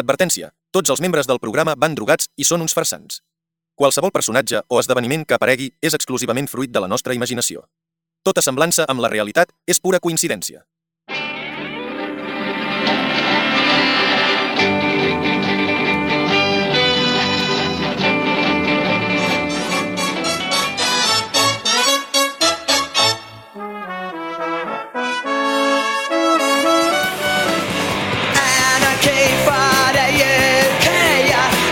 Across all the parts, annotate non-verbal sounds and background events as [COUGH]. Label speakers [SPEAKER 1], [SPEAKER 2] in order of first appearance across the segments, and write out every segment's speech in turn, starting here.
[SPEAKER 1] Advertència. Tots els membres del programa van drogats i són uns farsants. Qualsevol personatge o esdeveniment que aparegui és exclusivament fruit de la nostra imaginació. Tota semblança amb la realitat és pura coincidència.
[SPEAKER 2] Anarchy Friday UK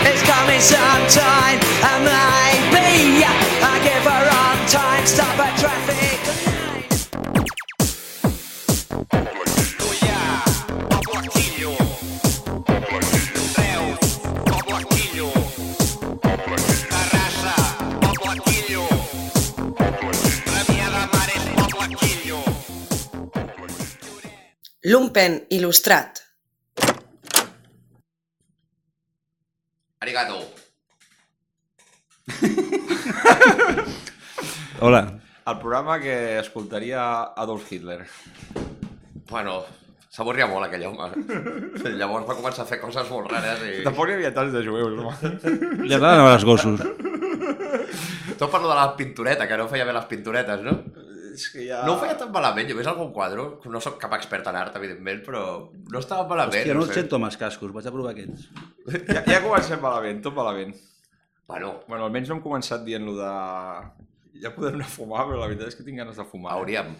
[SPEAKER 2] It's coming sometime I might be I give her on time Stop at traffic light.
[SPEAKER 3] Lumpen il·lustrat.
[SPEAKER 4] Arigato.
[SPEAKER 5] Hola.
[SPEAKER 6] El programa que escoltaria Adolf Hitler.
[SPEAKER 4] Bueno, s'avorria molt aquell home. Llavors va començar a fer coses molt rares i...
[SPEAKER 6] Tampoc hi havia tants de jueus, home.
[SPEAKER 5] Li agraden els gossos.
[SPEAKER 4] Tot per lo de la pintureta, que no feia bé les pinturetes, no?
[SPEAKER 6] És que ja...
[SPEAKER 4] No ho feia tan malament, jo he vist algun quadro, no sóc cap expert en art, evidentment, però no estava malament.
[SPEAKER 5] Hòstia, no els
[SPEAKER 4] sé.
[SPEAKER 5] sento amb els cascos, vaig a provar aquests.
[SPEAKER 6] Ja, ja comencem malament, tot malament.
[SPEAKER 4] Bueno,
[SPEAKER 6] Bueno, almenys no hem començat dient lo de... Ja podem anar a fumar, però la veritat és que tinc ganes de fumar. eh?
[SPEAKER 4] hauríem,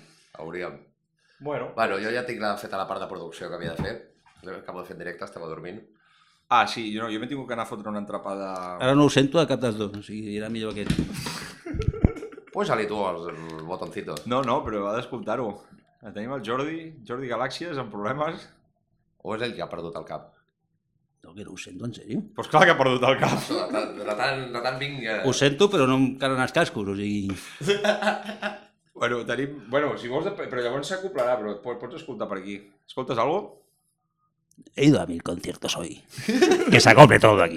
[SPEAKER 4] hauríem.
[SPEAKER 6] Bueno.
[SPEAKER 4] Bueno, jo ja tinc la feta la part de producció que havia de fer. Acabo de fer en directe, estava dormint.
[SPEAKER 6] Ah, sí, jo, no, jo m'he tingut que anar a fotre una entrapada...
[SPEAKER 5] Ara no ho sento de cap dels dos, o sigui, era millor aquest.
[SPEAKER 4] Puja-li tu el botoncito.
[SPEAKER 6] No, no, però ha d'escoltar-ho. Tenim el Jordi, Jordi Galàxies, amb problemes.
[SPEAKER 4] O és ell que ha perdut el cap?
[SPEAKER 5] No, que no ho sento, en sèrio.
[SPEAKER 6] Doncs pues clar que ha perdut el cap.
[SPEAKER 4] De tant, de tant, de tant vinc... eh,
[SPEAKER 5] Ho sento, però no em calen els cascos, o sigui...
[SPEAKER 6] Bueno, tenim... Bueno, si vols... de- Però llavors s'acoplarà, però po- pots escoltar per aquí. Escoltes alguna cosa?
[SPEAKER 5] He ido a mil conciertos hoy. [LAUGHS] Que se acople todo aquí.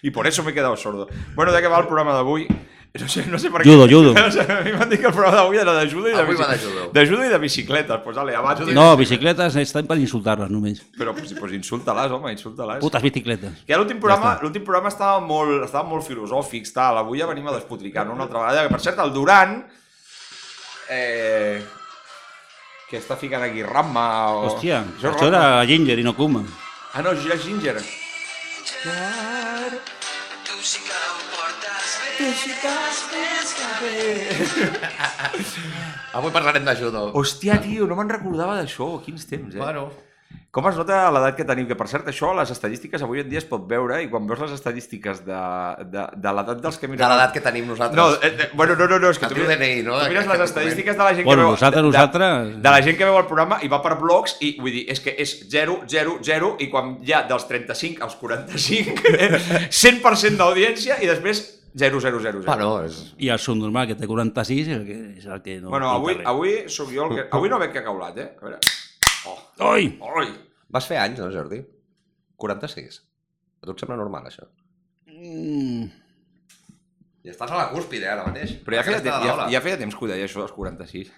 [SPEAKER 6] Y por eso me he quedado sordo. Bueno, de què va el programa d'avui? No sé, no sé per
[SPEAKER 5] Judo,
[SPEAKER 6] què.
[SPEAKER 5] judo.
[SPEAKER 6] No sé, [LAUGHS] a mi m'han dit que el programa d'avui era de judo i de,
[SPEAKER 4] Avui va
[SPEAKER 6] bici-
[SPEAKER 4] de judo.
[SPEAKER 6] de judo i de bicicletes. Pues dale, abans...
[SPEAKER 5] No, bicicletes estan per insultar-les només.
[SPEAKER 6] Però pues, pues insulta-les, home, insulta-les.
[SPEAKER 5] Putes bicicletes.
[SPEAKER 6] Que l'últim programa,
[SPEAKER 5] Ja està.
[SPEAKER 6] l'últim programa estava molt, estava molt filosòfics, tal. Avui ja venim a despotricar, no? Una altra vegada. Que, per cert, el Duran... Eh, que està ficant aquí Ramma o...
[SPEAKER 5] Hòstia,
[SPEAKER 6] Jo
[SPEAKER 5] això
[SPEAKER 6] Ramma.
[SPEAKER 5] era Ginger i no Kuma.
[SPEAKER 6] Ah, no, això era Ginger.
[SPEAKER 2] Tú sí que em portes bé Tú sí que has més que bé
[SPEAKER 4] Avui parlarem de judo.
[SPEAKER 6] Hòstia, tio, no me'n recordava d'això. Quins temps, eh?
[SPEAKER 4] Bueno,
[SPEAKER 6] Com es nota l'edat que tenim? Que, per cert, això, les estadístiques avui en dia es pot veure i quan veus les estadístiques de, de, de l'edat dels que
[SPEAKER 4] de
[SPEAKER 6] miren...
[SPEAKER 4] l'edat que tenim nosaltres.
[SPEAKER 6] No, eh, eh, bueno, no, no, no, és que
[SPEAKER 4] El
[SPEAKER 6] tu
[SPEAKER 4] teu
[SPEAKER 6] mires,
[SPEAKER 4] DNI, no?
[SPEAKER 6] tu mires
[SPEAKER 4] Aquest
[SPEAKER 6] les
[SPEAKER 4] document.
[SPEAKER 6] estadístiques de la gent
[SPEAKER 5] Bueno,
[SPEAKER 6] que veu...
[SPEAKER 5] nosaltres,
[SPEAKER 6] de-
[SPEAKER 5] nosaltres-
[SPEAKER 6] De, de, la gent que veu el programa i va per blocs i, vull dir, és que és 0, 0, 0 i quan hi ha dels 35 als 45, eh, [LAUGHS] 100% d'audiència i després 0, 0, 0, 0.
[SPEAKER 4] Bueno, és...
[SPEAKER 5] I el subnormal, que té 46, és el que, és el que no...
[SPEAKER 6] bueno avui,
[SPEAKER 5] no
[SPEAKER 6] avui sóc jo el que... Avui no veig que ha caulat, eh? A veure...
[SPEAKER 5] Oi!
[SPEAKER 6] Oi!
[SPEAKER 4] Vas fer anys, no, Jordi? 46. A tu et sembla normal, això?
[SPEAKER 5] Mm,
[SPEAKER 4] I estàs a la cúspide, ara mateix.
[SPEAKER 6] Però ja feia,
[SPEAKER 4] Aquesta
[SPEAKER 6] temps,
[SPEAKER 4] de
[SPEAKER 6] ja,
[SPEAKER 4] l'ola.
[SPEAKER 6] ja feia temps que ho deia, això dels 46.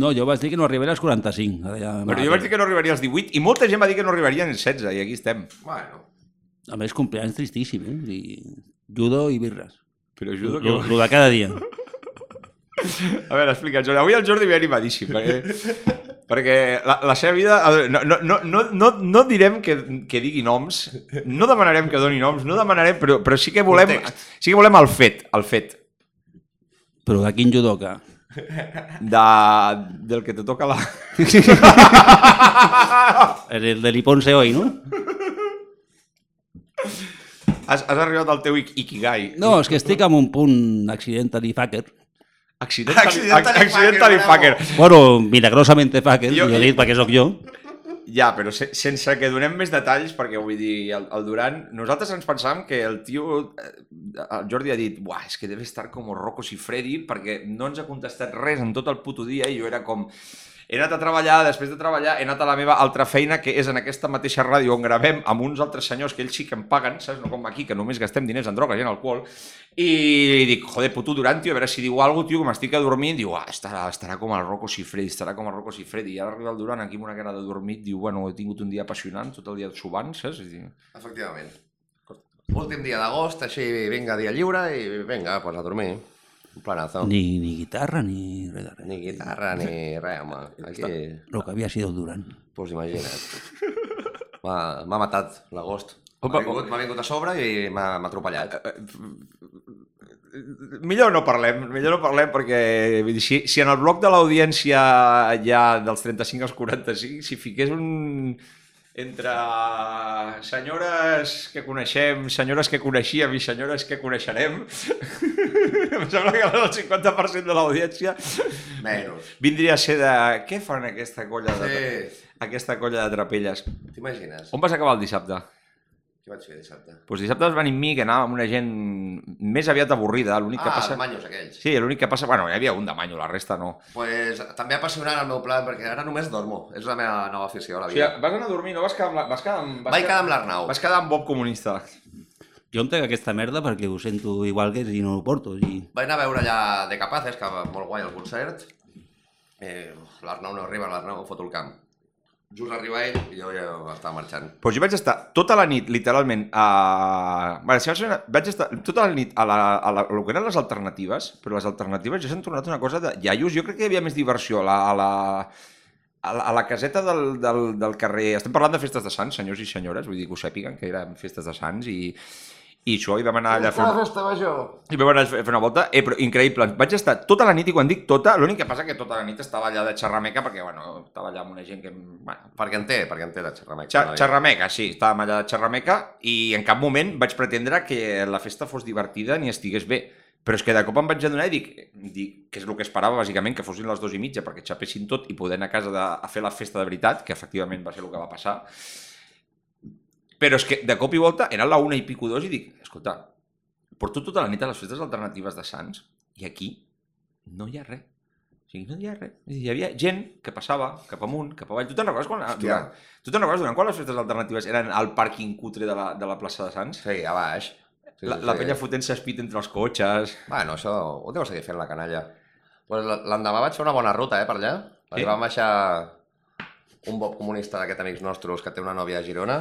[SPEAKER 5] No, jo vaig dir que no arribaré als 45. Ara ja...
[SPEAKER 6] Però jo vaig dir que no arribaria als 18 i molta gent va dir que no arribaria als 16 i aquí estem.
[SPEAKER 4] Bueno,
[SPEAKER 5] A més, compleanys tristíssim, eh? O sigui, judo i birres.
[SPEAKER 6] Però
[SPEAKER 5] Lo,
[SPEAKER 6] judo que...
[SPEAKER 5] lo de cada dia.
[SPEAKER 6] A veure, explica, Jordi. Avui el Jordi ve animadíssim, perquè, perquè la, la seva vida... a veure, No, no, no, no, no, no direm que, que digui noms, no demanarem que doni noms, no demanarem, però, però sí que volem,
[SPEAKER 4] Context.
[SPEAKER 6] sí que volem el fet, el fet
[SPEAKER 5] Però de quin judoka?
[SPEAKER 6] de, del que te toca la...
[SPEAKER 5] El, el de l'Iponse hoy, no?
[SPEAKER 6] Has, has arribat al teu ik- ikigai.
[SPEAKER 5] No, és que estic en un punt accidental i fucker.
[SPEAKER 6] Accidental,
[SPEAKER 4] Accidental i
[SPEAKER 6] accidental i
[SPEAKER 4] fucker,
[SPEAKER 6] fucker.
[SPEAKER 5] Bueno, milagrosamente fucker,
[SPEAKER 6] Jo-
[SPEAKER 5] jo, jo he dit perquè sóc jo.
[SPEAKER 6] Ja, però se, sense que donem més detalls, perquè vull dir, el, el Duran... Nosaltres ens pensàvem que el tio... eh, El Jordi ha dit, buah, és que deve estar com Rocco Freddy perquè no ens ha contestat res en tot el puto dia i jo era com... He anat a treballar, després de treballar, he anat a la meva altra feina, que és en aquesta mateixa ràdio on gravem amb uns altres senyors que ells sí que em paguen, saps? No com aquí, que només gastem diners en drogues i en alcohol. I li dic, joder, puto Durant, tio, a veure si diu alguna cosa, tio, que m'estic adormint. Diu, ah, estarà, estarà com el Rocco Sifredi, estarà com el Rocco Sifredi. I ara arriba el Durant aquí amb una cara de dormit, diu, bueno, he tingut un dia apassionant, tot el dia subant, saps? I dic,
[SPEAKER 4] Efectivament. Últim dia d'agost, així, vinga, dia lliure i vinga, pues a dormir. Un planazo. Ni,
[SPEAKER 5] Ni, ni guitarra, ni res de res.
[SPEAKER 4] ni guitarra, ni res, home. Aquí,
[SPEAKER 5] Lo que havia sido Durant.
[SPEAKER 4] pues imagina't.
[SPEAKER 6] [LAUGHS]
[SPEAKER 4] M'ha m'ha matat l'agost.
[SPEAKER 6] Opa,
[SPEAKER 4] M'ha vingut, m'ha vingut a sobre i m'ha m'ha atropellat.
[SPEAKER 6] Eh, millor no parlem, millor no parlem perquè vull dir, si, si en el bloc de l'audiència ja dels 35 als 45, si fiqués un entre senyores que coneixem, senyores que coneixíem i senyores que coneixerem, [LAUGHS] em sembla que el 50% de l'audiència eh,
[SPEAKER 4] Menys.
[SPEAKER 6] vindria a ser de què fan aquesta colla de,
[SPEAKER 4] Sí,
[SPEAKER 6] aquesta colla de trapelles.
[SPEAKER 4] t'imagines?
[SPEAKER 6] On vas acabar el dissabte?
[SPEAKER 4] Què vaig fer dissabte?
[SPEAKER 6] Doncs dissabte vas venir amb mi, que anava amb una gent més aviat avorrida. L'únic
[SPEAKER 4] Ah,
[SPEAKER 6] que passa...
[SPEAKER 4] els manyos aquells.
[SPEAKER 6] Sí, l'únic que passa... Bueno, hi havia un de manyo, la resta no.
[SPEAKER 4] Pues, també apassionant el meu plan, perquè ara només dormo. És la meva nova afició, a la
[SPEAKER 6] O sigui,
[SPEAKER 4] vida.
[SPEAKER 6] vas anar a dormir, no vas quedar amb... La... Vas quedar amb... Vas
[SPEAKER 4] Vaig quedar amb l'Arnau.
[SPEAKER 6] Vas quedar amb Bob comunista.
[SPEAKER 5] Jo em trec aquesta merda perquè ho sento igual que si no ho porto. I...
[SPEAKER 4] Vaig anar a veure allà de Capaces, que va molt guai el concert. Eh, L'Arnau no arriba, l'Arnau fot el camp. Just arriba ell i jo ja estava marxant.
[SPEAKER 6] Però jo vaig estar tota la nit, literalment, a... Bé, si vas fer una... vaig estar tota la nit a, la, a, la, a lo que eren les alternatives, però les alternatives ja s'han tornat una cosa de iaios. Jo crec que hi havia més diversió a la, a la, a la, a la caseta del, del, del carrer... Estem parlant de festes de Sants, senyors i senyores, vull dir que ho sàpiguen, que eren festes de Sants i... I això, i vam anar allà a fer...
[SPEAKER 4] festa major!
[SPEAKER 6] I vam anar a fer una volta, eh, però increïble. Vaig estar tota la nit, i quan dic tota, l'únic que passa que tota la nit estava allà de xerrameca, perquè, bueno, estava allà amb una gent que... Bueno,
[SPEAKER 4] Perquè en té, perquè en té de xerrameca.
[SPEAKER 6] xer xerrameca, sí, estàvem allà de xerrameca, i en cap moment vaig pretendre que la festa fos divertida ni estigués bé. Però és que de cop em vaig adonar i dic, dic que és el que esperava, bàsicament, que fossin les dues i mitja perquè xapessin tot i poder anar a casa de, a fer la festa de veritat, que efectivament va ser el que va passar. Però és que de cop i volta era la una i pico dos i dic, escolta, porto tota la nit a les festes alternatives de Sants i aquí no hi ha res. O sigui, no hi ha res. És a dir, Hi havia gent que passava cap amunt, cap avall. Tu te'n recordes quan... Durant, tu te'n recordes durant quan les festes alternatives eren al pàrquing cutre de la, de la plaça de Sants?
[SPEAKER 4] Sí, a baix. Sí,
[SPEAKER 6] la,
[SPEAKER 4] sí,
[SPEAKER 6] la
[SPEAKER 4] sí.
[SPEAKER 6] penya fotent-se espit entre els cotxes...
[SPEAKER 4] Bueno, això ho deu seguir fent la canalla. Pues l- l'endemà vaig fer una bona ruta, eh, per allà. Sí.
[SPEAKER 6] Sí?
[SPEAKER 4] Vam baixar un bob comunista d'aquests amics nostres que té una nòvia a Girona.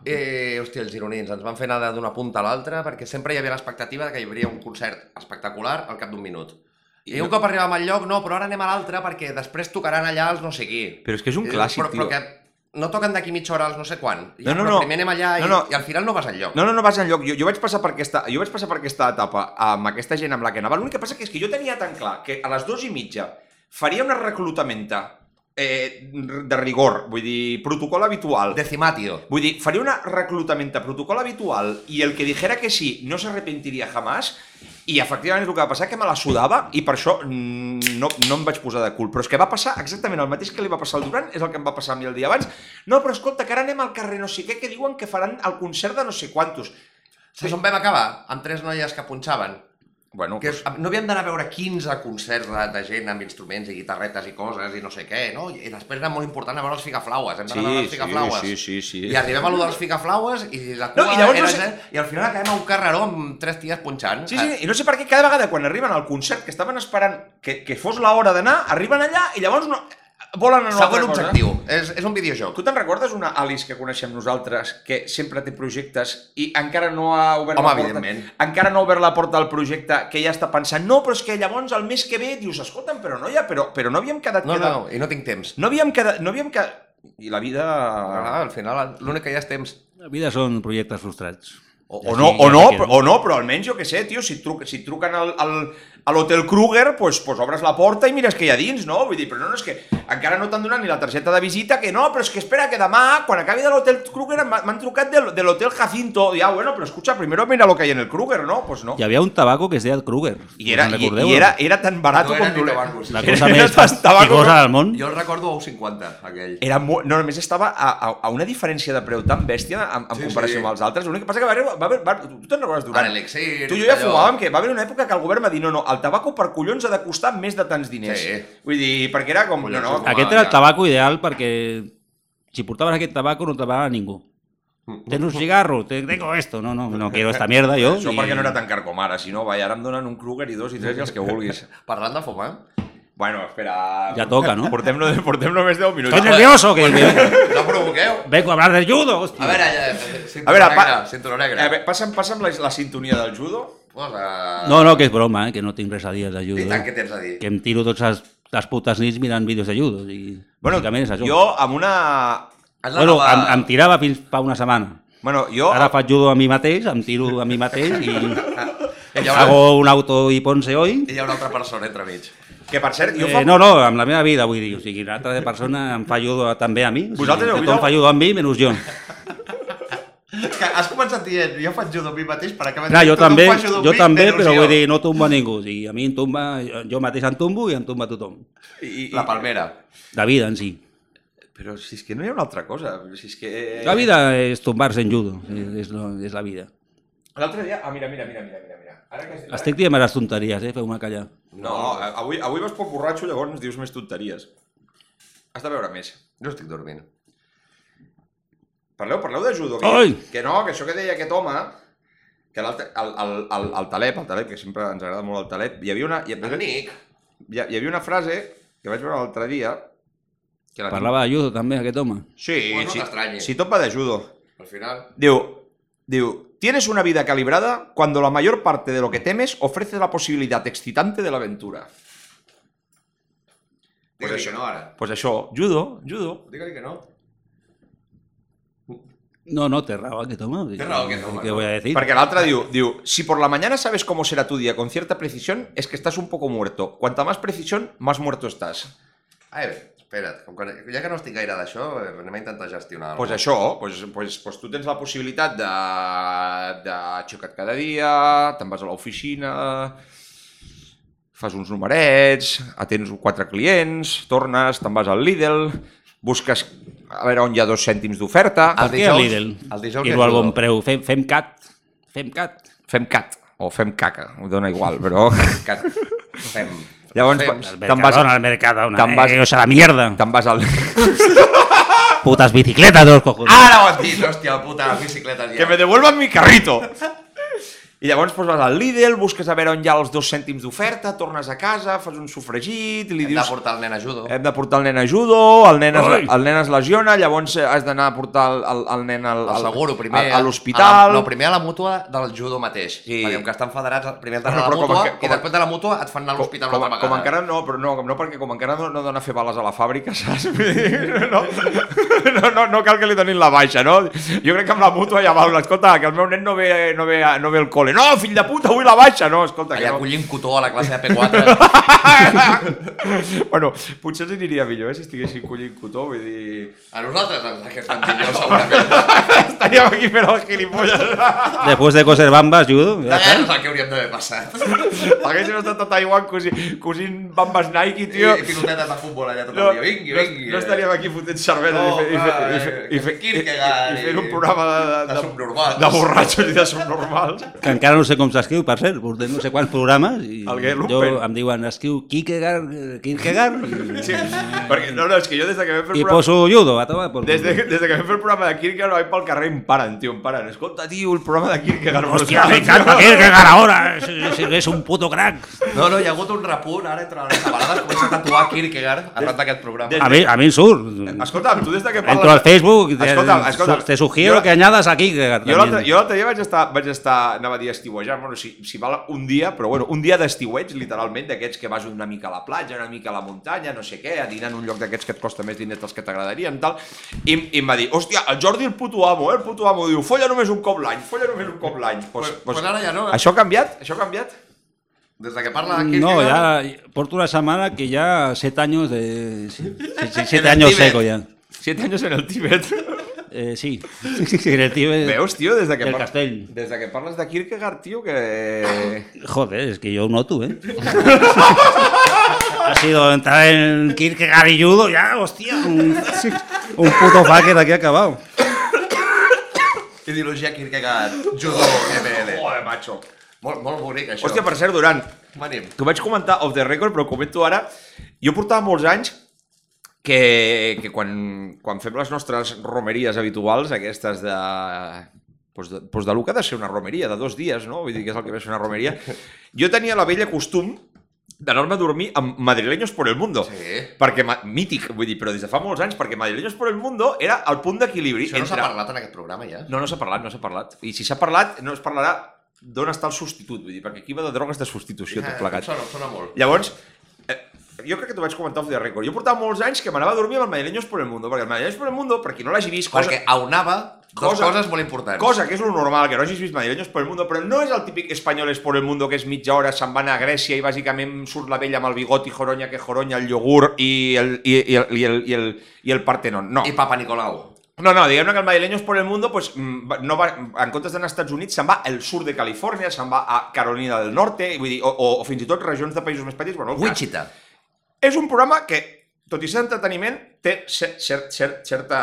[SPEAKER 4] I, hòstia, els gironins, ens van fer anar d'una punta a l'altra perquè sempre hi havia l'expectativa de que hi hauria un concert espectacular al cap d'un minut. I, un cop arribàvem al lloc, no, però ara anem a l'altre perquè després tocaran allà els no sé qui.
[SPEAKER 6] Però és que és un
[SPEAKER 4] I dius,
[SPEAKER 6] clàssic,
[SPEAKER 4] però, però
[SPEAKER 6] tio.
[SPEAKER 4] que no toquen d'aquí mitja hora els no sé quan. I
[SPEAKER 6] No,
[SPEAKER 4] ja,
[SPEAKER 6] no,
[SPEAKER 4] però
[SPEAKER 6] no.
[SPEAKER 4] Primer anem allà i,
[SPEAKER 6] No, no.
[SPEAKER 4] i al final no vas enlloc.
[SPEAKER 6] No, no, no vas enlloc. Jo, jo, vaig passar per aquesta, jo vaig passar per aquesta etapa amb aquesta gent amb la que anava. L'únic que passa que és que jo tenia tan clar que a les dues i mitja faria una reclutamenta eh, de rigor, vull dir, protocol habitual.
[SPEAKER 4] Decimatio.
[SPEAKER 6] Vull dir, faria una reclutamenta protocol habitual y el que dijera que sí no se arrepentiria jamás i efectivament és el que va passar, que me la sudava i per això mm, no, no em vaig posar de cul. Però és que va passar exactament el mateix que li va passar al Durant, és el que em va passar a mi el dia abans. No, però escolta, que ara anem al carrer no sé què, que diuen que faran el concert de no sé quantos.
[SPEAKER 4] Saps on vam acabar? Amb tres noies que punxaven.
[SPEAKER 6] Bueno,
[SPEAKER 4] Que és- no havíem d'anar a veure 15 concerts de, de gent amb instruments i guitarretes i coses i no sé què, no? I després era molt important anar a veure els ficaflaues. Hem d'anar a veure els ficaflaues.
[SPEAKER 6] sí, sí.
[SPEAKER 4] I arribem a lo dels ficaflaues i la
[SPEAKER 6] No,
[SPEAKER 4] cua
[SPEAKER 6] i llavors
[SPEAKER 4] era
[SPEAKER 6] no sé-
[SPEAKER 4] gent, i al final acabem a un carreró amb tres ties punxant.
[SPEAKER 6] Sí, sí, i no sé per què cada vegada quan arriben al concert que estaven esperant que, que fos l'hora d'anar, arriben allà i llavors no, volen anar a una altra
[SPEAKER 4] Següent
[SPEAKER 6] cosa.
[SPEAKER 4] Ah, objectiu. És, és un videojoc.
[SPEAKER 6] Tu te'n recordes una Alice que coneixem nosaltres que sempre té projectes i encara no ha obert
[SPEAKER 4] Home,
[SPEAKER 6] la porta?
[SPEAKER 4] evidentment.
[SPEAKER 6] Encara no ha obert la porta del projecte que ja està pensant no, però és que llavors el mes que ve dius escolta'm, però noia, però, però no havíem quedat...
[SPEAKER 4] No,
[SPEAKER 6] queda-
[SPEAKER 4] no, i no tinc temps.
[SPEAKER 6] no havíem quedat... No havíem quedat... I la vida...
[SPEAKER 4] Ah, al final l'únic que hi ha és temps.
[SPEAKER 5] La vida són projectes frustrats.
[SPEAKER 6] O, o, no,
[SPEAKER 5] Aquí
[SPEAKER 6] o,
[SPEAKER 5] ja
[SPEAKER 6] no,
[SPEAKER 5] te
[SPEAKER 6] però-
[SPEAKER 5] quedes.
[SPEAKER 6] o no, però almenys jo que sé, tio, si, et truc, si et truquen al, al, a l'Hotel Kruger, pues, pues obres la porta i mires què hi ha dins, no? Vull dir, però no, no és que encara no t'han donat ni la targeta de visita, que no, però és que espera que demà, quan acabi de l'Hotel Kruger, m'ha- m'han trucat de, de l'Hotel Jacinto. Ja, bueno, però escucha, primero mira lo que hay en el Kruger, no? Pues no.
[SPEAKER 5] Hi havia un tabaco que es deia el Kruger.
[SPEAKER 6] I era,
[SPEAKER 5] Us en
[SPEAKER 6] i,
[SPEAKER 5] recordeu?
[SPEAKER 6] i era, era tan barat
[SPEAKER 4] No
[SPEAKER 6] com
[SPEAKER 4] era ni tabaco, sí.
[SPEAKER 5] La
[SPEAKER 6] [LAUGHS] Era-
[SPEAKER 5] cosa
[SPEAKER 6] era
[SPEAKER 5] més
[SPEAKER 6] tan tabaco com-
[SPEAKER 5] fastigosa del món.
[SPEAKER 4] Jo el recordo a un 50, aquell.
[SPEAKER 5] Eh,
[SPEAKER 6] era molt... No, només estava a, a, a una diferència de preu tan bèstia en, en
[SPEAKER 4] Sí,
[SPEAKER 6] sí,
[SPEAKER 4] sí.
[SPEAKER 6] comparació sí. amb els altres. L'únic que passa que va haver... Va haver va, tu te'n recordes, Durant?
[SPEAKER 4] Ara, l'Elixir,
[SPEAKER 6] Tu i jo ja
[SPEAKER 4] allò.
[SPEAKER 6] fumàvem, que va haver una època que el govern va dir no, no, el tabaco per collons ha de costar més de tants diners.
[SPEAKER 4] Sí.
[SPEAKER 6] Vull dir, perquè era com...
[SPEAKER 4] Collons,
[SPEAKER 6] no,
[SPEAKER 4] és
[SPEAKER 6] no, com
[SPEAKER 5] Aquest
[SPEAKER 4] Home,
[SPEAKER 5] era el
[SPEAKER 4] ja.
[SPEAKER 5] tabaco ideal perquè si portabas aquest tabaco no te pagaba ningú. Ten un cigarro, te- tengo esto. No, no, no quiero esta mierda yo.
[SPEAKER 6] Això
[SPEAKER 5] i-
[SPEAKER 6] perquè no era tan car com ara, si no, vaja, ara em donen un Kruger i dos i tres i els que
[SPEAKER 4] [LAUGHS]
[SPEAKER 6] vulguis.
[SPEAKER 4] Parlant de fumar,
[SPEAKER 6] Bueno, espera...
[SPEAKER 5] Ja toca, no?
[SPEAKER 6] Portem, no, portem només 10 minuts.
[SPEAKER 5] Estoy nervioso. Que, que-
[SPEAKER 4] no provoqueu.
[SPEAKER 5] vengo a hablar del judo. hostia.
[SPEAKER 4] A veure, ja, cinturó
[SPEAKER 6] A veure,
[SPEAKER 4] negre,
[SPEAKER 6] pa-
[SPEAKER 4] cinturó
[SPEAKER 6] Eh,
[SPEAKER 4] negre.
[SPEAKER 6] bé, passa'm, passa'm la, la sintonia del judo.
[SPEAKER 4] Posa...
[SPEAKER 5] No, no, que és broma, eh? que no tinc res a dir de judo.
[SPEAKER 4] I tant, què
[SPEAKER 5] eh?
[SPEAKER 4] tens a dir?
[SPEAKER 5] Que em tiro tots les, les putes nits mirant vídeos de judo. I,
[SPEAKER 6] Bueno,
[SPEAKER 5] bàsicament és això.
[SPEAKER 6] jo amb una...
[SPEAKER 4] És la
[SPEAKER 5] Bueno,
[SPEAKER 4] nova-
[SPEAKER 5] em, em tirava fins fa una setmana.
[SPEAKER 6] Bueno, jo...
[SPEAKER 5] Ara faig judo a mi mateix, em tiro a mi mateix
[SPEAKER 6] [LAUGHS]
[SPEAKER 5] i
[SPEAKER 4] I hi haurà,
[SPEAKER 5] hago un auto i ponce hoy.
[SPEAKER 4] i hi ha una altra persona entremig.
[SPEAKER 6] Que per cert, jo fa...
[SPEAKER 5] Eh, no, no, amb la meva vida, vull dir. O sigui, l'altra de persona em fa judo també a mi. O sigui,
[SPEAKER 6] Vosaltres heu vist
[SPEAKER 5] tothom
[SPEAKER 6] el-
[SPEAKER 5] fa judo a mi, menys jo.
[SPEAKER 4] Que has començat dient, jo faig judo a mi mateix per acabar...
[SPEAKER 5] Clar, jo
[SPEAKER 4] dient, "Tu no
[SPEAKER 5] també,
[SPEAKER 4] fas judo a
[SPEAKER 5] jo
[SPEAKER 4] mi",
[SPEAKER 5] també,
[SPEAKER 4] menys
[SPEAKER 5] però
[SPEAKER 4] jo.
[SPEAKER 5] vull dir, no tumba ningú. O sigui, a mi em tumba, jo mateix em tumbo i em tumba tothom.
[SPEAKER 6] I, i,
[SPEAKER 4] La palmera.
[SPEAKER 5] La vida en si.
[SPEAKER 6] Però si és que no hi ha una altra cosa. Si és que...
[SPEAKER 5] La vida és tombar-se en judo, és, és, lo- és la vida.
[SPEAKER 6] L'altre dia... Ah, mira, mira, mira, mira, mira. mira. Ara que... Ara...
[SPEAKER 5] Estic dient les tonteries, eh? Feu-me callar.
[SPEAKER 6] No, avui, avui vas poc borratxo, llavors dius més tonteries. Has de veure més.
[SPEAKER 4] Jo estic dormint.
[SPEAKER 6] Parleu, parleu de judo.
[SPEAKER 5] Ai!
[SPEAKER 6] Que, que no, que això que deia aquest home, que l'altre, el, el, el, el Taleb, el Taleb, que sempre ens agrada molt el Taleb, hi havia una, hi,
[SPEAKER 4] El Nick,
[SPEAKER 6] hi, hi havia una frase que vaig veure l'altre dia, que la
[SPEAKER 5] Parlava de judo també, aquest home.
[SPEAKER 6] Sí,
[SPEAKER 4] Bueno, no
[SPEAKER 6] sí,
[SPEAKER 4] t'estranyi.
[SPEAKER 6] si tot va de judo.
[SPEAKER 4] al final...
[SPEAKER 6] Diu, diu, tienes una vida calibrada cuando la mayor parte de lo que temes ofrece la posibilidad excitante de la aventura.
[SPEAKER 4] Digue-li
[SPEAKER 6] això.
[SPEAKER 4] que no, ara.
[SPEAKER 6] Pues això, judo, judo.
[SPEAKER 4] Digue-li que no.
[SPEAKER 5] No, no, té raó aquest home.
[SPEAKER 4] Té raó aquest home,
[SPEAKER 5] Què
[SPEAKER 4] no?
[SPEAKER 5] voy a decir?
[SPEAKER 6] Perquè l'altre diu, diu, si por la mañana sabes cómo será tu día con cierta precisión, es que estás un poco muerto. Cuanta más precisión, más muerto estás.
[SPEAKER 4] A veure, espera't, com quan, ja que no estic gaire d'això, eh, anem a intentar gestionar
[SPEAKER 6] Pues això, pues, pues, pues tu tens la possibilitat de, de aixecar-te cada dia, te'n vas a l'oficina, fas uns numerets, atens quatre clients, tornes, te'n vas al Lidl, busques a veure on hi ha dos cèntims d'oferta,
[SPEAKER 4] Ah. el
[SPEAKER 5] Per què el
[SPEAKER 4] dijous-
[SPEAKER 5] Lidl?
[SPEAKER 4] el dijous
[SPEAKER 5] Quiero
[SPEAKER 4] hi ha
[SPEAKER 5] al
[SPEAKER 4] judo.
[SPEAKER 5] bon preu. Fem, fem cat. Fem cat.
[SPEAKER 6] fem cat, o fem caca, ho dona igual, però...
[SPEAKER 4] [LAUGHS] Que fem...
[SPEAKER 6] Llavors
[SPEAKER 4] Fem.
[SPEAKER 6] pa- te'n vas,
[SPEAKER 5] Mercadona, al Mercadona.
[SPEAKER 6] te'n vas-
[SPEAKER 5] eh, o sea, la mierda.
[SPEAKER 6] te'n vas al...
[SPEAKER 5] Putas bicicletas dos cojones.
[SPEAKER 4] Ara ho has dit, hòstia puta, les bicicletes
[SPEAKER 6] Que
[SPEAKER 4] ja.
[SPEAKER 6] me devuelvan mi carrito! I llavors doncs, vas al Lidl, busques a veure on hi ha els dos cèntims d'oferta, tornes a casa, fas un sofregit, li
[SPEAKER 4] Hem de
[SPEAKER 6] dius...
[SPEAKER 4] portar el nen a
[SPEAKER 5] Eh,
[SPEAKER 4] judo.
[SPEAKER 6] Hem de portar el nen a judo, el nen es,
[SPEAKER 5] Ai.
[SPEAKER 6] el nen es lesiona, llavors eh, has d'anar a portar el, el, el nen al,
[SPEAKER 4] El
[SPEAKER 6] al-
[SPEAKER 4] seguro, primer... eh?
[SPEAKER 6] a,
[SPEAKER 4] a
[SPEAKER 6] a
[SPEAKER 4] la-
[SPEAKER 6] l'hospital.
[SPEAKER 4] No, primer a la mútua del judo mateix.
[SPEAKER 6] Sí.
[SPEAKER 4] Perquè com que estan federats, primer t'han
[SPEAKER 6] No,
[SPEAKER 4] a la
[SPEAKER 6] però com
[SPEAKER 4] mútua
[SPEAKER 6] que- com
[SPEAKER 4] i després de la mútua et fan anar a l'hospital una
[SPEAKER 6] com,
[SPEAKER 4] altra vegada.
[SPEAKER 6] com encara no, però no, com no, perquè com encara no, no dona fer bales a la fàbrica, [LAUGHS] saps? Vull dir, No, no, no, no cal que li donin la baixa, no? Jo crec que amb la mútua ja va, escolta, que el meu nen no ve, no ve, a- no ve al col·le. No, fill de puta, vull la baixa! No, escolta, que
[SPEAKER 4] Allà
[SPEAKER 6] no.
[SPEAKER 4] collint cotó a la classe de P4.
[SPEAKER 6] [LAUGHS] bueno, potser els aniria millor, eh, si estiguessin collint cotó, vull dir...
[SPEAKER 4] a nosaltres ens que estan millor,
[SPEAKER 6] [LAUGHS]
[SPEAKER 4] segurament.
[SPEAKER 6] Estaríem aquí fent els gilipolles.
[SPEAKER 5] Després de coser bambas, judo. Ja
[SPEAKER 4] Allà
[SPEAKER 5] està.
[SPEAKER 4] és el que hauríem d'haver
[SPEAKER 6] [LAUGHS]
[SPEAKER 4] passat.
[SPEAKER 6] Haguéssim estat a Taiwan cosint, cosint bambes Nike, tio.
[SPEAKER 4] I pilotetes de futbol allà tot
[SPEAKER 6] No,
[SPEAKER 4] el dia. Vingui,
[SPEAKER 6] no,
[SPEAKER 4] vingui. eh.
[SPEAKER 6] no estaríem aquí fotent cervesa
[SPEAKER 4] No,
[SPEAKER 6] i, fe, i, fe,
[SPEAKER 4] clar,
[SPEAKER 6] i, fe,
[SPEAKER 4] eh,
[SPEAKER 6] i, fe,
[SPEAKER 4] que Kierkegaard
[SPEAKER 6] i, i fent un
[SPEAKER 4] i-
[SPEAKER 6] programa de,
[SPEAKER 4] de subnormals.
[SPEAKER 6] de borratxos i de
[SPEAKER 4] [LAUGHS]
[SPEAKER 6] subnormals.
[SPEAKER 5] Que encara no sé com s'escriu, per cert. Portem no sé quants programes. I
[SPEAKER 6] El Guy
[SPEAKER 5] jo
[SPEAKER 6] Lumpen.
[SPEAKER 5] em diuen, escriu Kierkegaard, eh, Kierkegaard i,
[SPEAKER 6] Sí, perquè, no, no, és que jo des de que vam fer el
[SPEAKER 5] i
[SPEAKER 6] programa...
[SPEAKER 5] poso judo. A tomar por
[SPEAKER 6] Des de,
[SPEAKER 5] culo.
[SPEAKER 6] des de que vam fer el programa de Kierkegaard vaig pel carrer i em paren, tio, em paren. Escolta, tio, el programa de Kierkegaard.
[SPEAKER 5] Hòstia,
[SPEAKER 6] brutal,
[SPEAKER 5] me encanta
[SPEAKER 6] tio.
[SPEAKER 5] Kierkegaard ahora. Es, es- es un puto crack.
[SPEAKER 4] No, no, hi ha hagut un repunt ara entre les cabalades. Comença a tatuar Kierkegaard arran d'aquest programa.
[SPEAKER 5] A mí, a mí sur.
[SPEAKER 6] Escolta, tu des de que parles...
[SPEAKER 5] Entro al Facebook, te,
[SPEAKER 6] Escolta'm, escolta'm.
[SPEAKER 5] te sugiero
[SPEAKER 6] Jo-
[SPEAKER 5] que añadas a Kierkegaard.
[SPEAKER 6] Jo l'altre
[SPEAKER 5] también.
[SPEAKER 6] jo l'altre dia vaig estar, vaig estar, anava a dir estiuejant, bueno, si, si val un dia, però bueno, un dia d'estiueig, literalment, d'aquests que vas una mica a la platja, una mica a la muntanya, no sé què, a dinar en un lloc d'aquests que et costa més diners dels que t'agradarien, tal, i, i em va dir, hòstia, el Jordi el puto amo, eh, el puto amo, diu, folla només un cop l'any, folla només un cop l'any. Pues,
[SPEAKER 4] Pues- pues ara ja no, eh?
[SPEAKER 6] Això ha canviat? Això ha canviat?
[SPEAKER 4] Des de que parla de
[SPEAKER 5] No,
[SPEAKER 4] Kierkegaard...
[SPEAKER 5] ya porto una semana que ya siete años de.
[SPEAKER 6] [LAUGHS]
[SPEAKER 5] sí, sí,
[SPEAKER 4] En el
[SPEAKER 5] siete años
[SPEAKER 4] Tíbet.
[SPEAKER 5] seco ya.
[SPEAKER 6] Siete anys en el Tíbet.
[SPEAKER 5] Eh, sí. [LAUGHS] En el Tíbet.
[SPEAKER 6] Veus, tio, des de que,
[SPEAKER 5] Del castell.
[SPEAKER 6] des de que parles de Kierkegaard, tio, que...
[SPEAKER 5] Joder, es que yo no tú, ¿eh? ha sido entrar en Kierkegaard y judo, ya, hostia. Un, un puto fucker aquí acabado.
[SPEAKER 4] Ideologia Kierkegaard, judo, ML.
[SPEAKER 6] Joder, macho.
[SPEAKER 4] Molt, molt bonic, això.
[SPEAKER 6] Hòstia, per cert, Duran,
[SPEAKER 4] Manem.
[SPEAKER 6] que ho vaig comentar off the record, però ho comento ara. Jo portava molts anys que, que quan, quan fem les nostres romeries habituals, aquestes de... Doncs de, doncs de lo que ha de ser una romeria, de dos dies, no? Vull dir que és el que ve a ser una romeria. Jo tenia la vella costum d'anar-me a dormir amb madrileños por el mundo.
[SPEAKER 4] Sí.
[SPEAKER 6] Perquè, ma- mític, vull dir, però des de fa molts anys, perquè madrileños por el mundo era el punt d'equilibri
[SPEAKER 4] Això no s'ha
[SPEAKER 6] entre-
[SPEAKER 4] parlat en aquest programa, ja?
[SPEAKER 6] no, no s'ha parlat, no s'ha parlat. I si s'ha parlat, no es parlarà d'on està el substitut, vull dir, perquè aquí va de drogues de substitució tot
[SPEAKER 4] Em
[SPEAKER 6] plegat.
[SPEAKER 4] Sona, em sona molt.
[SPEAKER 6] Llavors, eh, jo crec que t'ho vaig comentar off the record. Jo portava molts anys que m'anava a dormir amb el Madrileños por el Mundo, perquè el Madrileños por el Mundo, per qui no l'hagi vist, cosa,
[SPEAKER 4] Perquè aunava dues
[SPEAKER 6] cosa-
[SPEAKER 4] coses molt importants.
[SPEAKER 6] cosa que és lo normal, que no hagis vist Madrileños por el Mundo, però no és el típic Espanyoles por el Mundo que és mitja hora, se'n van a Grècia i bàsicament surt la vella amb el bigot i joronya que joronya, el iogurt i el, i, i, el, i, el, i, el, i el Partenón. No.
[SPEAKER 4] I Papa Nicolau.
[SPEAKER 6] No, no, diguem-ne que el Madrileños por el Mundo, pues, mm, va- no va, en comptes d'anar als Estats Units, se'n va al sur de Califòrnia, se'n va a Carolina del Norte, vull dir, o, o, o fins i tot regions de països més petits. Bueno, el cas,
[SPEAKER 4] Wichita.
[SPEAKER 6] és un programa que, tot i ser entreteniment, té cer, cer, cer, certa,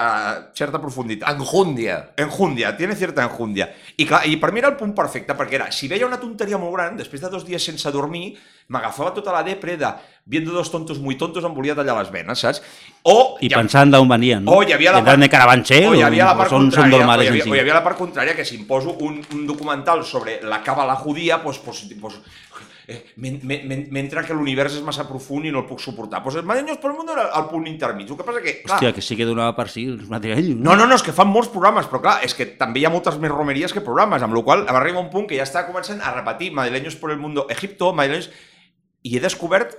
[SPEAKER 6] certa profunditat.
[SPEAKER 4] Enjundia.
[SPEAKER 6] Enjundia, tiene cierta enjundia. I, clar, I per mi era el punt perfecte, perquè era, si veia una tonteria molt gran, després de dos dies sense dormir, m'agafava tota la depre de viendo dos tontos muy tontos, em volia tallar les venes, saps? O,
[SPEAKER 5] Y pensando aún venía, ¿no?
[SPEAKER 6] O hi havia la
[SPEAKER 5] Vendran de Carabanchel
[SPEAKER 6] o hi havia la
[SPEAKER 5] o
[SPEAKER 6] part
[SPEAKER 5] pues son, son
[SPEAKER 6] contrària, o,
[SPEAKER 5] normales
[SPEAKER 6] hi
[SPEAKER 5] en
[SPEAKER 6] havia,
[SPEAKER 5] sí.
[SPEAKER 6] o hi havia la part contrària, que si em poso un, un documental sobre la càbala judía, pues, pues, pues, eh, men- men- men- mentre que l'univers és massa profund i no el puc suportar. Pues els Madrinyos per el món era el punt intermig. El que passa que, clar,
[SPEAKER 5] Hostia, que sí que donaba para sí los madrileños.
[SPEAKER 6] Ah. no, no, no, és que fan molts programes, però clar, és que també hi ha moltes més romeries que programes, amb la qual cosa arriba un punt que ja està començant a repetir Madrileños por el mundo, Egipto, Madrileños... I he descobert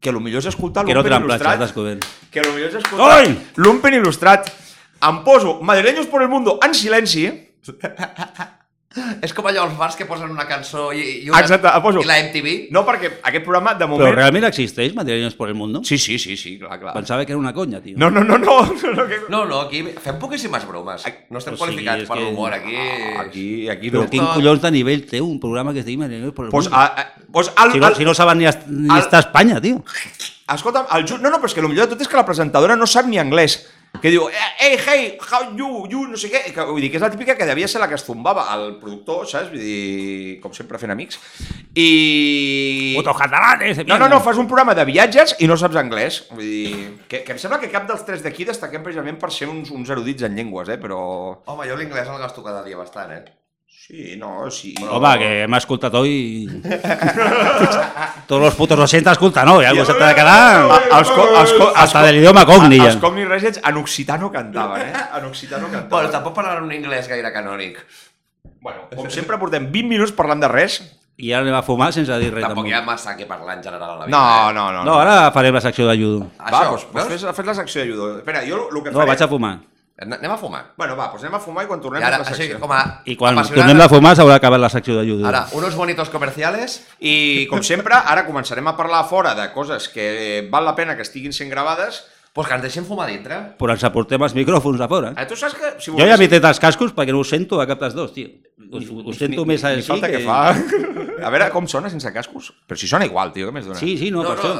[SPEAKER 6] que el millor és escoltar
[SPEAKER 5] Que no te
[SPEAKER 6] l'Open
[SPEAKER 5] la han planchado,
[SPEAKER 6] Il·lustrat.
[SPEAKER 5] Tasco, ven.
[SPEAKER 6] que el millor és escoltar
[SPEAKER 5] Oi!
[SPEAKER 6] l'Umpen il·lustrat. Em poso Madrileños por el mundo en silenci,
[SPEAKER 4] És com allò, els bars que posen una cançó i, i, una,
[SPEAKER 6] Exacte, la poso.
[SPEAKER 4] i la MTV.
[SPEAKER 6] no perquè aquest programa de
[SPEAKER 5] Pero
[SPEAKER 6] moment...
[SPEAKER 5] realmente existéis madrileños por el mundo.
[SPEAKER 6] Sí, sí, sí, sí, clar, clar.
[SPEAKER 5] Pensaba que era una coña, tío.
[SPEAKER 6] No, no, no, no, [LAUGHS] no, no que...
[SPEAKER 4] No, no, aquí fem poquíssimes bromes. No estem
[SPEAKER 5] O sigui,
[SPEAKER 4] qualificats
[SPEAKER 5] és
[SPEAKER 4] per
[SPEAKER 5] que-
[SPEAKER 4] l'humor, aquí...
[SPEAKER 6] Ah, Aquí, aquí
[SPEAKER 5] Pero
[SPEAKER 6] no.
[SPEAKER 5] qué culones de nivel, tío, un programa que se llama Madrileños por el
[SPEAKER 6] Pues,
[SPEAKER 5] mundo.
[SPEAKER 6] a, a, pues al,
[SPEAKER 5] si, no,
[SPEAKER 6] al-
[SPEAKER 5] si no saben ni, hasta- ni
[SPEAKER 6] al-
[SPEAKER 5] hasta España, tío.
[SPEAKER 6] Escolta'm, el Jun... No, no, però és que el millor de tot és que la presentadora no sap ni anglès. Que diu, eh, hey, hey, how you, you, no sé què. Que, vull dir, que és la típica que devia ser la que es zumbava el productor, saps? Vull dir, com sempre fent amics. I...
[SPEAKER 5] Putos catalanes. de
[SPEAKER 6] No,
[SPEAKER 5] mierda.
[SPEAKER 6] no, no, fas un programa de viatges i no saps anglès. Vull dir, que, que em sembla que cap dels tres d'aquí destaquem precisament per ser uns, uns erudits en llengües, eh? Però...
[SPEAKER 4] Home, jo l'inglès el gasto cada dia bastant, eh?
[SPEAKER 6] Sí, no, sí...
[SPEAKER 5] Home, que m'ha escoltat
[SPEAKER 6] [LAUGHS]
[SPEAKER 5] hoy... Tots los putos 80 escolta, no? Ja algo se t'ha de
[SPEAKER 6] A-
[SPEAKER 5] quedar...
[SPEAKER 6] Els, co- els, co- els,
[SPEAKER 5] Hasta de l'idioma cogni,
[SPEAKER 6] co-
[SPEAKER 5] ja.
[SPEAKER 6] els Cogni Residents en occitano cantaven, eh? En occitano cantaven.
[SPEAKER 4] Bueno, tampoc parlen un anglès gaire canònic.
[SPEAKER 6] Bueno, com sempre portem 20 minuts parlant de res.
[SPEAKER 5] I ara anem a fumar sense dir res.
[SPEAKER 4] Tampoc
[SPEAKER 5] tampoc.
[SPEAKER 4] hi ha massa que parlar en general a la vida.
[SPEAKER 6] No,
[SPEAKER 4] eh?
[SPEAKER 6] no, no.
[SPEAKER 5] No, ara farem la secció de judo.
[SPEAKER 6] Va,
[SPEAKER 4] Això,
[SPEAKER 6] doncs, doncs
[SPEAKER 4] veus?
[SPEAKER 6] fes, fes la secció de judo. Espera, jo el que
[SPEAKER 5] No,
[SPEAKER 6] faré...
[SPEAKER 5] vaig a fumar.
[SPEAKER 4] An- Anem a fumar.
[SPEAKER 6] Bueno, va, doncs anem a fumar i quan
[SPEAKER 4] I
[SPEAKER 6] tornem
[SPEAKER 4] ara, ah,
[SPEAKER 6] fem la
[SPEAKER 4] així,
[SPEAKER 6] secció.
[SPEAKER 4] com a
[SPEAKER 5] I quan
[SPEAKER 4] apassionat-
[SPEAKER 5] tornem de fumar s'haurà acabat la secció de judo.
[SPEAKER 4] Ara, unos bonitos comerciales.
[SPEAKER 6] I, com sempre, ara començarem a parlar a fora de coses que eh, val la pena que estiguin sent gravades.
[SPEAKER 4] Pues que ens deixem fumar dintre.
[SPEAKER 5] Però ens aportem els micròfons a fora.
[SPEAKER 6] Eh, tu saps que... Si
[SPEAKER 5] Jo ja m'he tret els cascos perquè no ho sento a cap dels dos, tio. Us, us sento més així
[SPEAKER 6] falta que... fa. A veure com sona sense cascos. Però si sona igual, tio, què més dona?
[SPEAKER 5] Sí, sí, no,
[SPEAKER 4] no,
[SPEAKER 5] per això.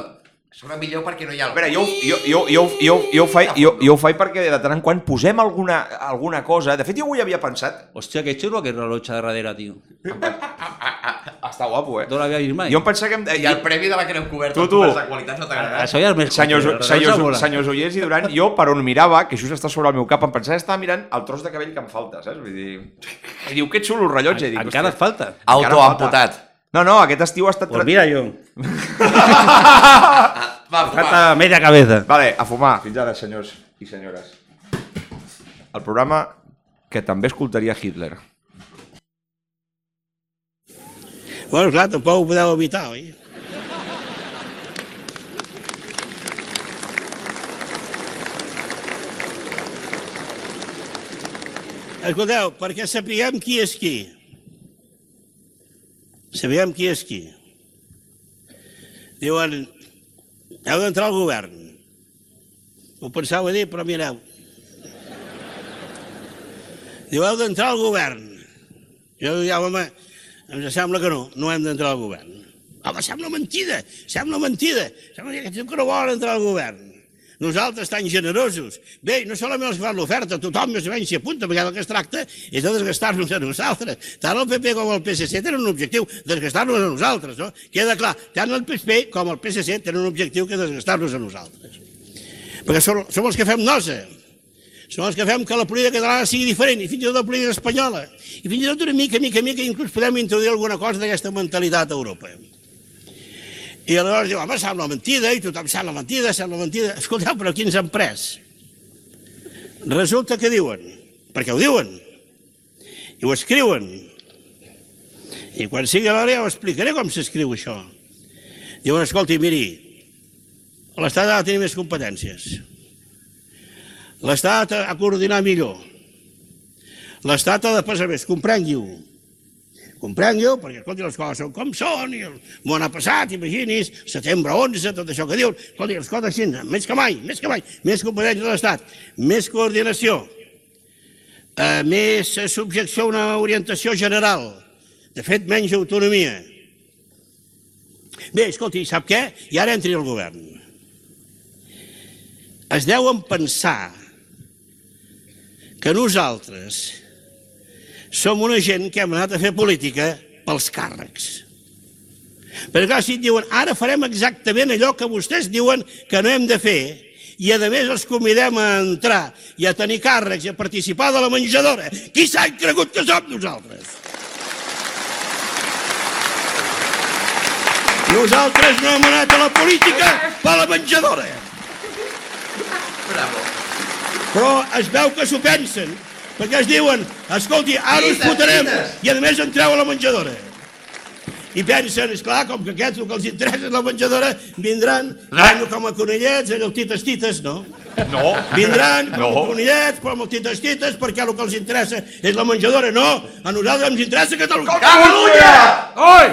[SPEAKER 4] Sona millor perquè no hi ha...
[SPEAKER 6] A veure, jo, jo, jo, jo, jo, jo, ho faig, jo, jo ho faig perquè de tant en quant posem alguna, alguna cosa... De fet, jo avui havia pensat...
[SPEAKER 5] Hòstia, que xulo aquest rellotge de darrere, tio.
[SPEAKER 6] Està guapo, eh?
[SPEAKER 5] No l'havia vist mai.
[SPEAKER 6] Jo em pensava que... Hem,
[SPEAKER 4] I el premi de la que no hem cobert
[SPEAKER 6] Tu,
[SPEAKER 4] tu, tu.
[SPEAKER 6] tu.
[SPEAKER 4] de qualitat no t'agrada.
[SPEAKER 5] Això ja és més...
[SPEAKER 6] Senyors,
[SPEAKER 5] coquet, el
[SPEAKER 6] senyors,
[SPEAKER 5] rellotge mola.
[SPEAKER 6] senyors Ullers i Duran, jo per on mirava, que just està sobre el meu cap, em pensava que estava mirant el tros de cabell que em falta, saps? Vull dir... [LAUGHS] I diu, que xulo el rellotge. I dic,
[SPEAKER 5] Encara et
[SPEAKER 6] "Hòstia,
[SPEAKER 5] falta.
[SPEAKER 6] encara em falta".
[SPEAKER 4] Autoamputat.
[SPEAKER 6] No, no, aquest estiu ha estat...
[SPEAKER 5] Pues mira jo.
[SPEAKER 4] Va, fumar.
[SPEAKER 5] Falta media cabeza.
[SPEAKER 6] Vale, a fumar. Fins ara, senyors i senyores. El programa que també escoltaria Hitler.
[SPEAKER 3] Bueno, clar, tampoc ho podeu evitar, oi? Escolteu, perquè sapiguem qui és qui. Sapiguem qui és qui. Diuen, heu d'entrar al govern. Ho pensava dir, però mireu. Diu, heu d'entrar al govern. Jo diria, home, em sembla que no, no hem d'entrar al govern. Home, sembla mentida, sembla mentida. Sembla que diu que no volen entrar al govern. nosaltres tan generosos. Bé, i no solament els que fan l'oferta, tothom més o menys s'hi apunta, perquè del que es tracta és de desgastar-nos a nosaltres. Tant el PP com el PSC tenen un objectiu, desgastar-nos a nosaltres, no? Queda clar, tant el PP com el PSC tenen un objectiu que és desgastar-nos a nosaltres. Perquè som, som els que fem nosa, són els que fem que la política catalana sigui diferent, i fins i tot la política espanyola. I fins i tot una mica, mica, mica, inclús podem introduir alguna cosa d'aquesta mentalitat a Europa. I aleshores diu, home, sembla mentida, i tothom sembla mentida, sembla mentida. Escolteu, però qui ens han pres? Resulta que diuen, perquè ho diuen, i ho escriuen. I quan sigui l'hora ja ho explicaré com s'escriu això. Diuen, escolti, miri, l'Estat ha de tenir més competències. L'Estat ha de coordinar millor. L'Estat ha de passar més, comprengui-ho. Comprengui-ho, perquè, escolti, les coses són com són, i el món ha passat, imagini's, setembre 11, tot això que diuen. Escolti, les coses així, més que mai, més que mai, més competència de l'Estat, més coordinació, eh, més eh, subjecció a una orientació general, de fet, menys autonomia. Bé, escolti, sap què? I ara entri el govern es deuen pensar que nosaltres som una gent que hem anat a fer política pels càrrecs. Perquè clar, si et diuen, ara farem exactament allò que vostès diuen que no hem de fer, i a més els convidem a entrar i a tenir càrrecs i a participar de la menjadora, qui s'han cregut que som nosaltres? Nosaltres no hem anat a la política per la menjadora.
[SPEAKER 4] Bravo.
[SPEAKER 3] Però es veu que s'ho pensen, perquè es diuen, escolti, ara us
[SPEAKER 4] Fites,
[SPEAKER 3] fotrem,
[SPEAKER 4] fites.
[SPEAKER 3] i a més entreu a la menjadora. I pensen, és clar, com que aquests el que els interessa és la menjadora, vindran, no com a conillets, allò tites tites, no?
[SPEAKER 6] No.
[SPEAKER 3] Vindran com a
[SPEAKER 6] No.
[SPEAKER 3] conillets, com a tites tites, perquè el que els interessa és la menjadora, no? A nosaltres ens interessa Catalunya.
[SPEAKER 4] Catalunya!
[SPEAKER 6] Oi!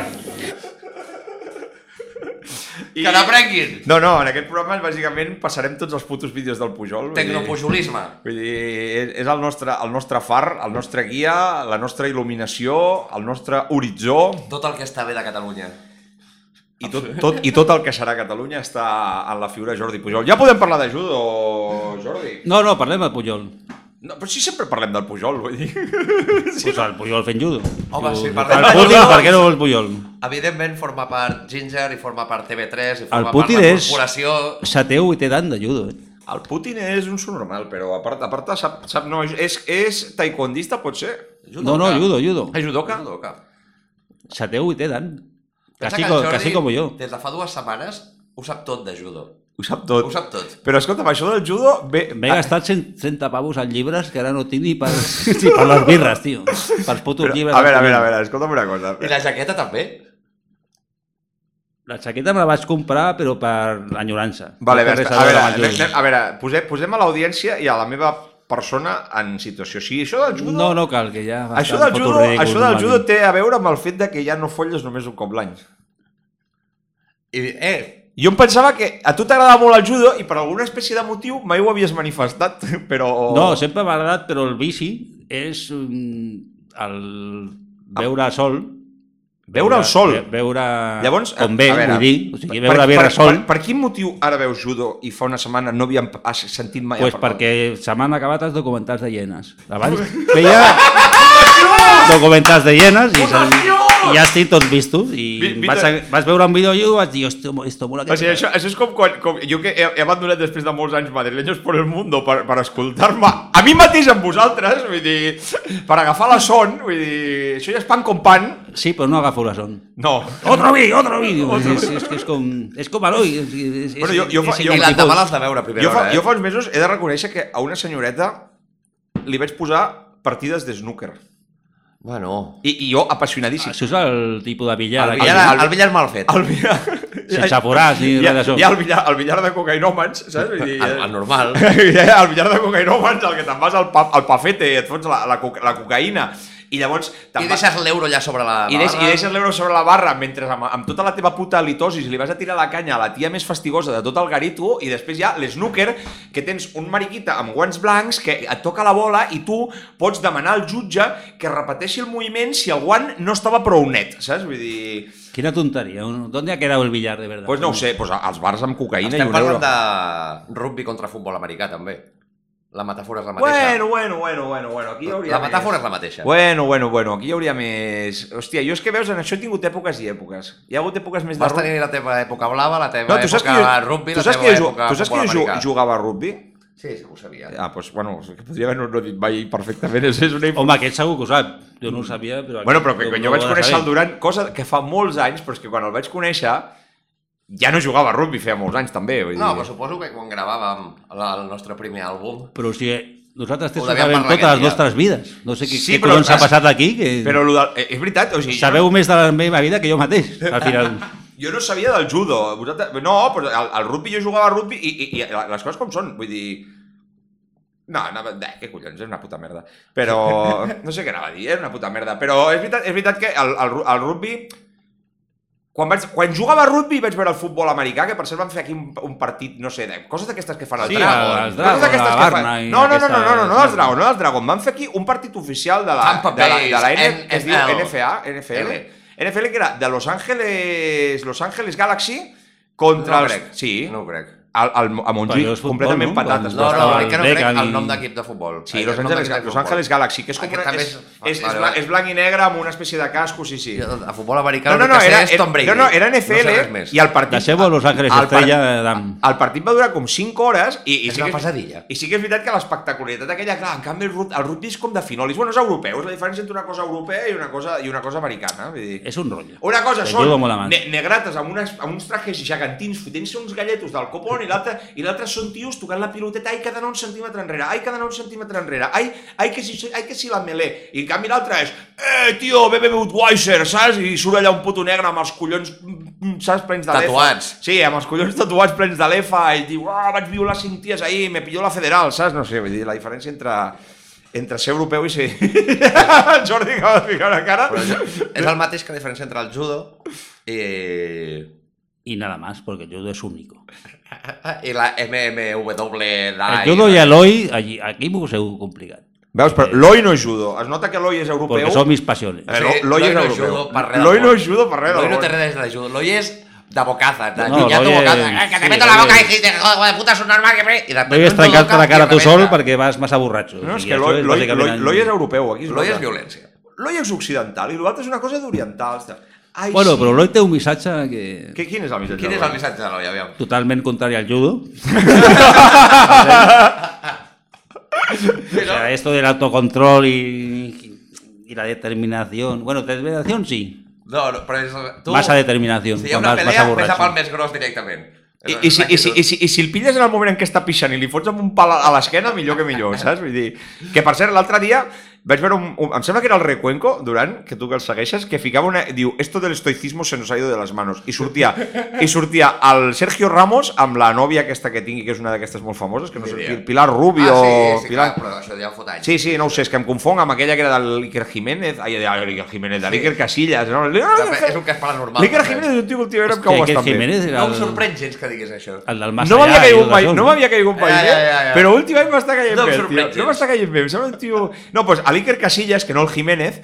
[SPEAKER 6] I...
[SPEAKER 4] Que n'aprenguin!
[SPEAKER 6] No, no, en aquest programa bàsicament passarem tots els putos vídeos del Pujol. vull dir-
[SPEAKER 4] Tecnopujolisme.
[SPEAKER 6] Vull dir, eh, és- és el nostre, el nostre far, el nostre guia, la nostra il·luminació, el nostre horitzó
[SPEAKER 4] Tot el que està bé de Catalunya.
[SPEAKER 6] i tot, tot, i tot el que serà Catalunya està en la figura de Jordi Pujol. Ja podem parlar de judo, Jordi?
[SPEAKER 5] No, no, parlem de Pujol.
[SPEAKER 6] [LAUGHS] No, però si sempre parlem del Pujol, vull dir...
[SPEAKER 5] Sí, pues el Pujol fent judo.
[SPEAKER 4] Home, sí,
[SPEAKER 5] el,
[SPEAKER 4] parlem
[SPEAKER 5] el
[SPEAKER 4] de
[SPEAKER 5] Putin,
[SPEAKER 4] judo.
[SPEAKER 5] per què no el Pujol?
[SPEAKER 4] Evidentment forma part Ginger i forma part TV3 i forma part
[SPEAKER 5] Putin
[SPEAKER 4] la
[SPEAKER 5] és-
[SPEAKER 4] corporació...
[SPEAKER 5] Sateu i té dan de judo, eh?
[SPEAKER 6] El Putin és un subnormal, però a part, a part sap, sap, no, és, és taekwondista, pot ser?
[SPEAKER 5] No, no, judo, judo.
[SPEAKER 6] És judoka?
[SPEAKER 4] Judoka.
[SPEAKER 5] Sateu i té dan.
[SPEAKER 4] Pensa
[SPEAKER 5] Casi,
[SPEAKER 4] que el
[SPEAKER 5] co-
[SPEAKER 4] Jordi,
[SPEAKER 5] casi como yo.
[SPEAKER 4] Des de fa dues setmanes ho sap tot de judo.
[SPEAKER 6] Ho sap tot.
[SPEAKER 4] Ho sap tot.
[SPEAKER 6] Però escolta'm, això del judo... Ah, Bé,
[SPEAKER 5] M'he gastat 130 pavos en llibres que ara no tinc
[SPEAKER 6] [LAUGHS]
[SPEAKER 5] ni per, ni per les birres, tio. Pels putos
[SPEAKER 6] Però,
[SPEAKER 5] llibres.
[SPEAKER 6] a
[SPEAKER 5] dels
[SPEAKER 6] veure, a veure,
[SPEAKER 5] collons.
[SPEAKER 6] a veure, escolta'm una cosa.
[SPEAKER 4] I la jaqueta també.
[SPEAKER 5] La jaqueta me la vaig comprar, però per enyorança.
[SPEAKER 6] Vale, a
[SPEAKER 5] No té
[SPEAKER 6] veure,
[SPEAKER 5] res
[SPEAKER 6] a veure,
[SPEAKER 5] veure amb el
[SPEAKER 6] anem-
[SPEAKER 5] judo.
[SPEAKER 6] anem- a veure posem, posem a l'audiència i a la meva persona en situació així. Això del judo...
[SPEAKER 5] No, no cal, que ja...
[SPEAKER 6] Això
[SPEAKER 5] bastant
[SPEAKER 6] del, judo,
[SPEAKER 5] foto ridícul,
[SPEAKER 6] això del judo
[SPEAKER 5] normalment.
[SPEAKER 6] té a veure amb el fet de que ja no folles només un cop l'any.
[SPEAKER 4] I, eh,
[SPEAKER 6] Jo em pensava que a tu t'agradava molt el judo i per alguna espècie de motiu mai ho havies manifestat, [LAUGHS] però...
[SPEAKER 5] No, sempre m'ha agradat, però el bici és mm, el veure sol.
[SPEAKER 6] Veure el sol.
[SPEAKER 5] ve- Veure
[SPEAKER 6] Llavors,
[SPEAKER 5] com ve,
[SPEAKER 6] a veure,
[SPEAKER 5] vull dir. O sigui, veure per,
[SPEAKER 6] per,
[SPEAKER 5] birra sol.
[SPEAKER 6] Per, per, quin motiu ara veus judo i fa una setmana no havíem has sentit mai
[SPEAKER 5] pues
[SPEAKER 6] a parlar?
[SPEAKER 5] perquè se m'han acabat els documentals de hienes. Abans feia documentals de hienes i, se'n- i ja estic tot visto.
[SPEAKER 6] Vi-
[SPEAKER 5] I
[SPEAKER 6] vi-
[SPEAKER 5] vaig, a- vaig veure un vídeo i vaig dir, hòstia, mo- esto mola. que
[SPEAKER 6] O sigui,
[SPEAKER 5] te
[SPEAKER 6] això, això és com quan... Com, jo que he, he abandonat després de molts anys madrileños por el mundo per, per escoltar-me a mi mateix amb vosaltres, vull dir, per agafar la son, vull dir, això ja és pan com pan.
[SPEAKER 5] cagues". Sí, però no agafo la son.
[SPEAKER 6] No.
[SPEAKER 5] Otro vídeo, otro vídeo. És, és, que és com, és com Eloi. És, és,
[SPEAKER 6] Bueno, jo- jo fa-
[SPEAKER 5] és
[SPEAKER 6] jo-
[SPEAKER 4] i
[SPEAKER 5] aquell
[SPEAKER 4] l'endemà
[SPEAKER 5] tipus.
[SPEAKER 4] l'has de veure a primera
[SPEAKER 6] Jo fa,
[SPEAKER 4] hora, eh?
[SPEAKER 6] jo fa uns mesos he de reconèixer que a una senyoreta li vaig posar partides de snooker.
[SPEAKER 4] Bueno,
[SPEAKER 6] I, i jo, apassionadíssim.
[SPEAKER 5] Això és el tipus de billar.
[SPEAKER 4] el
[SPEAKER 5] aquell.
[SPEAKER 4] billar,
[SPEAKER 6] el-
[SPEAKER 4] el, billar mal fet.
[SPEAKER 6] El billar...
[SPEAKER 5] Sense forats ni
[SPEAKER 6] hi ha,
[SPEAKER 5] res d'això.
[SPEAKER 6] Hi ha el billar, el billar de cocainòmans, saps? Vull dir, eh,
[SPEAKER 4] El, el
[SPEAKER 6] [LAUGHS]
[SPEAKER 4] normal.
[SPEAKER 6] el billar de cocainòmans, el que te'n vas al, pa, al pafete i et fots la, la, coca, la cocaïna I llavors... te'n
[SPEAKER 4] I
[SPEAKER 6] vas-
[SPEAKER 4] deixes l'euro allà sobre la
[SPEAKER 6] I, deix,
[SPEAKER 4] barra.
[SPEAKER 6] I deixes l'euro sobre la barra mentre amb, amb tota la teva puta litosis li vas a tirar la canya a la tia més fastigosa de tot el garito i després hi ha l'esnúquer que tens un mariquita amb guants blancs que et toca la bola i tu pots demanar al jutge que repeteixi el moviment si el guant no estava prou net, saps? Vull dir...
[SPEAKER 5] Quina tontería. uno. ¿Dónde ha quedado el billar de verdad?
[SPEAKER 6] Doncs pues no ho sé, pues als bars amb cocaïna
[SPEAKER 4] Estem
[SPEAKER 6] i un euro.
[SPEAKER 4] parlant de rugby contra futbol americà, també. La metàfora és la mateixa.
[SPEAKER 6] Bueno, bueno, bueno, bueno, bueno, aquí hi hauria
[SPEAKER 4] la metàfora
[SPEAKER 6] més.
[SPEAKER 4] és la mateixa.
[SPEAKER 6] Bueno, bueno, bueno, aquí hi hauria més... Hòstia, jo és que veus, en això he tingut èpoques i èpoques. Hi ha hagut èpoques més de...
[SPEAKER 4] Vas
[SPEAKER 6] rock.
[SPEAKER 4] tenir la teva època blava, la teva
[SPEAKER 6] No, tu saps que
[SPEAKER 4] època
[SPEAKER 6] jo,
[SPEAKER 4] rugby,
[SPEAKER 6] tu
[SPEAKER 4] la
[SPEAKER 6] saps
[SPEAKER 4] teva
[SPEAKER 6] que jo,
[SPEAKER 4] època
[SPEAKER 6] tu saps que
[SPEAKER 4] futbol
[SPEAKER 6] jo
[SPEAKER 4] americà.
[SPEAKER 6] jugava a rugbi?
[SPEAKER 4] Sí, sí que ho sabia.
[SPEAKER 6] Ah, doncs, bueno, podria haver-ho no dit mai perfectament, és, és una informació.
[SPEAKER 5] Home, aquest segur que ho sap. Jo no ho sabia, però...
[SPEAKER 6] Bueno,
[SPEAKER 5] aquest
[SPEAKER 6] però que,
[SPEAKER 5] no-
[SPEAKER 6] quan
[SPEAKER 5] no
[SPEAKER 6] jo
[SPEAKER 5] ho
[SPEAKER 6] vaig
[SPEAKER 5] ha de
[SPEAKER 6] conèixer
[SPEAKER 5] saber.
[SPEAKER 6] el Duran, cosa que fa molts anys, però és que quan el vaig conèixer ja no jugava a rugby feia molts anys també. Vull dir.
[SPEAKER 4] No, però suposo que quan gravàvem la, el nostre primer àlbum...
[SPEAKER 5] Però o sigui, nosaltres tres
[SPEAKER 4] Ho
[SPEAKER 5] ho
[SPEAKER 4] devíem
[SPEAKER 5] sabem
[SPEAKER 4] parlar
[SPEAKER 5] totes les
[SPEAKER 4] aquest dia.
[SPEAKER 5] nostres vides. No sé què,
[SPEAKER 6] Sí,
[SPEAKER 5] sí, què
[SPEAKER 6] però-
[SPEAKER 5] collons ha passat aquí. Que...
[SPEAKER 6] però lo del, eh, és veritat, o sigui, jo-
[SPEAKER 5] Sabeu més de la meva vida que jo mateix, al
[SPEAKER 6] [LAUGHS]
[SPEAKER 5] final.
[SPEAKER 6] Jo no sabia del judo. Vosaltres... No, però al, al rugby jo jugava a rugby i, i, i les coses com són. Vull dir... No, anava... Eh, què collons, és una puta merda. Però... No sé què anava a dir, és una puta merda. Però és veritat, és veritat que el, el, ru- el rugby... Quan, vaig, quan jugava a rugby vaig veure el futbol americà, que per cert van fer aquí un, un partit, no sé, de, coses d'aquestes que fan al
[SPEAKER 5] Sí, el-
[SPEAKER 6] Dragon.
[SPEAKER 5] el
[SPEAKER 6] coses
[SPEAKER 5] Dragon,
[SPEAKER 6] d'aquestes
[SPEAKER 5] la
[SPEAKER 6] que fan-
[SPEAKER 5] Barna i
[SPEAKER 6] No, no, no, no, no, no, no, dels
[SPEAKER 5] aquestes-
[SPEAKER 6] Dragon, no dels Dragon. Van fer aquí un partit oficial de la,
[SPEAKER 4] Tampa
[SPEAKER 6] de la,
[SPEAKER 4] Bay,
[SPEAKER 6] de la N, es diu
[SPEAKER 4] NFL.
[SPEAKER 6] NFA, NFL,
[SPEAKER 4] L.
[SPEAKER 6] NFL que era de Los Ángeles, Los Ángeles Galaxy contra
[SPEAKER 4] No ho
[SPEAKER 6] els...
[SPEAKER 4] crec.
[SPEAKER 6] Sí,
[SPEAKER 4] No ho crec.
[SPEAKER 6] al, al, a Montjuïc,
[SPEAKER 5] Però és futbol,
[SPEAKER 6] completament
[SPEAKER 5] no?
[SPEAKER 6] patates.
[SPEAKER 4] No,
[SPEAKER 5] Quan-
[SPEAKER 6] però
[SPEAKER 4] no,
[SPEAKER 5] estava
[SPEAKER 4] crec que no
[SPEAKER 5] el
[SPEAKER 4] crec
[SPEAKER 5] Beckham
[SPEAKER 4] el
[SPEAKER 5] i-
[SPEAKER 4] nom d'equip de futbol.
[SPEAKER 6] Sí,
[SPEAKER 4] Ai, el
[SPEAKER 6] Los
[SPEAKER 4] nom
[SPEAKER 6] Angeles,
[SPEAKER 4] d'equip de
[SPEAKER 6] Los
[SPEAKER 4] futbol.
[SPEAKER 6] Angeles Galaxy, que és com
[SPEAKER 4] Aquest
[SPEAKER 6] una,
[SPEAKER 4] també
[SPEAKER 6] és,
[SPEAKER 4] és-
[SPEAKER 6] és, és,
[SPEAKER 4] vale,
[SPEAKER 6] bla-
[SPEAKER 4] vale.
[SPEAKER 6] és blanc i negre amb una espècie de casco, sí, sí.
[SPEAKER 4] A futbol americà
[SPEAKER 6] No, no,
[SPEAKER 4] l'únic
[SPEAKER 6] no,
[SPEAKER 4] que sé
[SPEAKER 6] era,
[SPEAKER 4] és Tom Brady.
[SPEAKER 6] no, no, era NFL
[SPEAKER 4] No sé res més.
[SPEAKER 6] i el partit...
[SPEAKER 5] Deixeu-vos Los Angeles
[SPEAKER 6] el par-
[SPEAKER 5] Estrella, Adam.
[SPEAKER 6] El partit va durar com 5 hores i, i
[SPEAKER 4] És
[SPEAKER 6] sí
[SPEAKER 4] una
[SPEAKER 6] que
[SPEAKER 4] pesadilla.
[SPEAKER 6] I sí que és veritat que l'espectacularitat aquella, clar, en canvi el, rut, el rugby és com de finolis. Bueno, és europeu, és la diferència entre una cosa europea i una cosa, i una cosa americana. Vull dir.
[SPEAKER 5] És un rotllo.
[SPEAKER 6] Una cosa
[SPEAKER 5] Que
[SPEAKER 6] són
[SPEAKER 5] jugo molt abans.
[SPEAKER 6] ne negrates amb, unes, amb uns trajes gegantins fotent-se uns galletos del copon i l'altre i l'altre són tios tocant la piloteta ai, cada un centímetre enrere, ai, cada un centímetre enrere, ai, ai, que si, ai, que si la melé. I en canvi l'altre és, eh, tio, bebe Budweiser, saps? I surt allà un puto negre amb els collons, mm, mm, saps, plens de lefa.
[SPEAKER 4] Tatuats.
[SPEAKER 6] Sí, amb els collons tatuats plens de lefa i diu, ah, vaig violar cinc ties ahir, me pilló la federal, saps? No sé, vull dir, la diferència entre entre ser europeu i ser... [LAUGHS] el Jordi acaba de ficar una cara...
[SPEAKER 4] Però
[SPEAKER 6] [LAUGHS]
[SPEAKER 4] és, és el mateix que la diferència entre el judo i, eh,
[SPEAKER 5] Y nada más, porque el judo es único.
[SPEAKER 4] i la MMW.
[SPEAKER 5] El judo i l'Eloi, allí, aquí m'ho heu complicat.
[SPEAKER 6] Veus,
[SPEAKER 5] Eh,
[SPEAKER 6] però l'oi no és judo. Es nota que l'oi és europeu.
[SPEAKER 5] Porque son mis pasiones.
[SPEAKER 6] Eh, l'oi- l'oi és europeu. L'oi no és judo per res del
[SPEAKER 4] L'oi no
[SPEAKER 6] món.
[SPEAKER 4] té res de judo. L'oi és de bocaza, de
[SPEAKER 5] No,
[SPEAKER 4] no, llunyar tu
[SPEAKER 5] l'oi
[SPEAKER 4] bocaza.
[SPEAKER 5] és-
[SPEAKER 4] Eh, que
[SPEAKER 5] sí,
[SPEAKER 4] te meto la
[SPEAKER 5] l'oi
[SPEAKER 4] boca
[SPEAKER 5] és-
[SPEAKER 4] i dices, joder, de puta, és un normal que... pre-". I de
[SPEAKER 5] Debes
[SPEAKER 4] repente
[SPEAKER 5] trencarte
[SPEAKER 4] toca
[SPEAKER 5] la cara
[SPEAKER 4] i
[SPEAKER 5] tú solo
[SPEAKER 4] rebenta.
[SPEAKER 5] porque vas más aburracho.
[SPEAKER 6] No, és
[SPEAKER 5] Y
[SPEAKER 6] que
[SPEAKER 5] eso
[SPEAKER 6] l'oi
[SPEAKER 5] es
[SPEAKER 6] l'oi-
[SPEAKER 5] básicamente-
[SPEAKER 6] l'oi- l'oi és europeu. Aquí es
[SPEAKER 4] L'oi
[SPEAKER 6] nota.
[SPEAKER 4] és violència.
[SPEAKER 6] L'oi és occidental i l'altre és una cosa d'oriental. ostres. Ai,
[SPEAKER 5] Bueno,
[SPEAKER 6] sí.
[SPEAKER 5] però l'Eloi té un missatge que...
[SPEAKER 6] Què, quin és el missatge?
[SPEAKER 4] Quin
[SPEAKER 6] de
[SPEAKER 4] és
[SPEAKER 6] l'oi?
[SPEAKER 4] el missatge de l'oi, aviam?
[SPEAKER 5] totalment contrari al judo. o sea, esto del autocontrol y, y la determinación. Bueno, determinación sí.
[SPEAKER 4] No, no, però és... Tu...
[SPEAKER 5] Massa determinación.
[SPEAKER 4] Si hi ha
[SPEAKER 5] quan
[SPEAKER 4] una
[SPEAKER 5] vas, vas
[SPEAKER 4] pelea, pesa pel
[SPEAKER 5] aborratxo.
[SPEAKER 4] més gros directament.
[SPEAKER 6] I, i, si, i, si, i, si, I si el pilles en el moment en què està pixant i li fots amb un pal a a l'esquena, millor que millor, saps? Vull dir, que per cert, l'altre dia vaig veure un, un... Em sembla que era el Recuenco, Durant, que tu que el segueixes, que ficava una... Diu, esto del estoicismo se nos ha ido de las manos. I sortia, i sortia el Sergio Ramos amb la nòvia aquesta que tingui, que és una d'aquestes molt famoses, que no sé,
[SPEAKER 4] Ni idea.
[SPEAKER 6] Pil- Pilar Rubio...
[SPEAKER 4] Ah, sí, sí,
[SPEAKER 6] Pilar...
[SPEAKER 4] clar, però això ja fot anys.
[SPEAKER 6] Sí, sí, no ho sé, és que em confong amb aquella que era de l'Iker Jiménez, ai, de l'Iker Jiménez, de l'Iker Casillas, no?
[SPEAKER 4] També És un
[SPEAKER 6] L'Iker
[SPEAKER 4] cas paranormal.
[SPEAKER 6] Jiménez és un tio que últimament em
[SPEAKER 5] Que,
[SPEAKER 6] cau
[SPEAKER 5] que
[SPEAKER 6] bastant bé.
[SPEAKER 5] Jiménez era
[SPEAKER 4] No em
[SPEAKER 5] el,
[SPEAKER 4] sorprèn gens que digués això.
[SPEAKER 5] el del
[SPEAKER 6] no
[SPEAKER 5] Massallà.
[SPEAKER 6] m'havia
[SPEAKER 5] i
[SPEAKER 6] caigut
[SPEAKER 5] tot
[SPEAKER 6] mai,
[SPEAKER 5] això,
[SPEAKER 6] no m'havia caigut mai,
[SPEAKER 4] Ja,
[SPEAKER 6] ja,
[SPEAKER 4] ja, ja, ja.
[SPEAKER 6] però últimament m'està caient
[SPEAKER 4] No em
[SPEAKER 6] bé, tio.
[SPEAKER 4] sorprèn gens.
[SPEAKER 6] No m'està caient bé, em sembla un tio... No, pues doncs a l'Iker Casillas, que no el Jiménez,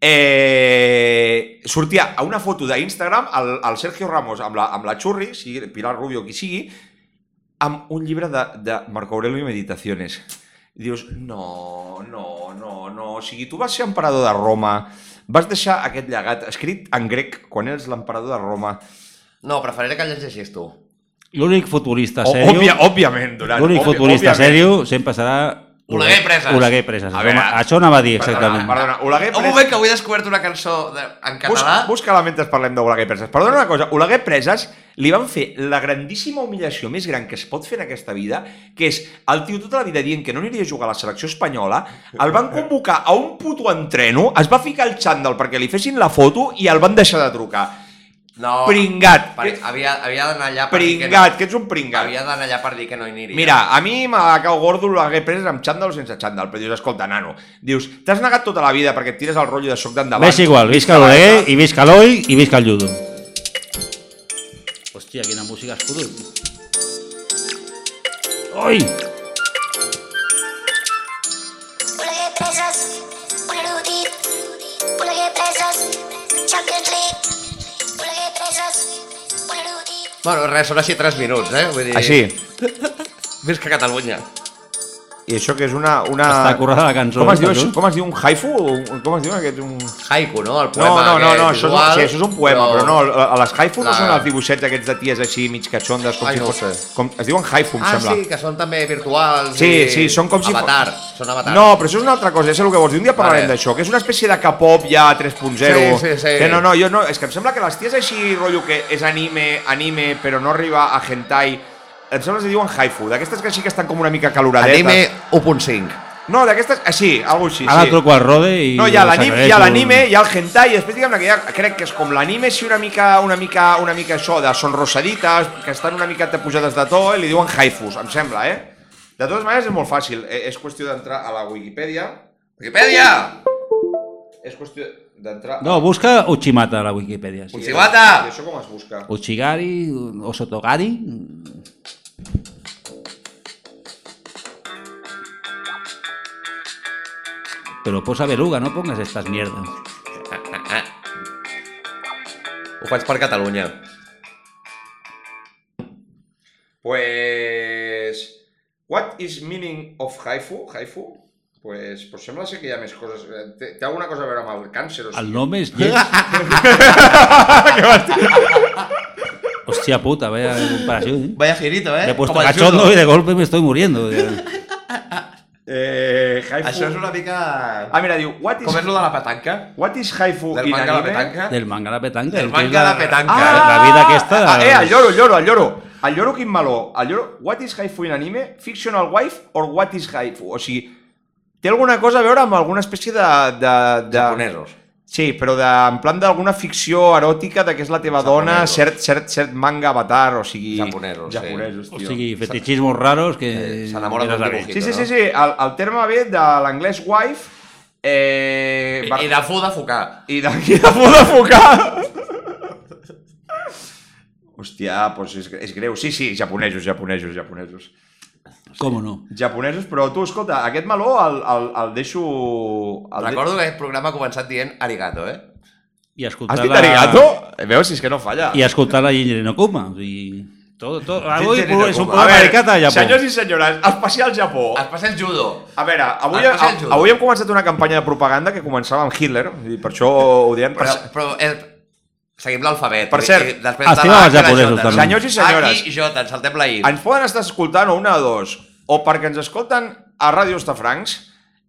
[SPEAKER 6] eh, sortia a una foto d'Instagram el, el Sergio Ramos amb la, amb la Churri, sigui Pilar Rubio, qui sigui, amb un llibre de, de Marco Aurelio i Meditaciones. I Dius, no, no, no, no. O sigui, tu vas ser emperador de Roma, vas deixar aquest llegat escrit en grec quan eres l'emperador de Roma.
[SPEAKER 4] No, preferiré que el llegeixis tu.
[SPEAKER 5] L'únic futbolista
[SPEAKER 6] O-
[SPEAKER 5] serio,
[SPEAKER 6] Òbvia, òbviament, Durant.
[SPEAKER 5] l'únic
[SPEAKER 6] òbvia-
[SPEAKER 5] futbolista
[SPEAKER 6] òbviament.
[SPEAKER 5] serio sempre serà
[SPEAKER 4] Oleguer Presas.
[SPEAKER 5] Oleguer Presas.
[SPEAKER 6] A veure,
[SPEAKER 5] Home, això anava a dir
[SPEAKER 6] Perdona,
[SPEAKER 5] exactament.
[SPEAKER 6] Ah, perdona, Oleguer
[SPEAKER 4] Un
[SPEAKER 6] Presas...
[SPEAKER 4] moment que avui he descobert una cançó de, en català.
[SPEAKER 6] Busca, busca-la mentre parlem d'Oleguer Presas. Perdona una cosa, Oleguer Presas li van fer la grandíssima humiliació més gran que es pot fer en aquesta vida, que és el tio tota la vida dient que no aniria a jugar a la selecció espanyola, el van convocar
[SPEAKER 4] Ah,
[SPEAKER 6] a un puto entreno, es va ficar al xandall perquè li fessin la foto i el van deixar de trucar.
[SPEAKER 4] No.
[SPEAKER 6] Pringat.
[SPEAKER 4] Per, havia havia d'anar allà per dir
[SPEAKER 6] Pringat,
[SPEAKER 4] que
[SPEAKER 6] que ets un
[SPEAKER 4] no,
[SPEAKER 6] pringat.
[SPEAKER 4] havia d'anar allà per dir que no hi aniria.
[SPEAKER 6] Mira, a mi me la cau gordo l'hagué pres amb xandall o sense xandall, però dius, escolta, nano, dius, t'has negat tota la vida perquè et tires el rotllo de soc d'endavant.
[SPEAKER 5] Ves igual, visca l'Oreguer i visca l'Oi i visca el judo. Hòstia, quina música has fotut. Oi!
[SPEAKER 7] உலக பிரசஸ் உலகி உலக பிரசஸ் champions league உலக பிரசஸ் உலகி
[SPEAKER 4] Bueno, res, són així 3 minuts, eh? Vull dir...
[SPEAKER 6] Així.
[SPEAKER 4] Visca Catalunya.
[SPEAKER 6] I això que és una... una...
[SPEAKER 5] Està currada la cançó,
[SPEAKER 6] Com es,
[SPEAKER 5] eh,
[SPEAKER 6] diu,
[SPEAKER 5] Jesús?
[SPEAKER 6] això? com es diu un haifu? Un- Com es diu aquest? Un...
[SPEAKER 4] Haiku, no? El
[SPEAKER 6] No,
[SPEAKER 4] poema
[SPEAKER 6] no, no,
[SPEAKER 4] aquest
[SPEAKER 6] no això, és un,
[SPEAKER 4] visual,
[SPEAKER 6] sí, això és un poema, però, no, a- a les haifu no
[SPEAKER 4] La-
[SPEAKER 6] són els dibuixets aquests de ties així mig catxondes, com
[SPEAKER 4] Ai,
[SPEAKER 6] si
[SPEAKER 4] no ho
[SPEAKER 6] fos...
[SPEAKER 4] sé.
[SPEAKER 6] Com, es diuen haifu, em
[SPEAKER 4] Ah,
[SPEAKER 6] sembla.
[SPEAKER 4] sí, que són també virtuals
[SPEAKER 6] Sí,
[SPEAKER 4] i...
[SPEAKER 6] sí, són com si fos-
[SPEAKER 4] Avatar, són avatar.
[SPEAKER 6] No, però això és una altra cosa, ja sé el que vols dir. Un dia parlarem
[SPEAKER 4] Vale.
[SPEAKER 6] d'això, que és una espècie de K-pop ja 3.0.
[SPEAKER 4] Sí, sí, sí.
[SPEAKER 6] Que no, no, jo no, és que em sembla que les ties així, rotllo que és anime, anime, però no arriba a hentai, em sembla que es diuen haifu, d'aquestes que així que estan com una mica caloradetes.
[SPEAKER 4] Anime 1.5.
[SPEAKER 6] No, d'aquestes, així, algo així,
[SPEAKER 5] Ara
[SPEAKER 6] sí.
[SPEAKER 5] truco al Rode i...
[SPEAKER 6] No, hi ha l'anime,
[SPEAKER 5] s'aclareix
[SPEAKER 6] hi ha
[SPEAKER 5] un-
[SPEAKER 6] l'anime, hi ha el hentai, i després diguem-ne que hi ha, crec que és com l'anime, sí, una mica, una mica, una mica això, de son rosadites, que estan una mica pujades de to, i li diuen haifus, em sembla, eh? De totes maneres, és molt fàcil, eh, és qüestió d'entrar a la Wikipedia,
[SPEAKER 4] Wikipedia!
[SPEAKER 6] és qüestió d'entrar...
[SPEAKER 5] No, busca Uchimata a la Wikipedia. Sí.
[SPEAKER 4] Uchimata!
[SPEAKER 6] I això com es busca?
[SPEAKER 5] Uchigari o Sotogari. Pero posa veruga, no pongas estas mierdas.
[SPEAKER 4] Ho faig per Catalunya.
[SPEAKER 6] Pues... What is meaning of haifu? Haifu? Pues, pues sembla ser que hi ha més coses... eh, Té, té alguna cosa a veure amb el càncer? O
[SPEAKER 5] Al
[SPEAKER 6] sigui.
[SPEAKER 5] nombre es [LAUGHS]
[SPEAKER 6] [LAUGHS]
[SPEAKER 5] lleig. Hostia puta, vaya comparación. ¿eh?
[SPEAKER 4] Vaya girito, eh?
[SPEAKER 5] Me he puesto
[SPEAKER 4] Com el
[SPEAKER 5] cachondo
[SPEAKER 4] judo.
[SPEAKER 5] y de golpe me estoy muriendo.
[SPEAKER 6] Eh, haifu...
[SPEAKER 4] Això és una mica...
[SPEAKER 6] Ah, mira, diu, what is...
[SPEAKER 4] Com és lo de la petanca?
[SPEAKER 6] What is haifu
[SPEAKER 4] Del
[SPEAKER 6] in
[SPEAKER 4] manga a la
[SPEAKER 6] anime?
[SPEAKER 4] petanca?
[SPEAKER 5] Del manga a la petanca.
[SPEAKER 4] Del
[SPEAKER 5] el que es
[SPEAKER 4] manga a la petanca.
[SPEAKER 5] La, la vida aquesta...
[SPEAKER 6] Ah, eh, el lloro, el lloro, el lloro. El lloro quin meló. El lloro, what is haifu in anime? Fictional wife or what is haifu? O sigui, té alguna cosa a veure amb alguna espècie de... de, de...
[SPEAKER 4] Japonesos.
[SPEAKER 6] Sí, però de, en plan d'alguna ficció eròtica de que és la teva
[SPEAKER 4] Japonesos.
[SPEAKER 6] dona, cert, cert, cert manga avatar, o sigui...
[SPEAKER 4] Japonesos, sí.
[SPEAKER 6] japonesos
[SPEAKER 5] O
[SPEAKER 6] tio.
[SPEAKER 5] sigui, fetichismos raros que...
[SPEAKER 4] Eh, s'enamora
[SPEAKER 5] que no
[SPEAKER 4] d'un
[SPEAKER 5] sabéis.
[SPEAKER 4] dibujito.
[SPEAKER 6] Sí, sí, sí, sí. El, el terme ve de l'anglès wife... Eh,
[SPEAKER 4] I, I de fu de focar.
[SPEAKER 6] I d'aquí de por de focar. Hòstia, doncs és, és greu. Sí, sí, japonesos, japonesos, japonesos.
[SPEAKER 5] ¿Cómo no?
[SPEAKER 6] Japonesos, però tu, escolta, aquest meló el, el, el deixo... El de-
[SPEAKER 4] Recordo que aquest programa ha començat dient arigato, eh?
[SPEAKER 5] Y a escoltar
[SPEAKER 6] Has dit
[SPEAKER 5] tota la-
[SPEAKER 6] arigato? Veus, si és que no falla.
[SPEAKER 5] y a escoltar la Jinjin no Kuma. Y todo, todo. Avui
[SPEAKER 6] Jinjin no
[SPEAKER 5] és un
[SPEAKER 6] Kuma.
[SPEAKER 5] programa
[SPEAKER 6] A veure,
[SPEAKER 5] dedicat a Japó.
[SPEAKER 6] Senyors i senyores, especial Japó.
[SPEAKER 4] Es passa el judo.
[SPEAKER 6] A veure, avui,
[SPEAKER 4] Especial
[SPEAKER 6] a,
[SPEAKER 4] judo.
[SPEAKER 6] avui hem començat una campanya de propaganda que començava amb Hitler, i per això ho diem. Per...
[SPEAKER 4] Però, però eh, seguim l'alfabet.
[SPEAKER 6] Per cert,
[SPEAKER 4] I després
[SPEAKER 5] estima
[SPEAKER 4] la
[SPEAKER 5] els
[SPEAKER 4] A i la J,
[SPEAKER 5] japonesos,
[SPEAKER 4] no?
[SPEAKER 5] també.
[SPEAKER 6] Senyors i senyores.
[SPEAKER 4] A, I, J, ens saltem la I.
[SPEAKER 6] Ens poden estar escoltant o una de dos, o perquè ens escolten a Ràdio Estafrancs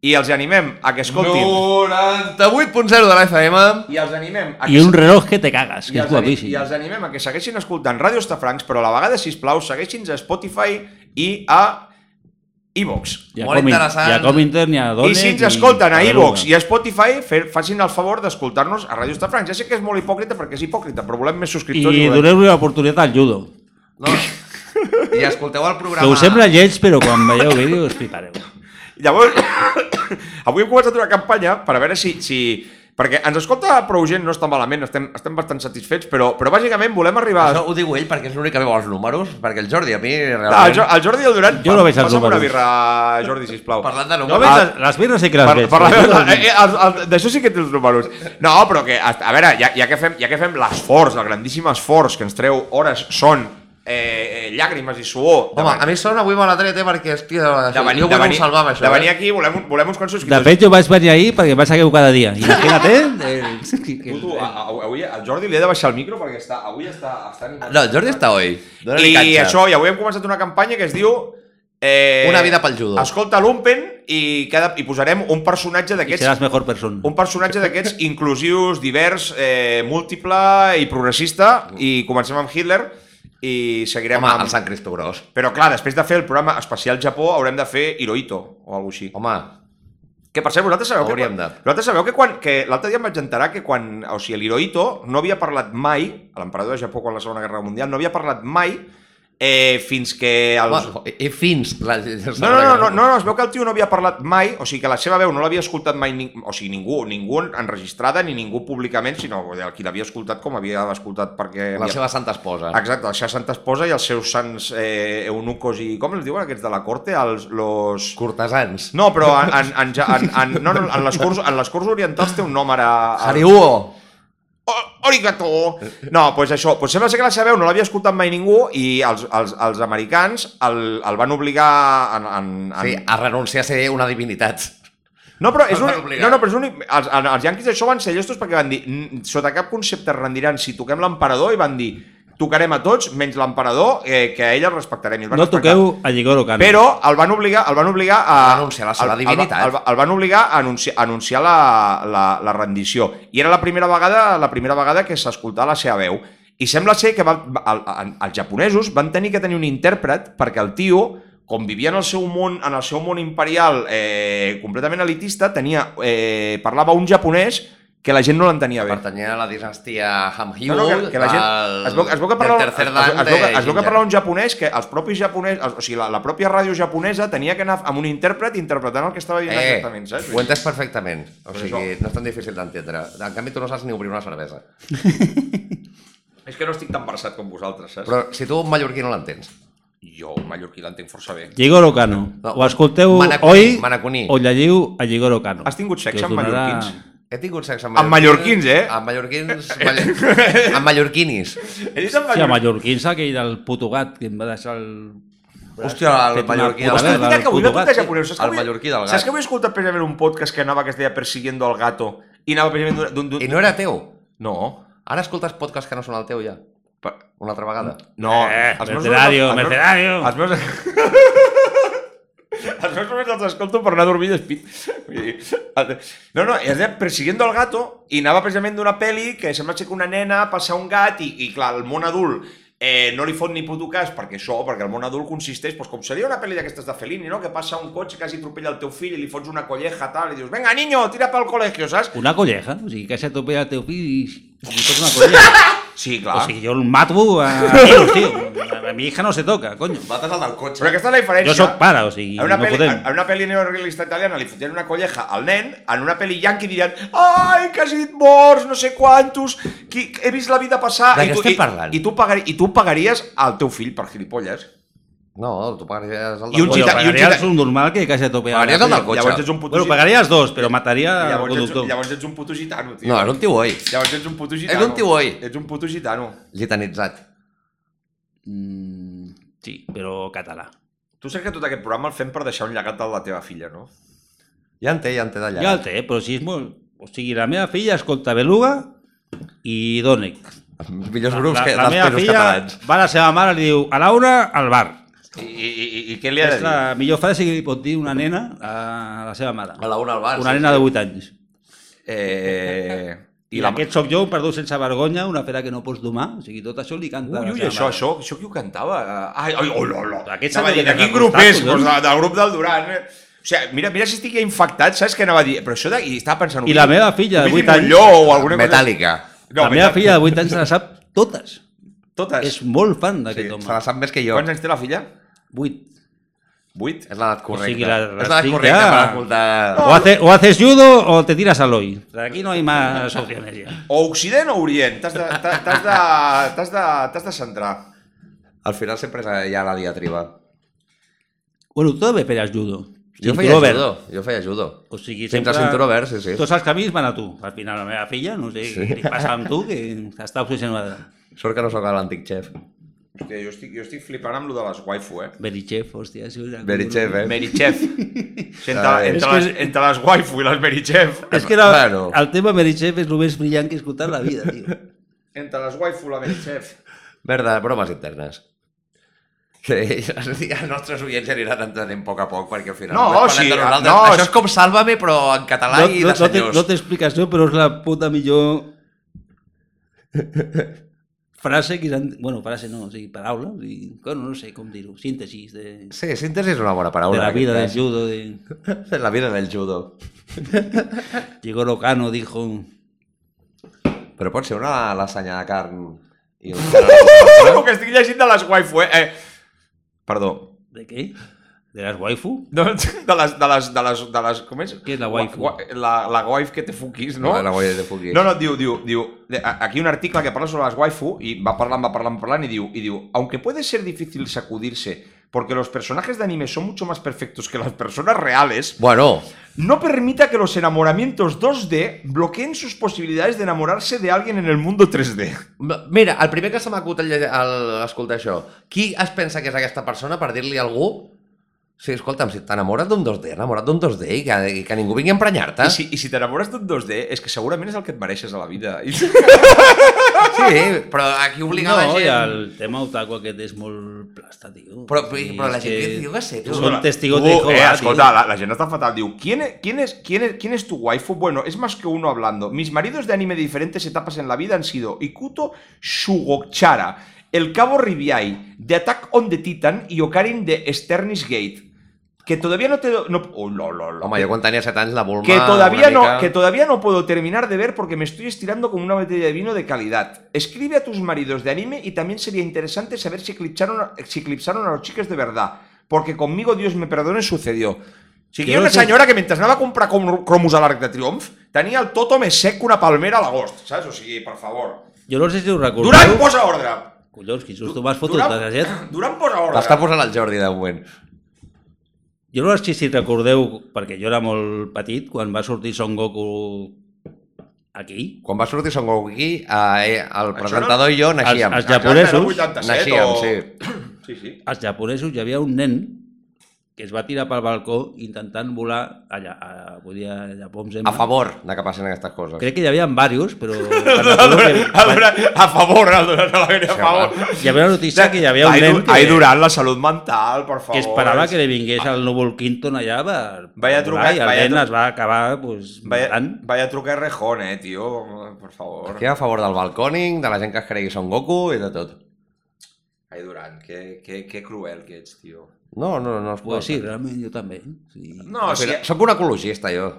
[SPEAKER 6] i els animem a que escoltin...
[SPEAKER 4] 98.0 de la FM.
[SPEAKER 6] I els animem a que...
[SPEAKER 5] Y un reloj que te cagas,
[SPEAKER 6] i
[SPEAKER 5] que es
[SPEAKER 6] els, ani-
[SPEAKER 5] guapísimo.
[SPEAKER 6] I els animem a que segueixin escoltant Ràdio Estafrancs, però a la vegada, sisplau, segueixin a Spotify i a iVox.
[SPEAKER 5] Y a
[SPEAKER 4] Molt
[SPEAKER 5] Comin-
[SPEAKER 4] interessant.
[SPEAKER 5] i a Comintern, ni a Donet,
[SPEAKER 6] I si ens escolten a iVox i
[SPEAKER 5] Beluga.
[SPEAKER 6] a Spotify, fer, facin el favor d'escoltar-nos a Ràdio Estafrancs. Ja sé que és molt hipòcrita perquè és hipòcrita, però volem més
[SPEAKER 5] I
[SPEAKER 6] subscriptors. volem-
[SPEAKER 5] doneu-li l'oportunitat al judo.
[SPEAKER 4] No. I escolteu el programa...
[SPEAKER 5] Que us sembla lleig, però quan veieu vídeos flipareu.
[SPEAKER 6] Llavors, [COUGHS] avui hem començat una campanya per a veure si... si perquè ens escolta prou gent, no està malament, estem, estem bastant satisfets, però, però bàsicament volem arribar...
[SPEAKER 4] Això ho diu ell perquè és l'únic que veu els números, perquè el Jordi a mi realment...
[SPEAKER 6] Ah, el, Jo- el Jordi i el Duran...
[SPEAKER 5] Jo no veig els
[SPEAKER 6] passa'm una
[SPEAKER 5] números.
[SPEAKER 6] birra, Jordi, sisplau. Ah,
[SPEAKER 4] Parlant de
[SPEAKER 5] No
[SPEAKER 4] números...
[SPEAKER 5] veig les, les birres Ah, sí que les
[SPEAKER 6] Per,
[SPEAKER 5] veig.
[SPEAKER 6] per la
[SPEAKER 5] però
[SPEAKER 6] meva,
[SPEAKER 5] jo no-
[SPEAKER 6] eh, eh, el, el, d'això sí que té els números. No, però que, a, a veure, ja, ja que fem, ja que fem l'esforç, el grandíssim esforç que ens treu hores, son, eh, eh, llàgrimes i suor...
[SPEAKER 4] Home, a mi sona avui me l'ha tret, eh, perquè, hòstia,
[SPEAKER 6] de venir,
[SPEAKER 4] jo
[SPEAKER 6] de
[SPEAKER 4] vull
[SPEAKER 6] venir,
[SPEAKER 4] venir, salvar amb això,
[SPEAKER 6] de venir
[SPEAKER 4] eh?
[SPEAKER 6] aquí volem, un- volem uns quants
[SPEAKER 5] De
[SPEAKER 6] subscriptors.
[SPEAKER 5] fet, jo vaig venir ahir perquè em vaig seguir cada dia. Imagina't,
[SPEAKER 6] [LAUGHS]
[SPEAKER 5] eh?
[SPEAKER 6] Puto,
[SPEAKER 5] El-
[SPEAKER 6] a- a- avui al Jordi li he de baixar el micro perquè està, avui està... està
[SPEAKER 4] No, el Jordi està oi.
[SPEAKER 6] I això, i avui hem començat una campanya que es diu... Eh,
[SPEAKER 4] Una vida pel judo.
[SPEAKER 6] Escolta l'Umpen i, cada, i posarem un personatge
[SPEAKER 5] el- Seràs
[SPEAKER 6] d'aquests
[SPEAKER 5] millor persona.
[SPEAKER 6] un personatge d'aquests inclusius, divers, eh, múltiple i progressista i comencem amb Hitler i seguirem
[SPEAKER 4] Home,
[SPEAKER 6] amb...
[SPEAKER 4] el Sant Cristo Gros.
[SPEAKER 6] Però clar, després de fer el programa especial Japó haurem de fer Hirohito o alguna així.
[SPEAKER 4] Home,
[SPEAKER 6] Que per cert, vosaltres sabeu, que,
[SPEAKER 4] Hauríem
[SPEAKER 6] quan,
[SPEAKER 4] de.
[SPEAKER 6] vosaltres sabeu que, quan, que l'altre dia em vaig enterar que quan, o sigui, l'Hirohito no havia parlat mai, l'emperador de Japó quan la Segona Guerra Mundial, no havia parlat mai eh, fins que... Els...
[SPEAKER 4] Home, I i fins... La,
[SPEAKER 6] No, no, no, no, no, no, es veu que el tio no havia parlat mai, o sigui que la seva veu no l'havia escoltat mai, ni, o sigui, ningú, ningú enregistrada ni ningú públicament, sinó el qui l'havia escoltat com havia escoltat perquè...
[SPEAKER 4] La
[SPEAKER 6] havia-
[SPEAKER 4] seva santa esposa.
[SPEAKER 6] Exacte, la seva santa esposa i els seus sants eh, eunucos i... Com els diuen aquests de la corte? Els, los...
[SPEAKER 4] Cortesans.
[SPEAKER 6] No, però en, en, en, ja- en, en, no, no, en, les curs, en les curs orientals té un nom ara...
[SPEAKER 4] Haribo!
[SPEAKER 6] O- Arigato! No, doncs pues això, pues sembla ser que la seva veu no l'havia escoltat mai ningú i els, els, els americans el, el van obligar en, en, en...
[SPEAKER 4] Sí, a renunciar a ser una divinitat.
[SPEAKER 6] No, però és
[SPEAKER 4] El van
[SPEAKER 6] un...
[SPEAKER 4] obligar.
[SPEAKER 6] No, no, però és un... Els, en- els Yankees això van ser llestos perquè van dir "N- sota cap concepte rendiran si toquem l'emperador i van dir tocarem a tots menys l'emperador eh, que a ell el respectarem. I el van
[SPEAKER 5] No
[SPEAKER 6] respectar.
[SPEAKER 5] toqueu a Jigoro Kano.
[SPEAKER 6] Però el van obligar, el van obligar a...
[SPEAKER 4] A anunciar la seva
[SPEAKER 6] el- el-
[SPEAKER 4] divinitat.
[SPEAKER 6] El, el, van obligar a anunciar, a anunciar la, la, la rendició. I era la primera vegada la primera vegada que s'escoltava la seva veu. I sembla ser que va, va, el, en- els japonesos van tenir que tenir un intèrpret perquè el tio, com vivia en el seu món, en el seu món imperial eh, completament elitista, tenia, eh, parlava un japonès que la gent no l'entenia bé.
[SPEAKER 4] Pertanyia a la dinastia Hamhyu,
[SPEAKER 6] No, no, que, que la gent...
[SPEAKER 4] del-
[SPEAKER 6] Es veu, es veu que
[SPEAKER 4] del
[SPEAKER 6] parlava, es,
[SPEAKER 4] tercer
[SPEAKER 6] es, veu- es, veu, que- es veu que
[SPEAKER 4] Dante
[SPEAKER 6] parlava un japonès que els propis japonès, els- o sigui, la, la pròpia ràdio japonesa tenia que anar amb un intèrpret interpretant el que estava dient
[SPEAKER 4] Eh,
[SPEAKER 6] exactament, saps?
[SPEAKER 4] ho entes perfectament. O
[SPEAKER 6] Per
[SPEAKER 4] sigui,
[SPEAKER 6] això.
[SPEAKER 4] no és tan difícil d'entendre. En canvi, tu no saps ni obrir una cervesa.
[SPEAKER 6] És que no estic tan versat com vosaltres, saps?
[SPEAKER 4] Però si tu un mallorquí no l'entens.
[SPEAKER 6] Jo, un mallorquí, l'entenc força bé.
[SPEAKER 5] Jigoro Kano.
[SPEAKER 4] No,
[SPEAKER 5] o escolteu
[SPEAKER 4] Manacuni,
[SPEAKER 5] oi
[SPEAKER 4] Manacuni.
[SPEAKER 5] o llegiu a Jigoro Kano.
[SPEAKER 6] Has tingut sexe
[SPEAKER 5] que us
[SPEAKER 6] amb
[SPEAKER 5] donarà-
[SPEAKER 6] mallorquins?
[SPEAKER 4] He tingut sexe amb
[SPEAKER 6] Amb mallorquins, eh?
[SPEAKER 4] Amb mallorquins...
[SPEAKER 6] [LAUGHS]
[SPEAKER 4] Mallor... amb mallorquinis.
[SPEAKER 6] He dit en
[SPEAKER 5] Sí, a
[SPEAKER 6] mallorquí.
[SPEAKER 5] mallorquins aquell del puto gat que em va deixar el...
[SPEAKER 4] Hòstia, el
[SPEAKER 5] Fet una
[SPEAKER 4] mallorquí...
[SPEAKER 5] puta
[SPEAKER 4] del-
[SPEAKER 6] Hòstia, és veritat que avui la
[SPEAKER 5] Puto
[SPEAKER 6] pinta
[SPEAKER 5] gat,
[SPEAKER 6] japonesa. Saps que
[SPEAKER 4] el
[SPEAKER 6] avui-
[SPEAKER 4] mallorquí del gat.
[SPEAKER 6] Saps que avui he escoltat precisament un podcast que anava que es deia Persiguiendo al gato i anava precisament d'un- d'un...
[SPEAKER 4] I no era teu.
[SPEAKER 6] No.
[SPEAKER 4] Ara escoltes podcasts que no són el teu, ja.
[SPEAKER 6] Per-
[SPEAKER 4] Una altra vegada.
[SPEAKER 6] No,
[SPEAKER 5] Eh,
[SPEAKER 6] els meus
[SPEAKER 5] mercenario,
[SPEAKER 6] només-
[SPEAKER 5] mercenario.
[SPEAKER 6] Els meus... [LAUGHS] els meus només els escolto per anar a dormir despit. Vull dir, el- No, no, és de Persiguiendo el gato i anava precisament d'una pel·li que sembla ser que una nena passa un gat i, i clar, el món adult eh, no li fot ni puto cas perquè això, perquè el món adult consisteix, doncs, com seria una pel·li d'aquestes de Fellini, no? que passa un cotxe, quasi atropella el teu fill i li fots una colleja, tal, i dius, venga, niño, tira pel col·legio, saps?
[SPEAKER 5] Una colleja, o sigui, que se atropella el teu fill i li toca una colleja.
[SPEAKER 6] Sí,
[SPEAKER 5] O
[SPEAKER 6] clar.
[SPEAKER 5] sigui, jo el mato
[SPEAKER 6] [LAUGHS]
[SPEAKER 5] a tiros, tio. A, a mi hija no se toca, coño.
[SPEAKER 4] Mates el del cotxe.
[SPEAKER 6] Però aquesta és la diferència.
[SPEAKER 5] Jo sóc pare, o sigui,
[SPEAKER 6] En una,
[SPEAKER 5] no
[SPEAKER 6] peli,
[SPEAKER 5] podem.
[SPEAKER 6] en en una pel·li neorealista italiana li fotien una colleja al nen, en una pel·li yanqui diran «Ai, que has dit morts, no sé quantos, qui, he vist la vida passar...»
[SPEAKER 4] De
[SPEAKER 6] I
[SPEAKER 4] què
[SPEAKER 6] tu-
[SPEAKER 4] estem
[SPEAKER 6] i,
[SPEAKER 4] parlant?
[SPEAKER 6] I tu, pagari, I tu pagaries al teu fill per gilipolles.
[SPEAKER 4] No, tu pagaries el
[SPEAKER 6] I un
[SPEAKER 5] Bueno,
[SPEAKER 6] gita- i un
[SPEAKER 5] pagaria
[SPEAKER 6] gita-
[SPEAKER 5] un normal que casi atropella.
[SPEAKER 4] Pagaries
[SPEAKER 5] la
[SPEAKER 4] el del
[SPEAKER 5] tele.
[SPEAKER 4] cotxe.
[SPEAKER 6] Llavors ets un puto
[SPEAKER 5] Bueno,
[SPEAKER 6] gitano.
[SPEAKER 5] pagaria els dos, però mataria al
[SPEAKER 6] Llavors, ets,
[SPEAKER 5] conductor.
[SPEAKER 6] llavors ets un puto gitano, tio.
[SPEAKER 4] No, era un tio oi.
[SPEAKER 6] Llavors ets un puto gitano.
[SPEAKER 4] un tio oi.
[SPEAKER 6] Ets un puto gitano.
[SPEAKER 4] Gitanitzat.
[SPEAKER 5] Mm, sí, però català.
[SPEAKER 6] Tu saps que tot aquest programa el fem per deixar un llegat de la teva filla, no?
[SPEAKER 4] Ja en té, ja en té d'allà.
[SPEAKER 5] Ja el té, però si és molt... O sigui, la meva filla escolta Beluga i Dònec.
[SPEAKER 4] Els millors grups que,
[SPEAKER 5] la
[SPEAKER 4] dels
[SPEAKER 5] meva
[SPEAKER 4] països
[SPEAKER 5] filla
[SPEAKER 4] catalans.
[SPEAKER 5] va a la seva mare i li diu a Laura al bar.
[SPEAKER 6] I, i, i, i què li ha de
[SPEAKER 5] És
[SPEAKER 6] dir?
[SPEAKER 5] la millor frase que li pot dir una nena a la seva mare.
[SPEAKER 4] A la una al bar.
[SPEAKER 5] Una
[SPEAKER 4] sí,
[SPEAKER 5] nena
[SPEAKER 4] sí.
[SPEAKER 5] de 8 anys.
[SPEAKER 6] Eh,
[SPEAKER 5] I, aquest sóc jo, un perdó sense vergonya, una fera que no pots domar. O sigui, tot això li canta a
[SPEAKER 6] Ui,
[SPEAKER 5] la
[SPEAKER 6] ui,
[SPEAKER 5] seva
[SPEAKER 6] això,
[SPEAKER 5] mare.
[SPEAKER 6] això, això qui ho cantava? Ah, Ai, oh, ai, ol, ol, ol.
[SPEAKER 5] Aquest
[SPEAKER 6] Anava a
[SPEAKER 5] sap
[SPEAKER 6] dir,
[SPEAKER 5] que
[SPEAKER 6] de quin
[SPEAKER 5] t'ha
[SPEAKER 6] grup
[SPEAKER 5] costat,
[SPEAKER 6] és? Doncs
[SPEAKER 5] collons.
[SPEAKER 6] del, del grup del Duran. eh? O sigui, mira, mira si estic ja infectat, saps què anava a dir? Però això de... I estava pensant...
[SPEAKER 5] I la meva filla de
[SPEAKER 6] Ovidi
[SPEAKER 5] vuit anys-
[SPEAKER 6] Montlló o alguna cosa-
[SPEAKER 4] Metàl·lica.
[SPEAKER 6] No,
[SPEAKER 5] la meva filla de 8 anys se la sap totes.
[SPEAKER 6] Totes.
[SPEAKER 5] És molt fan
[SPEAKER 4] Sí,
[SPEAKER 5] d'aquest home.
[SPEAKER 4] se la sap més que jo.
[SPEAKER 6] Quants anys té la filla?
[SPEAKER 5] 8.
[SPEAKER 6] Vuit?
[SPEAKER 4] És l'edat correcta.
[SPEAKER 5] sigui, la-
[SPEAKER 4] és l'edat
[SPEAKER 5] estic
[SPEAKER 4] correcta
[SPEAKER 5] ja-
[SPEAKER 4] per escoltar...
[SPEAKER 5] O, hace- o haces judo o te tiras al hoy. Aquí no hay más opciones ya.
[SPEAKER 6] O Occident o Orient? T'has de, t'has de, t'has de, t'has de centrar.
[SPEAKER 4] Al final sempre és hi ha la diatriba.
[SPEAKER 5] Bueno, tu també feies judo.
[SPEAKER 4] Jo feia
[SPEAKER 5] Cinturó verd.
[SPEAKER 4] judo. Jo feia judo.
[SPEAKER 5] O sigui,
[SPEAKER 4] Fins a cinturó verd, sí, sí.
[SPEAKER 5] Tots els camins van a tu. Al final, la meva filla, no sé sí. què li passa amb tu, que està obsessionada.
[SPEAKER 4] Sort que no sóc l'antic xef.
[SPEAKER 6] Hòstia, jo estic, jo estic flipant amb lo de les waifu, eh?
[SPEAKER 5] Berichev, hòstia, és una...
[SPEAKER 4] Berichev, eh?
[SPEAKER 6] Merichef. Sí, entre,
[SPEAKER 4] Ai.
[SPEAKER 6] entre, les, entre les waifu i les Merichef.
[SPEAKER 4] eh?
[SPEAKER 5] És que era,
[SPEAKER 4] Claro.
[SPEAKER 5] el tema Berichev és el més brillant que he escoltat a la vida,
[SPEAKER 4] [LAUGHS]
[SPEAKER 5] tio.
[SPEAKER 6] Entre les waifu i la Merichef.
[SPEAKER 4] Merda, bromes internes. Que [LAUGHS] els nostres oients ja aniran entenent a poc a poc, perquè al final...
[SPEAKER 6] No,
[SPEAKER 4] només
[SPEAKER 6] sí,
[SPEAKER 4] parlem de
[SPEAKER 6] ah,
[SPEAKER 4] nosaltres.
[SPEAKER 6] no,
[SPEAKER 4] Això
[SPEAKER 6] sí.
[SPEAKER 4] és com Sálvame, però en català
[SPEAKER 5] No,
[SPEAKER 4] i de
[SPEAKER 5] no, no, té,
[SPEAKER 4] senyors. [LAUGHS]
[SPEAKER 5] no té explicació, però és la puta millor frase que s'han... Bueno, frase no, o sigui, paraula, o sigui, bueno, no sé com dir-ho, síntesis de, de
[SPEAKER 4] Sí, síntesi és una bona paraula.
[SPEAKER 5] la
[SPEAKER 4] en
[SPEAKER 5] vida del
[SPEAKER 4] aquest
[SPEAKER 5] judo, de
[SPEAKER 4] cas. De la vida del judo.
[SPEAKER 5] Jigoro Kano dijo...
[SPEAKER 4] Però pot ser una lasanya de carn i un
[SPEAKER 6] El [LAUGHS] que estic llegint de les waifu, eh? eh? Perdó.
[SPEAKER 5] ¿De qué? ¿De las waifu?
[SPEAKER 6] No, [LAUGHS] de les, de les, de les, de les, com és?
[SPEAKER 5] Què és la waifu?
[SPEAKER 6] Gua- gua- La, la waifu que te fuquis, no?
[SPEAKER 4] La guaia [LAUGHS] de fuquis.
[SPEAKER 6] No, no, diu, diu, diu, de- a- aquí un article que parla sobre las waifu y va parlant, va parlant, parlant y diu, y diu, aunque puede ser difícil sacudirse porque los personajes de anime son mucho más perfectos que las personas reales,
[SPEAKER 4] Bueno,
[SPEAKER 6] no permita que los enamoramientos 2D bloqueen sus posibilidades de enamorarse de alguien en el mundo 3D.
[SPEAKER 4] M- Mira, el primer que se m'acut al, lle- al escoltar això, qui es pensa que és aquesta persona per dir-li a algú Sí, escolta'm, si t'enamores d'un 2D, enamora't d'un 2D i que, i que ningú vingui a emprenyar-te.
[SPEAKER 6] I si, i si t'enamores d'un 2D, és que segurament és el que et mereixes a la vida. I...
[SPEAKER 4] Sí, però aquí obliga la
[SPEAKER 5] no,
[SPEAKER 4] gent...
[SPEAKER 5] i el tema otaku aquest és molt plasta, tio.
[SPEAKER 4] Però-
[SPEAKER 5] O sigui,
[SPEAKER 4] però la
[SPEAKER 5] és
[SPEAKER 4] gent que diu que sé, tu. [LAUGHS]
[SPEAKER 5] Són testigos
[SPEAKER 6] Tú,
[SPEAKER 5] de Jehová,
[SPEAKER 6] eh,
[SPEAKER 5] tio.
[SPEAKER 6] escolta, la, la gente está fatal. Digo, ¿quién, es- quién, es, quién, es, ¿quién es tu waifu? Bueno, es más que uno hablando. Mis maridos de anime de diferentes etapas en la vida han sido Ikuto Shugochara, El Cabo Ribiai, de Attack on the Titan y Ocarin de Sternis Gate. Que todavía no te... do- No, oh, no, no, no.
[SPEAKER 4] Home, jo quan tenia 7 anys la Bulma...
[SPEAKER 6] que todavía
[SPEAKER 4] una
[SPEAKER 6] no
[SPEAKER 4] mica-
[SPEAKER 6] que todavía no puedo terminar de ver porque me estoy estirando como una botella de vino de calidad. Escribe a tus maridos de anime y también sería interesante saber si eclipsaron si eclipsaron a los chicos de verdad, porque conmigo Dios me perdone sucedió. Si
[SPEAKER 5] Yo
[SPEAKER 6] quiero
[SPEAKER 5] no
[SPEAKER 6] una
[SPEAKER 5] sé-
[SPEAKER 6] senyora que mentre anava a comprar com- cromos a l'Arc de Triomf, tenia el tòtem sec una palmera a l'agost, saps? O sigui, per favor.
[SPEAKER 5] Jo no sé si us recordeu...
[SPEAKER 6] Durant, posa ordre!
[SPEAKER 5] Collons, quin susto
[SPEAKER 6] Du-
[SPEAKER 5] m'has fotut,
[SPEAKER 6] Durant-
[SPEAKER 5] desgraciat.
[SPEAKER 6] Durant, posa ordre!
[SPEAKER 4] L'està posant el Jordi, de moment.
[SPEAKER 5] Jo no sé si recordeu, perquè jo era molt petit, quan va sortir Son Goku aquí.
[SPEAKER 4] Quan va sortir Son Goku aquí, eh, el presentador i jo naixíem.
[SPEAKER 5] Els- els japonesos-
[SPEAKER 6] Era 87
[SPEAKER 4] Naixíem,
[SPEAKER 6] o-
[SPEAKER 4] sí.
[SPEAKER 6] [CLEARS THROAT] Sí, sí.
[SPEAKER 5] Als japonesos hi havia un nen que es va tirar pel balcó intentant volar allà, a, vull dir, a Japó, em sembla.
[SPEAKER 4] A favor de que passin aquestes coses.
[SPEAKER 5] Crec que hi havia varios,
[SPEAKER 6] [LAUGHS]
[SPEAKER 5] però...
[SPEAKER 6] A favor, a favor, a favor.
[SPEAKER 5] Hi havia una notícia que hi havia un
[SPEAKER 6] Ahí
[SPEAKER 5] nen
[SPEAKER 6] du-
[SPEAKER 5] que...
[SPEAKER 6] ahí durant la salut mental, per favor.
[SPEAKER 5] que esperava que li vingués el núvol Quinton allà per, per
[SPEAKER 6] Vaya
[SPEAKER 5] volar,
[SPEAKER 6] trucat,
[SPEAKER 5] i el
[SPEAKER 6] vaya
[SPEAKER 5] nen
[SPEAKER 6] tru-
[SPEAKER 5] es va acabar pues,
[SPEAKER 6] Vaya,
[SPEAKER 5] matant.
[SPEAKER 6] vaya truca rejón, eh, tio, per favor.
[SPEAKER 4] Estic a favor del balcòning, de la gent que es cregui Son Goku i de tot.
[SPEAKER 6] Ai, Durant, que, que, que cruel que ets, tio.
[SPEAKER 4] No, no, no es pot.
[SPEAKER 5] Pues sí, realment jo també. Sí.
[SPEAKER 6] No, eh, o sigui,
[SPEAKER 4] Mira, Sóc un ecologista, jo.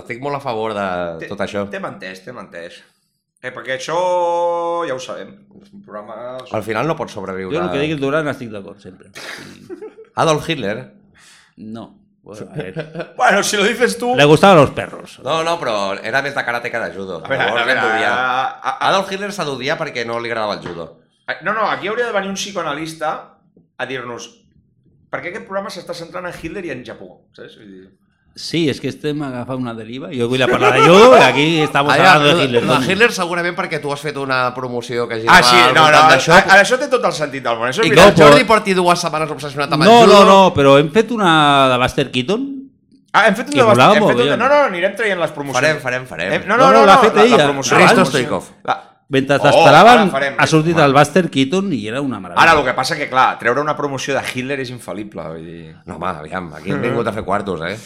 [SPEAKER 4] Estic molt a favor de
[SPEAKER 6] te-
[SPEAKER 4] tot això.
[SPEAKER 6] T'hem entès, t'hem entès. Eh, perquè això ja ho sabem. És un programa...
[SPEAKER 4] Al final no pots sobreviure.
[SPEAKER 5] Jo el que digui el Durant estic d'acord sempre. Sí.
[SPEAKER 4] Adolf Hitler.
[SPEAKER 5] No. Bueno, a
[SPEAKER 6] [LAUGHS]
[SPEAKER 5] ver.
[SPEAKER 6] Bueno, si lo dices tu...
[SPEAKER 5] Le gustaban los perros.
[SPEAKER 4] No, no, però era més de karate que de judo.
[SPEAKER 6] A veure, a
[SPEAKER 4] Llavors
[SPEAKER 6] veure,
[SPEAKER 4] l'hem d'odiar.
[SPEAKER 6] a- a- a-
[SPEAKER 4] Adolf Hitler s'ha d'odiar perquè no li agradava el judo.
[SPEAKER 6] No, no, aquí hauria de venir un psicoanalista a dir-nos per què aquest programa s'està centrant en Hitler i en Japó, saps? Vull dir...
[SPEAKER 5] Sí, és que este m'agafa una deriva. Jo vull la parlar de judo i aquí estamos
[SPEAKER 4] Ara,
[SPEAKER 5] hablando de Hitler.
[SPEAKER 4] no,
[SPEAKER 5] coño.
[SPEAKER 4] Hitler segurament perquè tu has fet una promoció que girava
[SPEAKER 6] Ah, sí,
[SPEAKER 4] al
[SPEAKER 6] no, no,
[SPEAKER 4] voltant
[SPEAKER 6] això...
[SPEAKER 4] d'això.
[SPEAKER 6] Ara, això té tot el sentit del món. Això és
[SPEAKER 4] I que
[SPEAKER 6] veritat.
[SPEAKER 4] el Jordi porti dues setmanes obsessionat amb
[SPEAKER 5] No,
[SPEAKER 4] el judo.
[SPEAKER 5] no, no, però hem fet una de Buster Keaton.
[SPEAKER 6] Ah, hem fet un
[SPEAKER 5] I
[SPEAKER 6] debat.
[SPEAKER 5] volava
[SPEAKER 6] Hem
[SPEAKER 5] molt
[SPEAKER 6] fet un...
[SPEAKER 5] bé.
[SPEAKER 6] No, no, anirem traient les promocions.
[SPEAKER 4] Farem, farem, farem.
[SPEAKER 6] Hem... No,
[SPEAKER 5] No, no,
[SPEAKER 6] no, no,
[SPEAKER 5] l'ha fet ella.
[SPEAKER 6] La promoció,
[SPEAKER 4] Risto
[SPEAKER 6] la promoció.
[SPEAKER 4] Stoikov.
[SPEAKER 6] La...
[SPEAKER 5] Mentre
[SPEAKER 6] Oh,
[SPEAKER 5] t'esperaven,
[SPEAKER 6] ara farem.
[SPEAKER 5] ha sortit el Buster Keaton i era una meravella.
[SPEAKER 6] Ara, el que passa que, clar, treure una promoció de Hitler és infal·lible, vull dir...
[SPEAKER 4] No, home, aviam, aquí hem vingut a fer quartos, eh?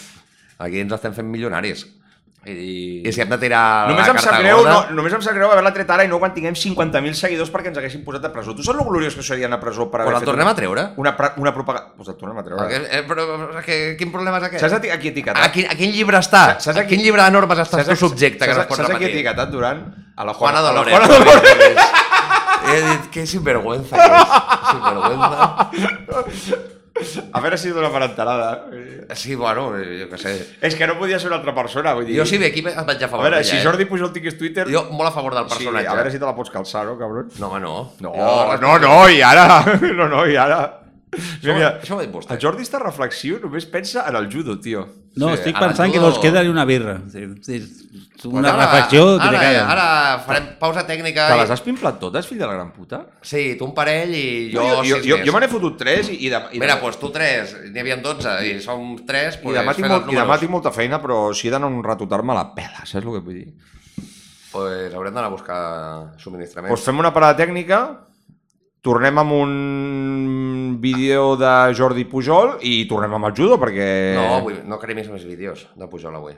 [SPEAKER 4] Aquí ens estem fent milionaris. I, I si hem de tirar la
[SPEAKER 6] Només em,
[SPEAKER 4] carta
[SPEAKER 6] sap greu,
[SPEAKER 4] gorda...
[SPEAKER 6] no, només em sap greu haver-la tret ara i no quan tinguem 50.000 seguidors perquè ens haguessin posat a presó. Tu saps lo gloriós que seria anar a presó per haver
[SPEAKER 4] Quan el
[SPEAKER 6] fet
[SPEAKER 4] tornem
[SPEAKER 6] una-
[SPEAKER 4] a treure?
[SPEAKER 6] Una, pra- una propaganda... Pues el tornem a treure.
[SPEAKER 4] Perquè, eh, però, però, que, quin problema és aquest?
[SPEAKER 6] Saps a, ti- a qui etiquetat?
[SPEAKER 4] a, quin, a quin llibre està?
[SPEAKER 6] Saps
[SPEAKER 4] Saps
[SPEAKER 6] a
[SPEAKER 4] a quin
[SPEAKER 6] qui-
[SPEAKER 4] llibre de normes està el
[SPEAKER 6] a-
[SPEAKER 4] teu subjecte que
[SPEAKER 6] saps
[SPEAKER 4] no
[SPEAKER 6] a-
[SPEAKER 4] es pot
[SPEAKER 6] Saps a qui
[SPEAKER 4] repetir?
[SPEAKER 6] etiquetat, Durant? A la
[SPEAKER 4] Juana
[SPEAKER 6] a la
[SPEAKER 4] Dolores.
[SPEAKER 6] Juana Dolores.
[SPEAKER 4] [LAUGHS] He dit que sinvergüenza, que és sinvergüenza.
[SPEAKER 6] A veure si dona per enterada.
[SPEAKER 4] Sí, bueno, jo què sé.
[SPEAKER 6] eh? És que no podia ser una altra persona, vull dir...
[SPEAKER 4] Jo sí, aquí em vaig a
[SPEAKER 6] A
[SPEAKER 4] favor
[SPEAKER 6] veure,
[SPEAKER 4] d'ella,
[SPEAKER 6] si
[SPEAKER 4] eh?
[SPEAKER 6] Jordi Pujol tingués Twitter...
[SPEAKER 4] Jo molt a favor del
[SPEAKER 6] Sí,
[SPEAKER 4] personatge.
[SPEAKER 6] a veure si te la pots calçar, no, cabron?
[SPEAKER 4] No, home, no.
[SPEAKER 6] No,
[SPEAKER 4] Jo-
[SPEAKER 6] no, no, i ara... [LAUGHS] No, no, i ara... Mira, mira,
[SPEAKER 4] això ho ha dit vostè.
[SPEAKER 6] El Jordi està reflexiu, només pensa en el judo, tio.
[SPEAKER 5] No,
[SPEAKER 4] Sí,
[SPEAKER 5] estic
[SPEAKER 4] ara
[SPEAKER 5] pensant que
[SPEAKER 4] judo-
[SPEAKER 5] no ens queda ni una birra. Sí, sí, és Una
[SPEAKER 4] Ara-
[SPEAKER 5] reflexió que
[SPEAKER 4] ara,
[SPEAKER 5] te caga.
[SPEAKER 4] ara farem pausa tècnica.
[SPEAKER 6] Te
[SPEAKER 4] i-
[SPEAKER 6] les has pimplat totes, fill de la gran puta?
[SPEAKER 4] Sí, tu un parell i jo,
[SPEAKER 6] jo, jo,
[SPEAKER 4] sis
[SPEAKER 6] jo,
[SPEAKER 4] més.
[SPEAKER 6] jo me n'he fotut tres i, i, de, i,
[SPEAKER 4] Mira,
[SPEAKER 6] de,
[SPEAKER 4] doncs tu tres, n'hi havia 12 i som tres,
[SPEAKER 6] i,
[SPEAKER 4] pues,
[SPEAKER 6] demà
[SPEAKER 4] fes
[SPEAKER 6] tinc
[SPEAKER 4] els
[SPEAKER 6] molt, i demà
[SPEAKER 4] números.
[SPEAKER 6] tinc molta feina, però si he d'anar un rato tard me la pela, saps el que vull dir? Doncs
[SPEAKER 4] pues haurem d'anar a buscar subministraments.
[SPEAKER 6] pues fem una parada tècnica, tornem amb un vídeo de Jordi Pujol i tornem amb el judo, perquè...
[SPEAKER 4] No, avui, no cremis més vídeos de Pujol avui.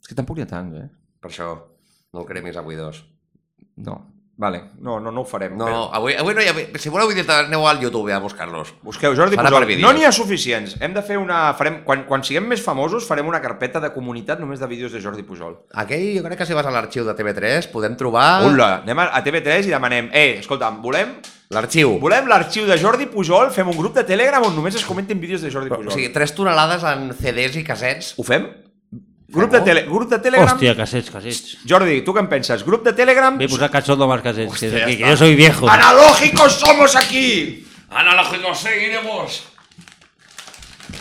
[SPEAKER 6] És que tampoc hi ha tant, eh?
[SPEAKER 4] Per això no el cremis avui dos.
[SPEAKER 6] No. Vale, no, no, no ho farem.
[SPEAKER 4] No,
[SPEAKER 6] Però-
[SPEAKER 4] avui, avui no hi ha... Si voleu vídeos, aneu al YouTube a buscar-los.
[SPEAKER 6] Busqueu Jordi
[SPEAKER 4] Farà
[SPEAKER 6] Pujol.
[SPEAKER 4] per vídeos.
[SPEAKER 6] No n'hi ha suficients. Hem de fer una... Farem... Quan, quan siguem més famosos, farem una carpeta de comunitat només de vídeos de Jordi Pujol.
[SPEAKER 4] Aquell, jo crec que si vas a l'arxiu de TV3 podem trobar...
[SPEAKER 6] Hola, anem a, a TV3 i demanem... Eh, escolta, volem...
[SPEAKER 4] L'arxiu.
[SPEAKER 6] Volem l'arxiu de Jordi Pujol, fem un grup de Telegram on només es comenten vídeos de Jordi
[SPEAKER 4] Però,
[SPEAKER 6] Pujol.
[SPEAKER 4] O sigui, 3 tonelades en CDs i casets.
[SPEAKER 6] Ho fem? Grup de, tele... grup de Telegram...
[SPEAKER 5] Hòstia, casets, casets.
[SPEAKER 6] Jordi, tu què en penses? Grup de Telegram...
[SPEAKER 5] Ve a posar cachón de más casets. que-
[SPEAKER 4] Hòstia, ja
[SPEAKER 5] que, que
[SPEAKER 4] està.
[SPEAKER 5] yo soy viejo.
[SPEAKER 6] Pues- ¡Analógicos somos aquí! ¡Analógicos seguiremos!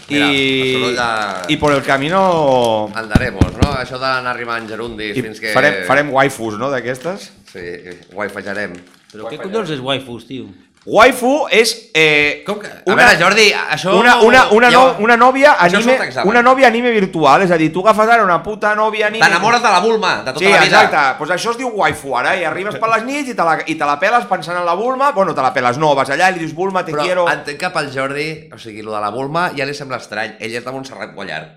[SPEAKER 6] Y,
[SPEAKER 4] Mira, pues el soroll de-
[SPEAKER 6] y por el camino
[SPEAKER 4] Andaremos, no? Això d'anar arribant gerundis
[SPEAKER 6] i
[SPEAKER 4] fins Ah, que...
[SPEAKER 6] farem, farem waifus, no, d'aquestes?
[SPEAKER 4] Sí, guaifajarem.
[SPEAKER 5] Pero qué condones es waifus, tío.
[SPEAKER 6] Waifu és... Eh,
[SPEAKER 4] Com que... A veure, Jordi, això...
[SPEAKER 6] Una, una, una,
[SPEAKER 4] Ja
[SPEAKER 6] no,
[SPEAKER 4] va.
[SPEAKER 6] una, nòvia
[SPEAKER 4] Això és
[SPEAKER 6] anime,
[SPEAKER 4] un examen.
[SPEAKER 6] una nòvia anime virtual, és a dir, tu agafes ara una puta nòvia anime...
[SPEAKER 4] T'enamores de la Bulma, de tota
[SPEAKER 6] sí,
[SPEAKER 4] la vida.
[SPEAKER 6] exacte. Pues això es diu waifu ara, eh? i arribes per les nits i te, la, i te la peles pensant en la Bulma, bueno, te la peles no, vas allà i li dius Bulma, te
[SPEAKER 4] Però
[SPEAKER 6] quiero...
[SPEAKER 4] entenc que pel Jordi, o sigui, lo de la Bulma ja li sembla estrany. Ell és de Montserrat Guallar.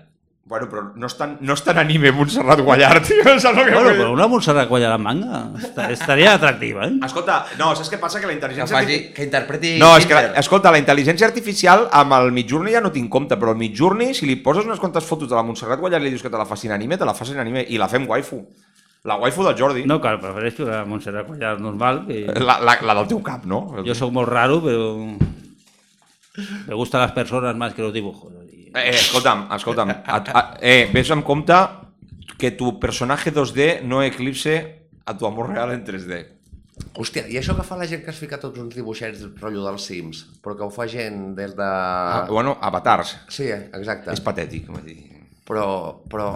[SPEAKER 6] Bueno, però no és tan, no és tan anime Montserrat Guallar, tio, [LAUGHS] saps el que
[SPEAKER 5] Bueno,
[SPEAKER 6] vull dir?
[SPEAKER 5] pero una Montserrat a la manga esta- estaría atractiva, ¿eh?
[SPEAKER 6] Escolta, no, saps què passa? Que la
[SPEAKER 4] Que,
[SPEAKER 6] intel·ligència...
[SPEAKER 4] faci,
[SPEAKER 6] arti-
[SPEAKER 4] que interpreti...
[SPEAKER 6] No, és que, la-
[SPEAKER 4] Hitler.
[SPEAKER 6] escolta, la intel·ligència artificial amb el Midjourney ja no tinc compte, però el Midjourney, si li poses unes quantes fotos de la Montserrat Guallar i li dius que te la facin anime, te la facin anime i la fem waifu. La waifu del Jordi.
[SPEAKER 5] No, claro, prefereixo la Montserrat Collar normal. Que
[SPEAKER 6] La, la, la del teu cap, no?
[SPEAKER 5] yo soy muy raro, pero me gustan las personas más que los dibujos. Y-
[SPEAKER 6] Eh, eh, escolta'm, escolta'm. A, a, eh, ves amb compte que tu personatge 2D no eclipse a tu amor real en 3D.
[SPEAKER 4] Hòstia, i això que fa la gent que es fica tots uns dibuixets del rotllo dels Sims, però que ho fa gent des de...
[SPEAKER 6] Ah, bueno, avatars.
[SPEAKER 4] Sí, exacte.
[SPEAKER 6] És patètic, vull dir.
[SPEAKER 4] Però, però...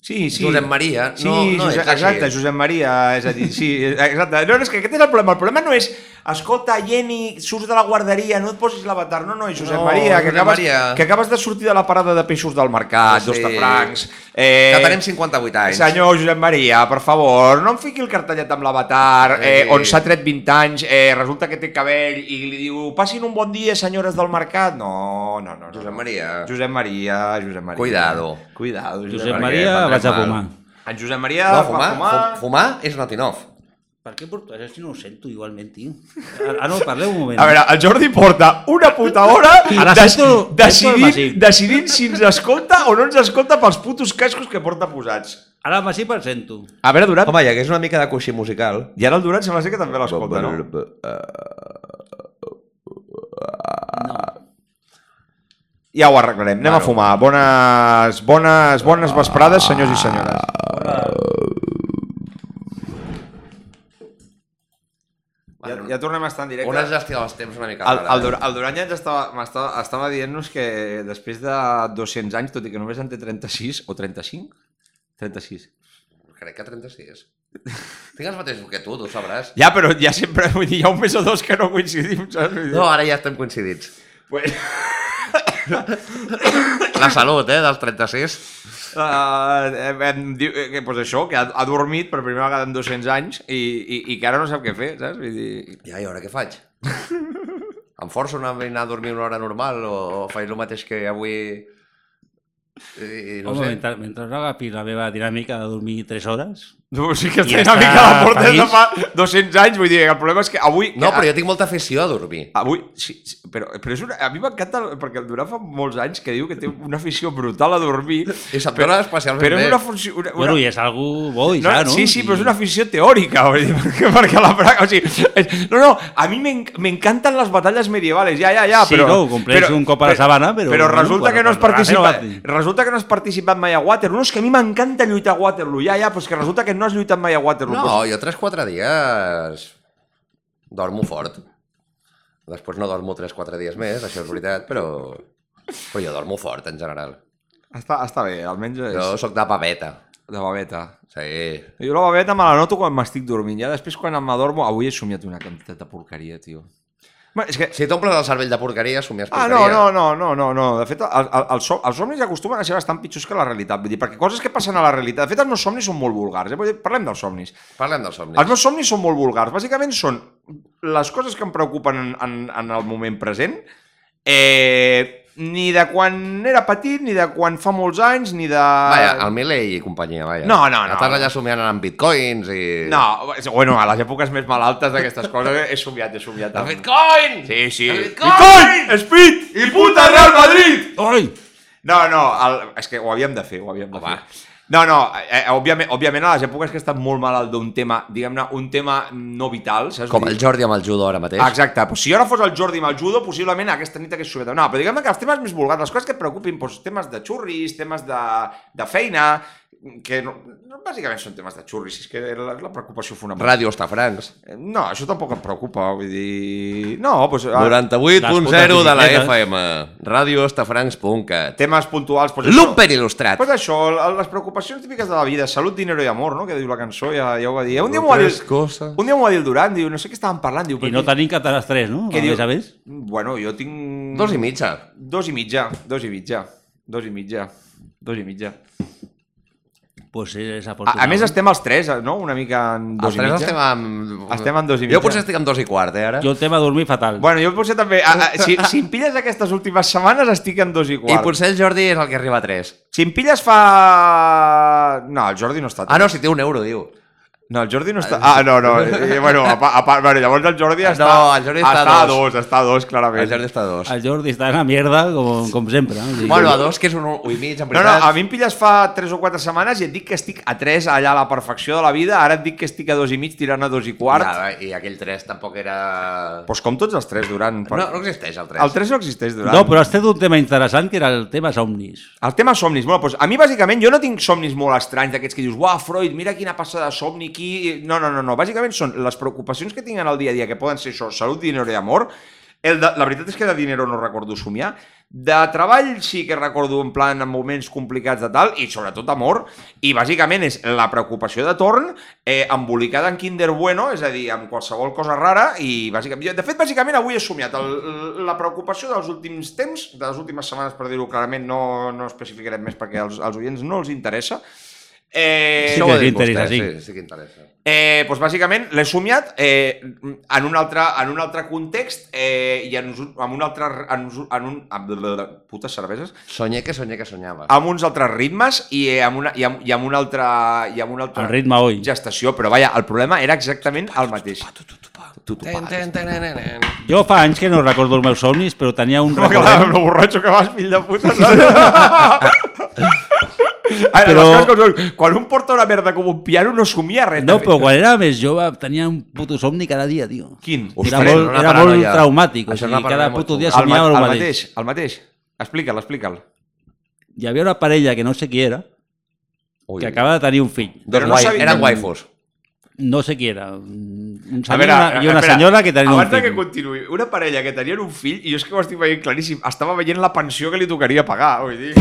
[SPEAKER 6] Sí, sí.
[SPEAKER 4] Josep Maria,
[SPEAKER 6] Sí,
[SPEAKER 4] no- no
[SPEAKER 6] Josep,
[SPEAKER 4] és així.
[SPEAKER 6] exacte, Josep Maria, és a dir, sí, exacte. No, no, és que aquest és el problema. El problema no és, escolta, Jenny, surts de la guarderia, no et posis l'avatar. No, no, és Josep
[SPEAKER 4] No,
[SPEAKER 6] Maria, que
[SPEAKER 4] Josep
[SPEAKER 6] acabes,
[SPEAKER 4] Maria.
[SPEAKER 6] que acabes de sortir de la parada de peixos del mercat,
[SPEAKER 4] Sí.
[SPEAKER 6] sí. d'Ostafrancs. Eh,
[SPEAKER 4] Que tenim 58 anys.
[SPEAKER 6] Senyor Josep Maria, per favor, no em fiqui el cartellet amb l'avatar eh,
[SPEAKER 4] Sí.
[SPEAKER 6] on s'ha tret 20 anys, eh, resulta que té cabell i li diu, passin un bon dia, senyores del mercat. No, no, no. no.
[SPEAKER 4] Josep Maria.
[SPEAKER 6] Josep Maria, Josep Maria.
[SPEAKER 4] Cuidado.
[SPEAKER 6] Cuidado, Josep,
[SPEAKER 5] Josep
[SPEAKER 6] Maria.
[SPEAKER 5] Maria
[SPEAKER 4] Perquè
[SPEAKER 5] vaig a
[SPEAKER 4] prendrem
[SPEAKER 5] fumar.
[SPEAKER 4] mal.
[SPEAKER 6] En Josep Maria
[SPEAKER 4] No,
[SPEAKER 6] va
[SPEAKER 4] fumar,
[SPEAKER 6] fumar...
[SPEAKER 4] fu- fumar és Latinov.
[SPEAKER 5] Per què porto això si no ho sento igualment, tio? Ara, ara no, parleu un moment.
[SPEAKER 6] A veure, el Jordi porta una puta hora
[SPEAKER 5] Ara
[SPEAKER 6] des-
[SPEAKER 5] sento- sento el
[SPEAKER 6] decidint,
[SPEAKER 5] vacil.
[SPEAKER 6] decidint si ens escolta o no ens escolta pels putos cascos que porta posats.
[SPEAKER 5] Ara amb així el sento.
[SPEAKER 6] A veure, Duran...
[SPEAKER 4] Home, hi hagués una mica de coixí musical.
[SPEAKER 6] I ara el Duran sembla ser que també l'escolta, no? Ja ho arreglarem, anem a fumar. Bones, bones, bones vesprades, senyors i senyores. Ja, ja tornem a estar en directe.
[SPEAKER 4] Una gestió dels temps una mica
[SPEAKER 6] El,
[SPEAKER 4] rara.
[SPEAKER 6] el, Dur el Duran ja ens estava, m'estava estava dient-nos que després de 200 anys, tot i que només en té 36 o 35, 36.
[SPEAKER 4] Crec que 36. Tinc els mateixos que tu, tu ho sabràs.
[SPEAKER 6] Ja, però ja sempre, vull dir, hi ha un mes o dos que no coincidim, saps? Vull dir,
[SPEAKER 4] No, ara ja estem coincidits.
[SPEAKER 6] Pues,
[SPEAKER 4] La salut, eh, dels 36.
[SPEAKER 6] uh, em diu eh, que, pues això, que ha, ha dormit per primera vegada en 200 anys i, i, i que ara no sap què fer, saps? Vull dir,
[SPEAKER 4] Ja, i ara què faig? em forço a anar a anar a dormir una hora normal o, o faig el mateix que avui... I, i no
[SPEAKER 5] Home,
[SPEAKER 4] sé.
[SPEAKER 5] mentre, mentre no agafi la meva dinàmica de dormir 3 hores...
[SPEAKER 6] no, sí que
[SPEAKER 5] I
[SPEAKER 6] està
[SPEAKER 5] està
[SPEAKER 6] una mica a la porta de
[SPEAKER 5] feliç.
[SPEAKER 6] fa 200 anys, vull dir, el problema és que avui...
[SPEAKER 4] No, però jo tinc molta afició a dormir.
[SPEAKER 6] Avui, sí, sí però, però és una, a mi m'encanta, el- perquè el Durà fa molts anys que diu que té una afició brutal a dormir,
[SPEAKER 4] I se'm dona especialment
[SPEAKER 6] però és
[SPEAKER 4] bé.
[SPEAKER 6] una funció... Una, una,
[SPEAKER 5] Bueno, i és algú bo i
[SPEAKER 6] no,
[SPEAKER 5] ja, no?
[SPEAKER 6] Sí, sí, però és
[SPEAKER 5] I-
[SPEAKER 6] una afició [LAUGHS] teòrica, vull dir, perquè, perquè la pràctica... O sigui, és- no, no, a mi m'en- m'encanten les batalles medievales, ja, ja, ja,
[SPEAKER 5] Sí,
[SPEAKER 6] però...
[SPEAKER 5] no, ho compleix un cop a la sabana, però-
[SPEAKER 6] Però
[SPEAKER 5] bueno,
[SPEAKER 6] resulta
[SPEAKER 5] quan-
[SPEAKER 6] que no has
[SPEAKER 5] quan agafi no
[SPEAKER 6] participat...
[SPEAKER 5] va-
[SPEAKER 6] Resulta que no has participat mai a Waterloo. No, és que a mi m'encanta lluitar a Waterloo, ja, ja, però és que resulta que no has lluitat mai a Waterloo. pues.
[SPEAKER 4] No, jo 3-4 dies dormo fort. Després no dormo 3-4 dies més, això és veritat, però... Però jo dormo fort, en general.
[SPEAKER 6] Però està, està bé, almenys és
[SPEAKER 4] Jo sóc de paveta.
[SPEAKER 6] de babeta.
[SPEAKER 4] Sí.
[SPEAKER 6] Jo la baveta me la noto quan m'estic dormint. Ja després quan m'adormo... Avui he somiat una quantitat de porqueria, tio. Bueno, és que...
[SPEAKER 4] Si t'omples el cervell de porqueria, somies
[SPEAKER 6] Ah,
[SPEAKER 4] porqueria.
[SPEAKER 6] no, no, no, no, no, no. De fet, el, el, el som, els somnis acostumen a ser bastant pitjors que la realitat. Vull dir, perquè coses que passen a la realitat... De fet, els meus somnis són molt vulgars. Eh? Vull dir, Parlem dels somnis.
[SPEAKER 4] Parlem dels somnis.
[SPEAKER 6] Els meus somnis són molt vulgars. Bàsicament són les coses que em preocupen en, en, en el moment present Eh, ni de quan era petit, ni de quan fa molts anys, ni de...
[SPEAKER 4] Vaja, el Milley i companyia, vaja.
[SPEAKER 6] No, no, no.
[SPEAKER 4] Estàs allà somiant amb bitcoins i...
[SPEAKER 6] No, bueno, a les èpoques més malaltes d'aquestes coses he somiat, he
[SPEAKER 4] El
[SPEAKER 6] somiat. Amb...
[SPEAKER 4] bitcoin!
[SPEAKER 6] Sí, sí.
[SPEAKER 4] El bitcoin!
[SPEAKER 6] Bitcoin! Speed! I puta Real Madrid!
[SPEAKER 5] Oi!
[SPEAKER 6] No, no, el, és que ho havíem de fer, ho havíem de
[SPEAKER 4] Home.
[SPEAKER 6] fer. No, no, eh, eh, òbviament, òbviament a les èpoques que he estat molt malalt d'un tema, diguem-ne, un tema no vital, saps?
[SPEAKER 4] Com
[SPEAKER 6] Vull
[SPEAKER 4] el
[SPEAKER 6] dir-
[SPEAKER 4] Jordi amb el judo ara mateix.
[SPEAKER 6] Exacte, però si jo ara fos el Jordi amb el judo, possiblement aquesta nit hagués somiat. No, però diguem-ne que els temes més vulgars, les coses que et preocupin, doncs, temes de xurris, temes de, de feina, que no, no, bàsicament són temes de xurris, és que la, la preocupació fonamental. Eh,
[SPEAKER 4] Ràdio Estafrancs.
[SPEAKER 6] No, això tampoc em preocupa, vull dir... No, doncs... ara-
[SPEAKER 4] 98.0 de la
[SPEAKER 5] bicicletes.
[SPEAKER 4] FM. Ràdio Estafrancs.cat.
[SPEAKER 6] Temes puntuals... Doncs, això.
[SPEAKER 4] Lumper il·lustrat.
[SPEAKER 6] Pues això, el- les preocupacions típiques de la vida, salut, dinero i amor, no? Que diu la cançó, ja, ja ho va dir. Un dia m'ho va dir,
[SPEAKER 4] Tres coses.
[SPEAKER 6] un dia m'ho va dir el Duran, diu, no sé què estàvem parlant, diu...
[SPEAKER 5] I no tenim cap de les tres, no? a
[SPEAKER 6] Què diu?
[SPEAKER 5] més a més.
[SPEAKER 6] Bueno, jo tinc...
[SPEAKER 4] Dos i mitja.
[SPEAKER 6] Dos i mitja, dos i mitja, dos i mitja, dos i mitja.
[SPEAKER 5] Pues és
[SPEAKER 6] A,
[SPEAKER 5] afortunat.
[SPEAKER 6] a més, estem els tres, no? Una mica en dos
[SPEAKER 4] Els
[SPEAKER 6] i
[SPEAKER 4] tres
[SPEAKER 6] mitja.
[SPEAKER 4] estem amb...
[SPEAKER 6] Estem amb dos i
[SPEAKER 4] Jo
[SPEAKER 6] mitja.
[SPEAKER 4] potser estic amb dos i quart, eh, ara.
[SPEAKER 5] Jo el tema dormir fatal.
[SPEAKER 6] Bueno, jo potser també... A, a, si, si em pilles aquestes últimes setmanes, estic en dos i
[SPEAKER 4] I
[SPEAKER 6] quart.
[SPEAKER 4] potser el Jordi és el que arriba a tres.
[SPEAKER 6] Si em pilles fa... No, el Jordi no està...
[SPEAKER 4] Ah, no, si té un euro, diu.
[SPEAKER 6] No, el Jordi no està... Ah, no, no. [LAUGHS] Eh, bueno, a, pa, a part, bueno, llavors el Jordi
[SPEAKER 4] Ah, No,
[SPEAKER 6] està...
[SPEAKER 4] el Jordi està a
[SPEAKER 6] està a
[SPEAKER 4] dos.
[SPEAKER 6] dos. Està a dos, clarament.
[SPEAKER 4] El Jordi està a
[SPEAKER 6] pues-
[SPEAKER 4] dos.
[SPEAKER 5] El Jordi està en la mierda, com, com sempre. No? O sigui,
[SPEAKER 4] Bueno, a dos, que és un u i mig, en
[SPEAKER 6] No, no,
[SPEAKER 4] veritat.
[SPEAKER 6] a mi em pilles fa 3 o 4 setmanes i et dic que estic a 3 allà a la perfecció de la vida, ara et dic que estic a 2 i mig tirant a 2 i quart.
[SPEAKER 4] Ja, I aquell tres tampoc era...
[SPEAKER 6] Doncs pues com tots els 3, Duran.
[SPEAKER 4] No, no existeix el tres.
[SPEAKER 6] El 3 no existeix, Duran.
[SPEAKER 5] No, però has tret un tema interessant que era el tema somnis.
[SPEAKER 6] El tema somnis, bueno, doncs a mi bàsicament jo no tinc somnis molt estranys d'aquests que dius, uah, Freud, mira quina passada de somni aquí... No, no, no, no, bàsicament són les preocupacions que tinc en el dia a dia, que poden ser això, salut, dinero i amor, el de, la veritat és que de dinero no recordo somiar, de treball sí que recordo en plan en moments complicats de tal, i sobretot amor, i bàsicament és la preocupació de torn eh, embolicada en Kinder Bueno, és a dir, amb qualsevol cosa rara, i bàsicament... jo, De fet, bàsicament avui he somiat el, la preocupació dels últims temps, de les últimes setmanes, per dir-ho clarament, no, no especificarem més perquè als, als oients no els interessa, eh,
[SPEAKER 5] Sí
[SPEAKER 4] Això ho
[SPEAKER 5] que
[SPEAKER 4] ha
[SPEAKER 5] els
[SPEAKER 4] dit
[SPEAKER 5] interessa,
[SPEAKER 4] vostè,
[SPEAKER 5] sí.
[SPEAKER 4] sí, sí que interessa.
[SPEAKER 6] Eh, doncs bàsicament l'he somiat eh, en, un altre, en un altre context eh, i en, uns- amb un altre... En, uns- en un, amb, putes cerveses.
[SPEAKER 4] Soñé que soñé que soñava.
[SPEAKER 6] Amb uns altres ritmes i, eh, amb, una, i, amb, i amb un altre... I amb un altre
[SPEAKER 5] El ritme oi.
[SPEAKER 6] Gestació, però vaja, el problema era exactament el mateix.
[SPEAKER 4] Ten, ten, ten, ten, ten.
[SPEAKER 5] Jo fa anys que no recordo els meus somnis, però tenia un recurrent.
[SPEAKER 6] lo borratxo que vas, fill de puta.
[SPEAKER 5] [LAUGHS]
[SPEAKER 6] Ara,
[SPEAKER 5] Però-
[SPEAKER 6] les coses com són. quan un porta una merda com un piano no somia res.
[SPEAKER 5] No, però quan era més jove tenia un puto somni cada dia, tio.
[SPEAKER 6] Quin?
[SPEAKER 5] Era
[SPEAKER 4] Ostres,
[SPEAKER 5] molt,
[SPEAKER 4] una
[SPEAKER 5] era molt
[SPEAKER 4] paranoia.
[SPEAKER 5] traumàtic. O
[SPEAKER 4] Això és
[SPEAKER 5] sigui,
[SPEAKER 4] una
[SPEAKER 5] cada
[SPEAKER 4] paranoia molt
[SPEAKER 5] puto dia
[SPEAKER 4] xunga.
[SPEAKER 6] El, ma
[SPEAKER 5] somiava el,
[SPEAKER 6] el
[SPEAKER 5] mateix.
[SPEAKER 6] mateix, el mateix. Explica'l, explica'l.
[SPEAKER 5] Hi havia una parella que no sé qui era,
[SPEAKER 4] Ui.
[SPEAKER 5] que acaba de tenir un fill.
[SPEAKER 4] Dos
[SPEAKER 6] Però no
[SPEAKER 4] guai-
[SPEAKER 6] sabia-
[SPEAKER 4] Eren waifus.
[SPEAKER 5] No sé qui era. Un un senyor i una- i una
[SPEAKER 6] eh, espera,
[SPEAKER 5] senyora que tenien un
[SPEAKER 6] abans de que
[SPEAKER 5] fill.
[SPEAKER 6] continuï, una parella que tenien un fill, i jo és que ho estic veient claríssim, estava veient la pensió que li tocaria pagar,
[SPEAKER 5] [LAUGHS]
[SPEAKER 6] vull dir...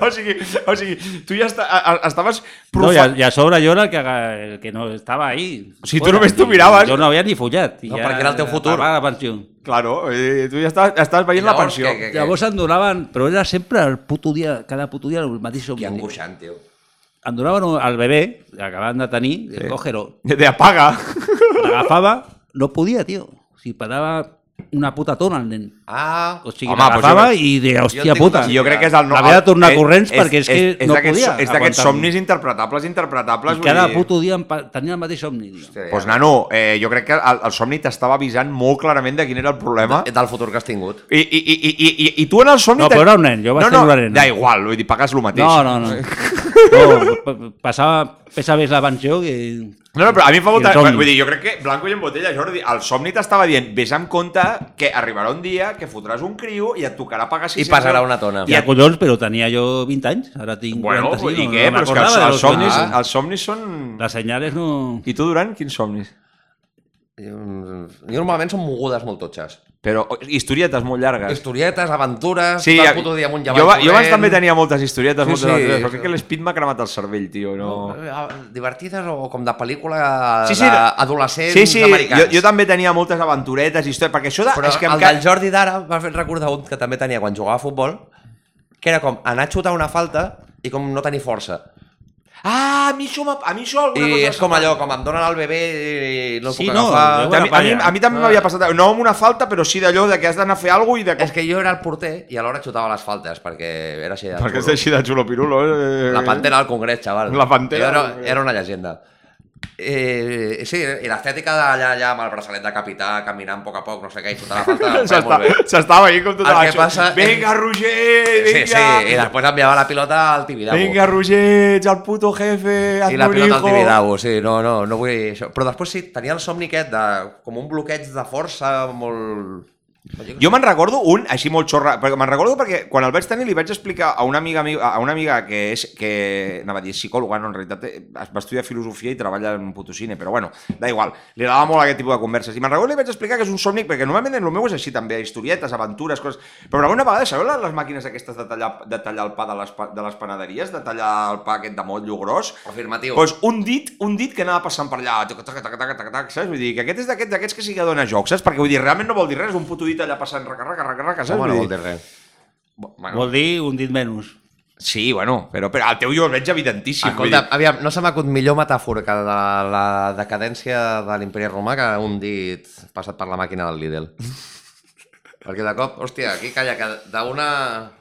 [SPEAKER 6] o sigui, o sigui, tu ja esta, a, a, estaves...
[SPEAKER 5] No,
[SPEAKER 6] profe-
[SPEAKER 5] i, a, i a sobre jo era el que, el que no estava ahí.
[SPEAKER 6] O sigui, tu només tu miraves.
[SPEAKER 5] Jo no havia ni follat. i
[SPEAKER 4] No, perquè era el teu futur.
[SPEAKER 5] estava a la pensió.
[SPEAKER 6] Claro, vull dir, tu ja estaves, estaves veient la
[SPEAKER 4] Llavors,
[SPEAKER 6] pensió.
[SPEAKER 4] què, què,
[SPEAKER 5] Llavors em donaven, però era sempre el puto dia, cada puto dia el mateix somni.
[SPEAKER 4] Que angoixant, tio.
[SPEAKER 5] Em donaven un- al bebè, acabaven de tenir, sí. cógelo.
[SPEAKER 6] De [LAUGHS] apaga.
[SPEAKER 5] L'agafava, no podia, tio. O sigui, parava una puta tona al nen.
[SPEAKER 4] Ah,
[SPEAKER 5] O sigui,
[SPEAKER 6] Home,
[SPEAKER 5] l'agafava
[SPEAKER 6] però jo-
[SPEAKER 5] i deia,
[SPEAKER 4] jo
[SPEAKER 5] hòstia
[SPEAKER 4] tinc
[SPEAKER 5] puta.
[SPEAKER 4] una-
[SPEAKER 6] Jo crec que és el... no-
[SPEAKER 5] Havia de tornar
[SPEAKER 6] el-
[SPEAKER 5] corrents perquè és que no
[SPEAKER 6] d'aquests-
[SPEAKER 5] podia
[SPEAKER 6] És d'aquests
[SPEAKER 5] aguantar-lo.
[SPEAKER 6] somnis interpretables, interpretables.
[SPEAKER 5] I
[SPEAKER 6] vull
[SPEAKER 5] cada
[SPEAKER 6] dir-
[SPEAKER 5] puto dia em pa- tenia el mateix somni. tio.
[SPEAKER 4] hòstia,
[SPEAKER 6] Doncs, nano, eh, jo crec que el, el somni t'estava avisant molt clarament de quin era el problema.
[SPEAKER 4] Del futur que has tingut.
[SPEAKER 6] I, i, i, i, i, i tu en el somni...
[SPEAKER 5] No,
[SPEAKER 6] te-
[SPEAKER 5] però era un nen, jo vaig
[SPEAKER 6] no, no,
[SPEAKER 5] tenir una nena.
[SPEAKER 6] Da igual, vull dir, pagues el mateix.
[SPEAKER 5] No, no,
[SPEAKER 6] [LAUGHS]
[SPEAKER 5] no. no pa- passava, pesa més la pensió que...
[SPEAKER 6] No, no, però a mi em fa molta...
[SPEAKER 5] I el somni.
[SPEAKER 6] Vull dir, jo crec que Blanco i en Botella, Jordi, el somni t'estava dient, vés amb compte que arribarà un dia que fotràs un criu i et tocarà pagar 600
[SPEAKER 4] passarà
[SPEAKER 6] euros.
[SPEAKER 4] una tona.
[SPEAKER 5] I a collons, però tenia jo 20 anys, ara tinc
[SPEAKER 6] Bueno,
[SPEAKER 5] 45.
[SPEAKER 6] i
[SPEAKER 5] no-
[SPEAKER 6] què?
[SPEAKER 5] no
[SPEAKER 6] però és que
[SPEAKER 5] m'acordava
[SPEAKER 6] els,
[SPEAKER 5] de
[SPEAKER 6] els,
[SPEAKER 5] los
[SPEAKER 6] somnis,
[SPEAKER 5] somnis.
[SPEAKER 6] els somnis són...
[SPEAKER 5] Les senyales no...
[SPEAKER 6] I tu, Duran, quins somnis?
[SPEAKER 4] Jo mm, jo normalment són mogudes molt totxes.
[SPEAKER 6] Però o- historietes molt llargues.
[SPEAKER 4] Historietes, aventures, sí,
[SPEAKER 6] a-
[SPEAKER 4] el puto dia amunt i avall.
[SPEAKER 6] jo, va- jo abans
[SPEAKER 4] corrent.
[SPEAKER 6] també tenia moltes historietes,
[SPEAKER 4] Sí,
[SPEAKER 6] moltes
[SPEAKER 4] sí.
[SPEAKER 6] altres, però crec que l'Speed m'ha cremat el cervell, tio. No...
[SPEAKER 4] Eh, Divertides o com de pel·lícula
[SPEAKER 6] Sí,
[SPEAKER 4] sí,
[SPEAKER 6] sí.
[SPEAKER 4] sí, d'adolescents
[SPEAKER 6] Sí, sí,
[SPEAKER 4] americans.
[SPEAKER 6] jo, jo també tenia moltes aventuretes i històries, perquè això de,
[SPEAKER 4] Però
[SPEAKER 6] és que em
[SPEAKER 4] el
[SPEAKER 6] ca-
[SPEAKER 4] del Jordi d'ara va fer recordar un que també tenia quan jugava a futbol, que era com anar a xutar una falta i com no tenir força.
[SPEAKER 6] Ah, a mi això, m'ha- a mi això alguna
[SPEAKER 4] I
[SPEAKER 6] cosa...
[SPEAKER 4] és com allò, com em donen el bebè i no el
[SPEAKER 5] Sí,
[SPEAKER 4] puc
[SPEAKER 5] no,
[SPEAKER 4] agafar...
[SPEAKER 5] de
[SPEAKER 6] A mi, a, mi, a mi també
[SPEAKER 4] Ah.
[SPEAKER 6] m'havia passat, no amb una falta, però sí d'allò de que has d'anar a fer alguna cosa i de...
[SPEAKER 4] És que jo era el porter i alhora xutava les faltes, perquè era així de
[SPEAKER 6] Perquè
[SPEAKER 4] xurro.
[SPEAKER 6] és així de xulo pirulo. Eh?
[SPEAKER 4] La pantera al congrés, xaval.
[SPEAKER 6] La pantera.
[SPEAKER 4] Era, era una llegenda. Eh, sí, i l'estètica d'allà ja amb el braçalet de capità, caminant a poc a poc, no sé què, i xutar la
[SPEAKER 6] [LAUGHS]
[SPEAKER 4] falta, em feia
[SPEAKER 6] S'està-
[SPEAKER 4] molt bé.
[SPEAKER 6] S'estava ahí com tota
[SPEAKER 4] El
[SPEAKER 6] la...
[SPEAKER 4] que
[SPEAKER 6] xo-
[SPEAKER 4] passa-
[SPEAKER 6] Vinga, Roger,
[SPEAKER 4] Sí,
[SPEAKER 6] vinga!
[SPEAKER 4] sí, i després enviava la pilota al Tibidabo.
[SPEAKER 6] Vinga, Roger, ets el puto jefe, hazme
[SPEAKER 4] I la
[SPEAKER 6] un
[SPEAKER 4] pilota al
[SPEAKER 6] hijo.
[SPEAKER 4] Tibidabo, sí, no, no, no vull això. Però després sí, tenia el somni aquest de, com un bloqueig de força molt...
[SPEAKER 6] Jo me'n recordo un així molt xorra, perquè me'n recordo perquè quan el vaig tenir li vaig explicar a una amiga, mi- a una amiga que és que anava a dir psicòloga, no, en realitat eh, es- va estudiar filosofia i treballa en Potosine, però bueno, da igual, li agradava molt aquest tipus de converses. I me'n recordo li vaig explicar que és un somnic, perquè normalment el meu és així també, historietes, aventures, coses... Però alguna vegada, sabeu les, les màquines aquestes de tallar, de tallar el pa de les, pa- de les panaderies, de tallar el pa aquest de motllo gros?
[SPEAKER 4] Afirmatiu.
[SPEAKER 6] Pues un dit, un dit que anava passant per allà, tac, tac, tac, tac, tac, tac, saps? Vull dir, que aquest és d'aquests d'aquests que sí que dona joc, saps? Perquè vull dir, realment no vol dir res, un puto dit allà passant raca, raca, raca, raca, saps?
[SPEAKER 4] Home, no
[SPEAKER 6] Vull
[SPEAKER 4] vol
[SPEAKER 6] dir-
[SPEAKER 4] dir res. Bueno,
[SPEAKER 5] Vol dir un dit menys.
[SPEAKER 6] Sí, bueno, però, però el teu jo el veig evidentíssim. vull
[SPEAKER 4] Escolta, aviam, no se m'ha acut millor metàfora que de la decadència de l'imperi romà que un dit passat per la màquina del
[SPEAKER 6] [LAUGHS]
[SPEAKER 4] Lidl. Perquè de cop, hòstia, aquí calla, que d'una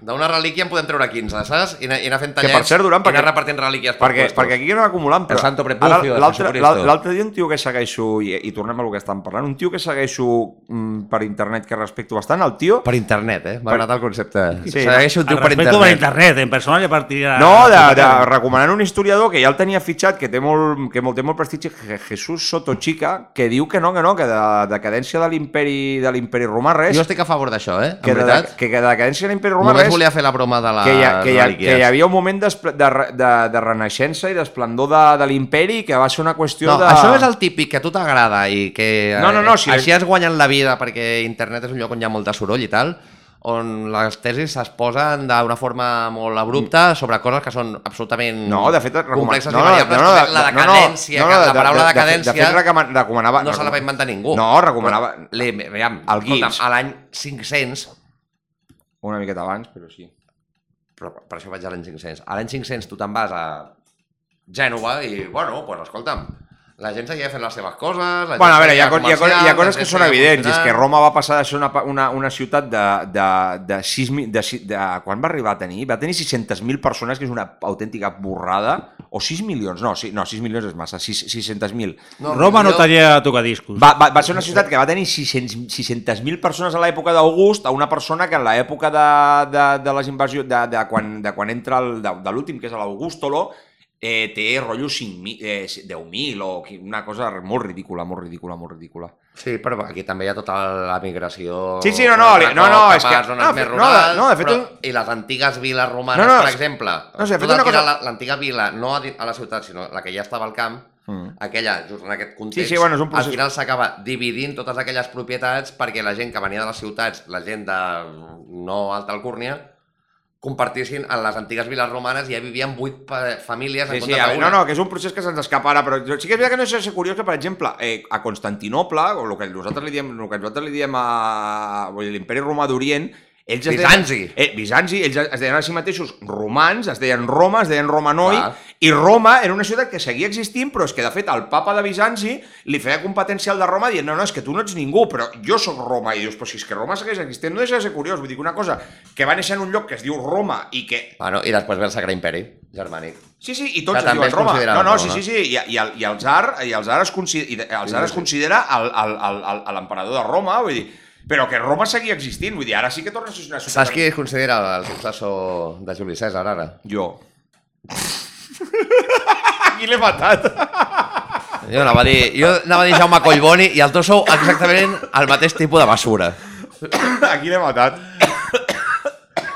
[SPEAKER 4] d'una relíquia en podem treure 15, saps? I anar, i anar fent
[SPEAKER 6] per
[SPEAKER 4] tallets,
[SPEAKER 6] cert,
[SPEAKER 4] i
[SPEAKER 6] Duran,
[SPEAKER 4] anar
[SPEAKER 6] perquè-
[SPEAKER 4] repartint relíquies per
[SPEAKER 6] perquè,
[SPEAKER 4] puestos.
[SPEAKER 6] perquè aquí anem acumulant, però...
[SPEAKER 4] El santo prepucio de
[SPEAKER 6] ara l'altre-
[SPEAKER 4] Jesucristo.
[SPEAKER 6] l'al- L'altre dia un tio que segueixo, i, i tornem a lo que estan parlant, un tio que segueixo mm, per internet que respecto bastant, el tio...
[SPEAKER 4] Per internet, eh? M'ha agradat el concepte.
[SPEAKER 6] Sí.
[SPEAKER 4] Sí. Segueix un
[SPEAKER 5] El
[SPEAKER 4] tio per
[SPEAKER 5] respecto per
[SPEAKER 4] internet.
[SPEAKER 5] internet, en persona ja partirà...
[SPEAKER 6] No, de, de recomanant un historiador que ja el tenia fitxat, que té molt, que molt, té molt prestigi, Je- Jesús Sotochica, que diu que no, que no, que de decadència de l'imperi de l'imperi romà res,
[SPEAKER 4] Jo estic a favor d'això, eh? En
[SPEAKER 6] que, de,
[SPEAKER 4] veritat.
[SPEAKER 6] que, que de decadència de l'imperi romà
[SPEAKER 4] Només
[SPEAKER 6] res,
[SPEAKER 4] volia fer la broma de les
[SPEAKER 6] que hi, ha, que, hi ha,
[SPEAKER 4] relíquies.
[SPEAKER 6] que hi havia un moment d'espl- de, re- de, de renaixença i d'esplendor de, de l'imperi que va ser una qüestió
[SPEAKER 4] No,
[SPEAKER 6] de...
[SPEAKER 4] això és el típic que a tu t'agrada i que eh,
[SPEAKER 6] No, no, no, si-
[SPEAKER 4] així has guanyat la vida perquè internet és un lloc on hi ha molt de soroll i tal, on les tesis s'exposen d'una forma molt abrupta sobre coses que són absolutament
[SPEAKER 6] Mm. No, de fet... recoman-
[SPEAKER 4] complexes
[SPEAKER 6] no,
[SPEAKER 4] i
[SPEAKER 6] no,
[SPEAKER 4] variables.
[SPEAKER 6] no, no,
[SPEAKER 4] la
[SPEAKER 6] de- no, no,
[SPEAKER 4] decadència,
[SPEAKER 6] no,
[SPEAKER 4] que
[SPEAKER 6] no,
[SPEAKER 4] la
[SPEAKER 6] de-
[SPEAKER 4] paraula
[SPEAKER 6] de- de-
[SPEAKER 4] decadència
[SPEAKER 6] De, fet, recoman- recomanava...
[SPEAKER 4] no se la va inventar ningú.
[SPEAKER 6] No, recomanava...
[SPEAKER 4] Li, veiem,
[SPEAKER 6] El Guix.
[SPEAKER 4] escolta'm, a l'any 500,
[SPEAKER 6] Una miqueta abans, però sí.
[SPEAKER 4] però per això vaig a l'any 500, a l'any 500 tu te'n vas a Gènova i, bueno, pues, escolta'm, la gent seguia fent les seves coses... La
[SPEAKER 6] Bueno, a
[SPEAKER 4] gent
[SPEAKER 6] veure, hi ha,
[SPEAKER 4] seguia
[SPEAKER 6] co- hi ha, coses, hi ha
[SPEAKER 4] comerciant, la
[SPEAKER 6] coses que
[SPEAKER 4] gent
[SPEAKER 6] són
[SPEAKER 4] seguia
[SPEAKER 6] evidents, i és que
[SPEAKER 4] funcionant.
[SPEAKER 6] Roma va passar de ser una, pa- una, una ciutat de, de, de, sis, mi- de, si- de, quan va arribar a tenir? Va tenir 600.000 persones, que és una autèntica borrada, o 6 milions, no, sí, no 6 milions és massa, sis- 600.000.
[SPEAKER 5] Roma no
[SPEAKER 4] jo-
[SPEAKER 5] talla tocadiscos.
[SPEAKER 6] Va, va, va ser una ciutat que va tenir 600 600.000 persones a l'època d'August, a una persona que en l'època de, de, de les invasions, de, de, quan, de quan entra el, de, de l'últim, que és l'Augústolo, eh, té rotllo 5.000, eh, 10.000 o qui- una cosa molt ridícula, molt ridícula, molt ridícula.
[SPEAKER 4] Sí, però aquí també hi ha tota la migració...
[SPEAKER 6] Sí, sí, no, no, li- no, no, és que-
[SPEAKER 4] No,
[SPEAKER 6] no,
[SPEAKER 4] més
[SPEAKER 6] fe- no,
[SPEAKER 4] rurals,
[SPEAKER 6] no, de fet,
[SPEAKER 4] però,
[SPEAKER 6] un-
[SPEAKER 4] I les antigues viles romanes,
[SPEAKER 6] No, no,
[SPEAKER 4] per
[SPEAKER 6] és-
[SPEAKER 4] exemple.
[SPEAKER 6] no, sí, de fet,
[SPEAKER 4] tota
[SPEAKER 6] una
[SPEAKER 4] la que era
[SPEAKER 6] cosa-
[SPEAKER 4] la- L'antiga vila, no a di- a la ciutat, sinó la que ja estava al camp,
[SPEAKER 6] Mm.
[SPEAKER 4] aquella, just en aquest context,
[SPEAKER 6] Sí, sí, bueno, és un procés.
[SPEAKER 4] al final s'acaba dividint totes aquelles propietats perquè la gent que venia de les ciutats, la gent de no alta alcúrnia, compartissin en les antigues viles romanes i ja vivien vuit pa- famílies en
[SPEAKER 6] Sí, sí,
[SPEAKER 4] comptes
[SPEAKER 6] a
[SPEAKER 4] d'una.
[SPEAKER 6] veure, no, no, que és un procés que se'ns escapa ara, però sí que és veritat que no és ser curiós que, per exemple, eh, a Constantinople, o el que nosaltres li diem, el que nosaltres li diem a vull dir, l'imperi romà d'Orient, ells es
[SPEAKER 4] Bizanci.
[SPEAKER 6] Deien, eh, Bizanci, ells es deien a si mateixos romans, es deien Roma, es deien Romanoi,
[SPEAKER 4] Clar.
[SPEAKER 6] i Roma era una ciutat que seguia existint, però és que, de fet, el papa de Bizanci li feia competència al de Roma dient, no, no, és que tu no ets ningú, però jo sóc Roma. I dius, però si és que Roma segueix existint, no deixa de ser curiós. Vull dir que una cosa que va néixer en un lloc que es diu Roma i que
[SPEAKER 4] Bueno, i després ve el Sacre Imperi, germànic.
[SPEAKER 6] Sí, sí, i tots
[SPEAKER 4] Que
[SPEAKER 6] es
[SPEAKER 4] també
[SPEAKER 6] diuen
[SPEAKER 4] es
[SPEAKER 6] Roma.
[SPEAKER 4] considera
[SPEAKER 6] No, no,
[SPEAKER 4] Roma.
[SPEAKER 6] sí, sí, sí, i, i, el, i el zar, i el zar es, consi- i de- el zar es considera el- el- el- el- a l'emperador de Roma, vull dir, però que Roma seguia existint, vull dir, ara sí que torna a ser una ciutat...
[SPEAKER 4] Saps qui es considera el successor de Juli César, ara?
[SPEAKER 6] Jo. [LAUGHS] Aquí l'he matat.
[SPEAKER 4] Jo anava a dir, jo anava a dir Jaume Collboni i els dos sou exactament el mateix tipus de basura.
[SPEAKER 6] Aquí l'he matat.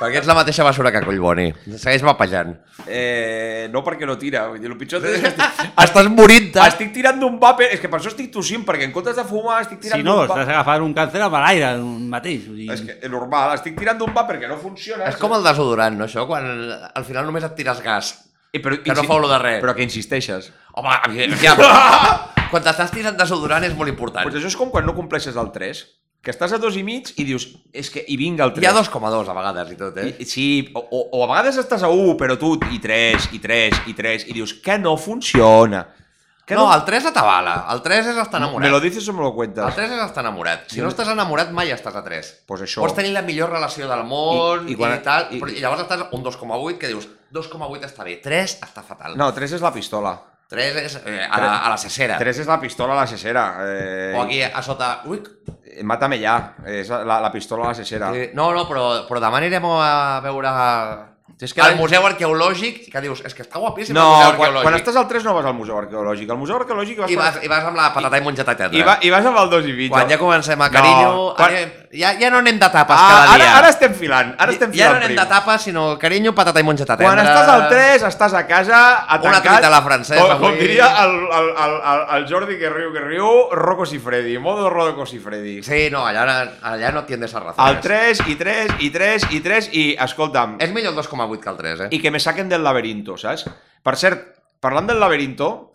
[SPEAKER 4] Perquè ets la mateixa basura que Collboni. Segueix vapejant.
[SPEAKER 6] Eh, no perquè no tira, vull dir, el pitjor és que
[SPEAKER 4] [LAUGHS]
[SPEAKER 6] estic,
[SPEAKER 4] Estàs morint-te.
[SPEAKER 6] estic tirant d'un vapor, és que per això estic tossint, perquè en comptes de fumar estic tirant
[SPEAKER 5] Si no,
[SPEAKER 6] d'un
[SPEAKER 5] estàs
[SPEAKER 6] vapor.
[SPEAKER 5] agafant un càncer amb l'aire un mateix. Vull dir,
[SPEAKER 6] És que, eh, normal, estic tirant d'un vapor que no funciona.
[SPEAKER 4] És com el desodorant, no, això? Quan al final només et tires gas.
[SPEAKER 6] Eh, però,
[SPEAKER 4] que no fa olor de res.
[SPEAKER 6] Però que insisteixes.
[SPEAKER 4] Home, [LAUGHS] aviam, quan t'estàs tirant desodorant és molt important.
[SPEAKER 6] Doncs això és com quan no compleixes el 3. que estàs a dos i mig i dius, és que hi vinga el 3.
[SPEAKER 4] Hi ha 2,2 a vegades i tot, eh?
[SPEAKER 6] I, sí, o, o, o a vegades estàs a 1, però tu i 3, i 3, i 3, i dius que no funciona. Que
[SPEAKER 4] no, el 3 atabala. El 3 és estar enamorat.
[SPEAKER 6] Me lo dices o me lo
[SPEAKER 4] El
[SPEAKER 6] cuentas.
[SPEAKER 4] 3 és estar enamorat. Si no estàs enamorat, mai estàs a 3.
[SPEAKER 6] Pues això.
[SPEAKER 4] Pots tenir la millor relació del món i,
[SPEAKER 6] I- i quan-
[SPEAKER 4] tal,
[SPEAKER 6] i-
[SPEAKER 4] però
[SPEAKER 6] i-
[SPEAKER 4] llavors estàs un 2,8 que dius 2,8 està bé, 3 està fatal.
[SPEAKER 6] No, 3 és la pistola.
[SPEAKER 4] 3 és eh, a, la, a la cesera.
[SPEAKER 6] 3 és la pistola a la cesera. Eh,
[SPEAKER 4] O aquí a sota... Ui,
[SPEAKER 6] Eh, Mátame ya. És la, la pistola a la cesera.
[SPEAKER 4] eh, no, no, però, però demà anirem a veure
[SPEAKER 6] És
[SPEAKER 4] és
[SPEAKER 6] que
[SPEAKER 4] que
[SPEAKER 6] ara-
[SPEAKER 4] el museu arqueològic que dius, és que està guapíssim
[SPEAKER 6] No,
[SPEAKER 4] el museu
[SPEAKER 6] quan,
[SPEAKER 4] arqueològic.
[SPEAKER 6] quan estàs al 3 no vas al Museu Arqueològic. Al Museu Arqueològic vas...
[SPEAKER 4] I vas,
[SPEAKER 6] per-
[SPEAKER 4] I vas amb la patata i monjeta tendra.
[SPEAKER 6] i, va, i vas amb el 2 i mig.
[SPEAKER 4] Quan ja comencem a carinyo, no,
[SPEAKER 6] quan-
[SPEAKER 4] anem, ja, ja no anem de tapes
[SPEAKER 6] Ah,
[SPEAKER 4] cada dia.
[SPEAKER 6] ara, ara estem filant, ara estem
[SPEAKER 4] ja
[SPEAKER 6] filant
[SPEAKER 4] no anem
[SPEAKER 6] prim.
[SPEAKER 4] de tapes, sinó carinyo, patata i monjeta tendra.
[SPEAKER 6] Quan estàs al 3, estàs a casa,
[SPEAKER 4] Una
[SPEAKER 6] atancat...
[SPEAKER 4] truita a la francesa,
[SPEAKER 6] Com, com
[SPEAKER 4] avui.
[SPEAKER 6] diria el, el, el, el, el Jordi que riu, que riu, Rocco Sifredi, modo Rocco Sifredi.
[SPEAKER 4] Sí, no, allà, allà no tienes a razones.
[SPEAKER 6] El 3 i 3 i 3 i 3 i, escolta'm,
[SPEAKER 4] És millor el 2,8 que el 3, eh?
[SPEAKER 6] i que me saquen del laberinto, saps? Per cert, parlant del laberinto,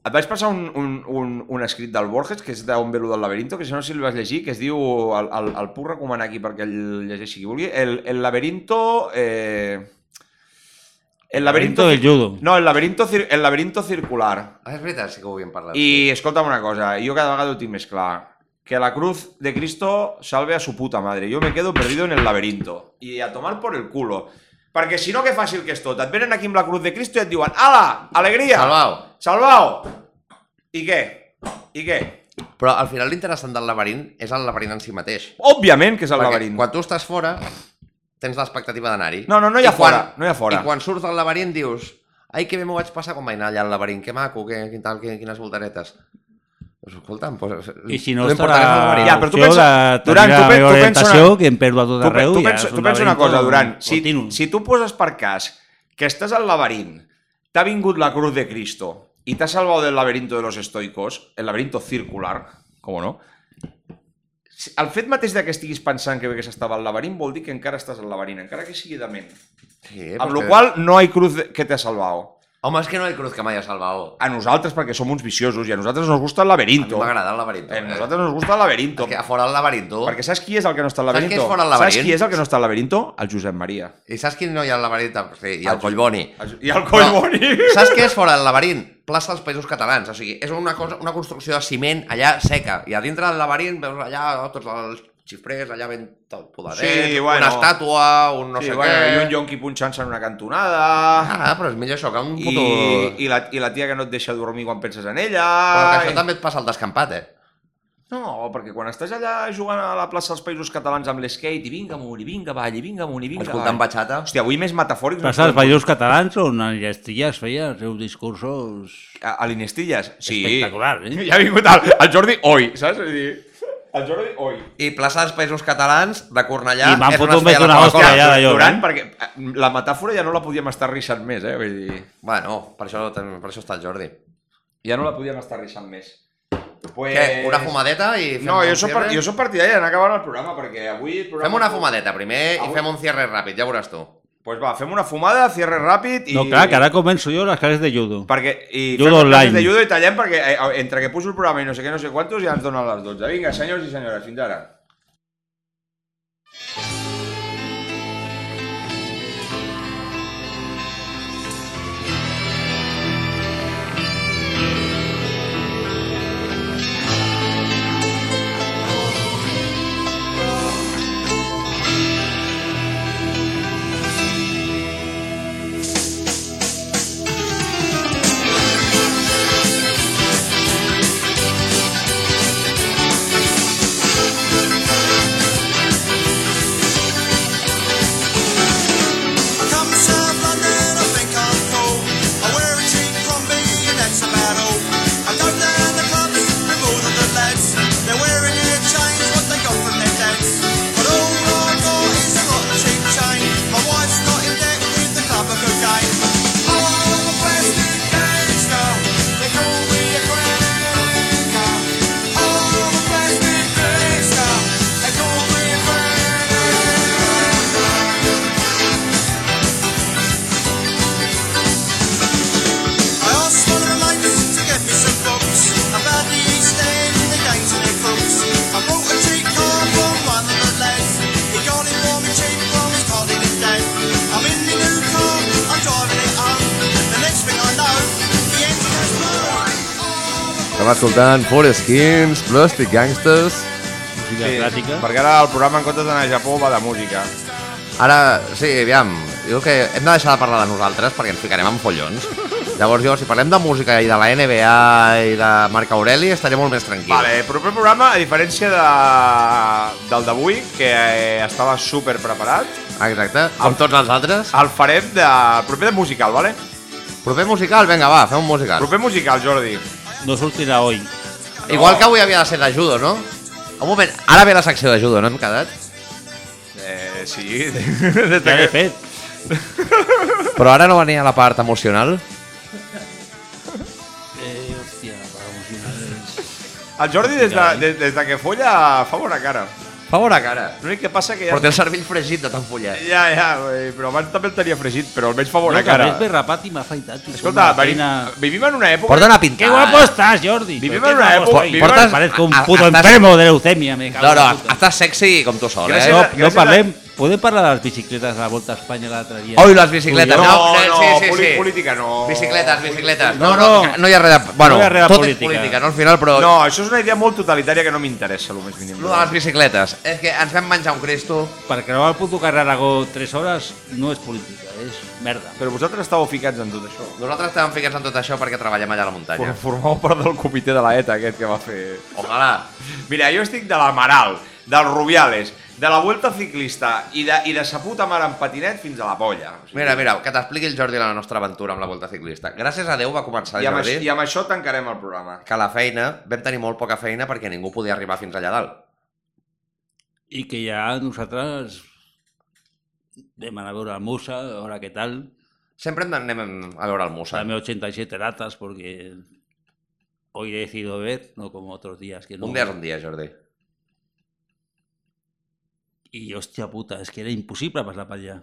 [SPEAKER 6] et vaig passar un, un, un, un escrit del Borges, que és d'on ve lo del laberinto, que si no sé si el vas llegir, que es diu, el, el, el puc recomanar aquí perquè el llegeixi qui vulgui, el, el laberinto... Eh... El laberinto,
[SPEAKER 5] Laberinto del judo.
[SPEAKER 6] No, el laberinto, cir- el laberinto circular.
[SPEAKER 4] Ah, és veritat, sí que ho havíem parlat.
[SPEAKER 6] I escolta'm una cosa, jo cada vegada ho tinc més clar. Que la cruz de Cristo salve a su puta madre. Yo me quedo perdido en el laberinto. I a tomar por el culo. Perquè si no, que fàcil que és tot. Et venen aquí amb la cruz de Cristo i et diuen Ala, alegria!
[SPEAKER 4] Salvau.
[SPEAKER 6] Salvau! I què? I què?
[SPEAKER 4] Sí. Però al final l'interessant del laberint és el laberint en si mateix.
[SPEAKER 6] Òbviament que és el
[SPEAKER 4] Perquè
[SPEAKER 6] laberint.
[SPEAKER 4] Quan tu estàs fora, tens l'expectativa d'anar-hi.
[SPEAKER 6] No, no, no hi ha
[SPEAKER 4] I quan-
[SPEAKER 6] fora, no hi ha fora.
[SPEAKER 4] I quan surts del laberint dius... Ai, que bé m'ho vaig passar quan vaig anar allà al laberint. Que maco, que, que tal, que, quines voltaretes. Doncs escolta'm, doncs,
[SPEAKER 5] I si no
[SPEAKER 4] l'important
[SPEAKER 5] estarà
[SPEAKER 4] és el laberint.
[SPEAKER 6] Ja,
[SPEAKER 5] ja,
[SPEAKER 6] però
[SPEAKER 5] però
[SPEAKER 6] tu
[SPEAKER 5] tu pensa,
[SPEAKER 6] pensa-
[SPEAKER 5] de
[SPEAKER 6] Durant,
[SPEAKER 5] Durant,
[SPEAKER 6] tu pe- tu pensa
[SPEAKER 5] orientació,
[SPEAKER 6] una-
[SPEAKER 5] que em perdo a tot
[SPEAKER 6] Tu, pe-
[SPEAKER 5] arreu.
[SPEAKER 6] tu,
[SPEAKER 5] ja
[SPEAKER 6] pensa,
[SPEAKER 5] és un
[SPEAKER 6] tu pensa una
[SPEAKER 5] laberinto
[SPEAKER 6] cosa, Duran. Si,
[SPEAKER 5] continu.
[SPEAKER 6] si tu poses per cas que estàs al laberint, t'ha vingut la cruz de Cristo i t'ha salvat del laberinto de los estoicos, el laberinto circular, com no, si- el fet mateix de que estiguis pensant que bé que s'estava al laberint vol dir que encara estàs al laberint, encara que sigui de ment.
[SPEAKER 4] Sí,
[SPEAKER 6] Amb la
[SPEAKER 4] perquè-
[SPEAKER 6] qual cosa no hi ha cruz de- que t'ha salvat.
[SPEAKER 4] Home, és que no hi ha cruz que mai ha salvat.
[SPEAKER 6] A nosaltres, perquè som uns viciosos, i a nosaltres nos gusta el
[SPEAKER 4] A mi
[SPEAKER 6] laberinto.
[SPEAKER 4] m'agrada el laberint.
[SPEAKER 6] A Eh, nosaltres nos gusta el laberinto.
[SPEAKER 4] És que a fora del laberint, tu...
[SPEAKER 6] Perquè saps qui és el que no està al
[SPEAKER 4] Saps qui
[SPEAKER 6] laberinto?
[SPEAKER 4] és fora del
[SPEAKER 6] Saps
[SPEAKER 4] laberint?
[SPEAKER 6] qui és el que no està al laberinto? El Josep Maria.
[SPEAKER 4] I saps quin no hi ha al laberint? Sí, hi
[SPEAKER 6] El
[SPEAKER 4] ha el Collboni.
[SPEAKER 6] El- I el coll
[SPEAKER 4] Però,
[SPEAKER 6] boni!
[SPEAKER 4] Saps què és fora del laberint? Plaça dels Països Catalans. O sigui, és una, cosa, una construcció de ciment allà seca. I a dintre del laberint veus allà oh, tots els xifrers, allà ben tot podadet,
[SPEAKER 6] Sí, bueno.
[SPEAKER 4] una estàtua, un no
[SPEAKER 6] sí,
[SPEAKER 4] sé
[SPEAKER 6] bueno,
[SPEAKER 4] què...
[SPEAKER 6] I un yonqui punxant-se en una cantonada...
[SPEAKER 4] Ah, però és millor això que un
[SPEAKER 6] I,
[SPEAKER 4] puto... I, i...
[SPEAKER 6] i, la, I la tia que no et deixa dormir quan penses en ella...
[SPEAKER 4] Però que això
[SPEAKER 6] i-
[SPEAKER 4] també et passa al descampat, eh?
[SPEAKER 6] No, perquè quan estàs allà jugant a la plaça dels Països Catalans amb l'esquate i vinga amunt, i vinga avall, i vinga amunt, i vinga
[SPEAKER 4] Escoltant
[SPEAKER 6] avall...
[SPEAKER 4] batxata.
[SPEAKER 6] Hòstia, avui més metafòrics... no
[SPEAKER 5] Passa als
[SPEAKER 6] podem-
[SPEAKER 5] països catalans on el Llestillas feia els seus discursos
[SPEAKER 6] A, a l'Inestillas? Sí.
[SPEAKER 5] espectaculars, eh?
[SPEAKER 6] [LAUGHS] Ja ha vingut el, el Jordi oi, saps? És a dir, el Jordi oi.
[SPEAKER 4] I plaça dels Països Catalans de Cornellà...
[SPEAKER 5] I m'han
[SPEAKER 4] és on es
[SPEAKER 5] fotut
[SPEAKER 4] feia
[SPEAKER 5] més
[SPEAKER 4] la
[SPEAKER 5] d'una
[SPEAKER 4] Coca-Cola.
[SPEAKER 5] hòstia allà. d'allò,
[SPEAKER 6] Durant,
[SPEAKER 5] eh?
[SPEAKER 6] perquè eh, la metàfora ja no la podíem estar rissant més, eh? Vull dir,
[SPEAKER 4] Bueno, per això, per això està el Jordi.
[SPEAKER 6] ja no la podíem estar rissant més. Pues...
[SPEAKER 4] Què? Una fumadeta i fem
[SPEAKER 6] Eh, No,
[SPEAKER 4] un
[SPEAKER 6] jo soc,
[SPEAKER 4] cierre?
[SPEAKER 6] part, jo soc partidari d'anar acabant el programa, perquè avui... El programa...
[SPEAKER 4] Fem una fumadeta primer i
[SPEAKER 6] Avui-
[SPEAKER 4] fem un cierre ràpid, ja veuràs tu.
[SPEAKER 6] Pues va, fem una fumada, cierre ràpid i...
[SPEAKER 5] No, clar, que ara començo jo les classes de judo.
[SPEAKER 6] Perquè, i
[SPEAKER 5] Judo
[SPEAKER 6] fem les classes
[SPEAKER 5] online.
[SPEAKER 6] de judo i tallem perquè eh, entre que pujo el programa i no sé què, no sé quantos, ja ens donen les 12. Vinga, senyors i senyores, fins ara.
[SPEAKER 7] Thank
[SPEAKER 8] Estem escoltant Four Skins, Plastic Gangsters...
[SPEAKER 5] Música clàssica.
[SPEAKER 6] perquè ara el programa, en comptes d'anar a Japó, va de música.
[SPEAKER 4] Ara, sí, aviam, jo crec que hem de deixar de parlar de nosaltres perquè ens ficarem en follons. Llavors jo, si parlem de música i de la NBA i de Marc Aureli, estaré molt més tranquil.
[SPEAKER 6] Vale, proper programa, a diferència de, del d'avui, que eh, estava super preparat,
[SPEAKER 4] Exacte, amb tots els altres.
[SPEAKER 6] el farem de... proper de musical, vale?
[SPEAKER 4] Proper musical, vinga, va, fem un musical.
[SPEAKER 6] Proper musical, Jordi.
[SPEAKER 5] No sortirà
[SPEAKER 6] [LAUGHS]
[SPEAKER 5] hoy.
[SPEAKER 4] Igual que avui havia de ser de judo, no? Un moment, ara ve la secció de judo, no hem quedat?
[SPEAKER 6] Eh, sí. [LAUGHS]
[SPEAKER 5] Ja l'he fet.
[SPEAKER 4] Però ara no venia la part emocional.
[SPEAKER 5] Eh, hòstia, va, emocionar.
[SPEAKER 6] El Jordi, des
[SPEAKER 4] eh?
[SPEAKER 6] de, des, des de que folla, fa bona cara.
[SPEAKER 4] Fa bona cara.
[SPEAKER 6] L'únic que passa que ja...
[SPEAKER 4] Però té el cervell fregit de tan follat.
[SPEAKER 6] Ja, ja, eh, però abans també el tenia fregit, però almenys fa
[SPEAKER 5] Bona
[SPEAKER 6] bona
[SPEAKER 5] no, cara.
[SPEAKER 6] cara.
[SPEAKER 5] Més rapat i m'ha afaitat. i
[SPEAKER 6] Escolta,
[SPEAKER 5] com una
[SPEAKER 6] venim,
[SPEAKER 5] feina-
[SPEAKER 6] vivim en una època...
[SPEAKER 4] Porta una
[SPEAKER 5] ¡Qué
[SPEAKER 4] pintada. eh?
[SPEAKER 5] guapo estás, Jordi!
[SPEAKER 6] Vivim
[SPEAKER 5] ¿Por qué
[SPEAKER 6] en una Ah,
[SPEAKER 5] guapo
[SPEAKER 6] època-
[SPEAKER 5] soy?
[SPEAKER 6] vivim
[SPEAKER 4] en-
[SPEAKER 5] Parezco un
[SPEAKER 4] a- a-
[SPEAKER 5] puto
[SPEAKER 4] estàs-
[SPEAKER 5] enfermo de leucemia, me cago
[SPEAKER 4] No,
[SPEAKER 5] en
[SPEAKER 4] no,
[SPEAKER 5] la puta.
[SPEAKER 4] estàs sexy com tu sol,
[SPEAKER 6] Gràcies
[SPEAKER 4] eh?
[SPEAKER 5] No,
[SPEAKER 6] Gràcies
[SPEAKER 5] no
[SPEAKER 6] a-
[SPEAKER 5] parlem... Podem parlar de les bicicletes a la Volta a Espanya l'altre dia?
[SPEAKER 4] Oi, les bicicletes.
[SPEAKER 6] No, no,
[SPEAKER 4] sí, sí, sí.
[SPEAKER 6] poli- política no.
[SPEAKER 4] Bicicletes, bicicletes. No,
[SPEAKER 5] No,
[SPEAKER 4] no,
[SPEAKER 5] no.
[SPEAKER 4] no, hi ha res de... Bueno,
[SPEAKER 5] No hi ha res de
[SPEAKER 4] tot
[SPEAKER 5] política.
[SPEAKER 4] és política, no? Al final, però... ah,
[SPEAKER 6] No, això és una idea molt totalitària que no m'interessa, el més mínim.
[SPEAKER 4] Lo de les bicicletes. És que ens vam menjar un cristo.
[SPEAKER 5] Per creuar el puto carrer Aragó 3 hores no és política, és merda.
[SPEAKER 6] Però vosaltres estàveu ficats en tot això.
[SPEAKER 4] Nosaltres estàvem ficats en tot això perquè treballem allà a la muntanya.
[SPEAKER 6] Formau part del comitè de la ETA aquest que va fer...
[SPEAKER 4] Ojalà.
[SPEAKER 6] Mira, jo estic de l'Amaral, dels Rubiales, de la Vuelta Ciclista i de, i de sa puta mare en patinet fins a la polla. O sigui,
[SPEAKER 4] Mira, mira, que t'expliqui el Jordi la nostra aventura amb la Volta Ciclista. Gràcies a Déu va començar el
[SPEAKER 6] i, amb
[SPEAKER 4] Jordi.
[SPEAKER 6] això, I amb això tancarem el programa.
[SPEAKER 4] que a la feina vam tenir molt poca feina perquè ningú podia arribar fins allà dalt.
[SPEAKER 5] I que ja nosaltres vam anar a veure el Musa, a veure què tal.
[SPEAKER 4] Sempre anem a veure el Musa.
[SPEAKER 5] Dame 87 latas porque hoy he decidido ver, no como otros días que no.
[SPEAKER 4] Un dia és un dia, Jordi.
[SPEAKER 5] Y hostia puta, es que era imposible pasar para allá.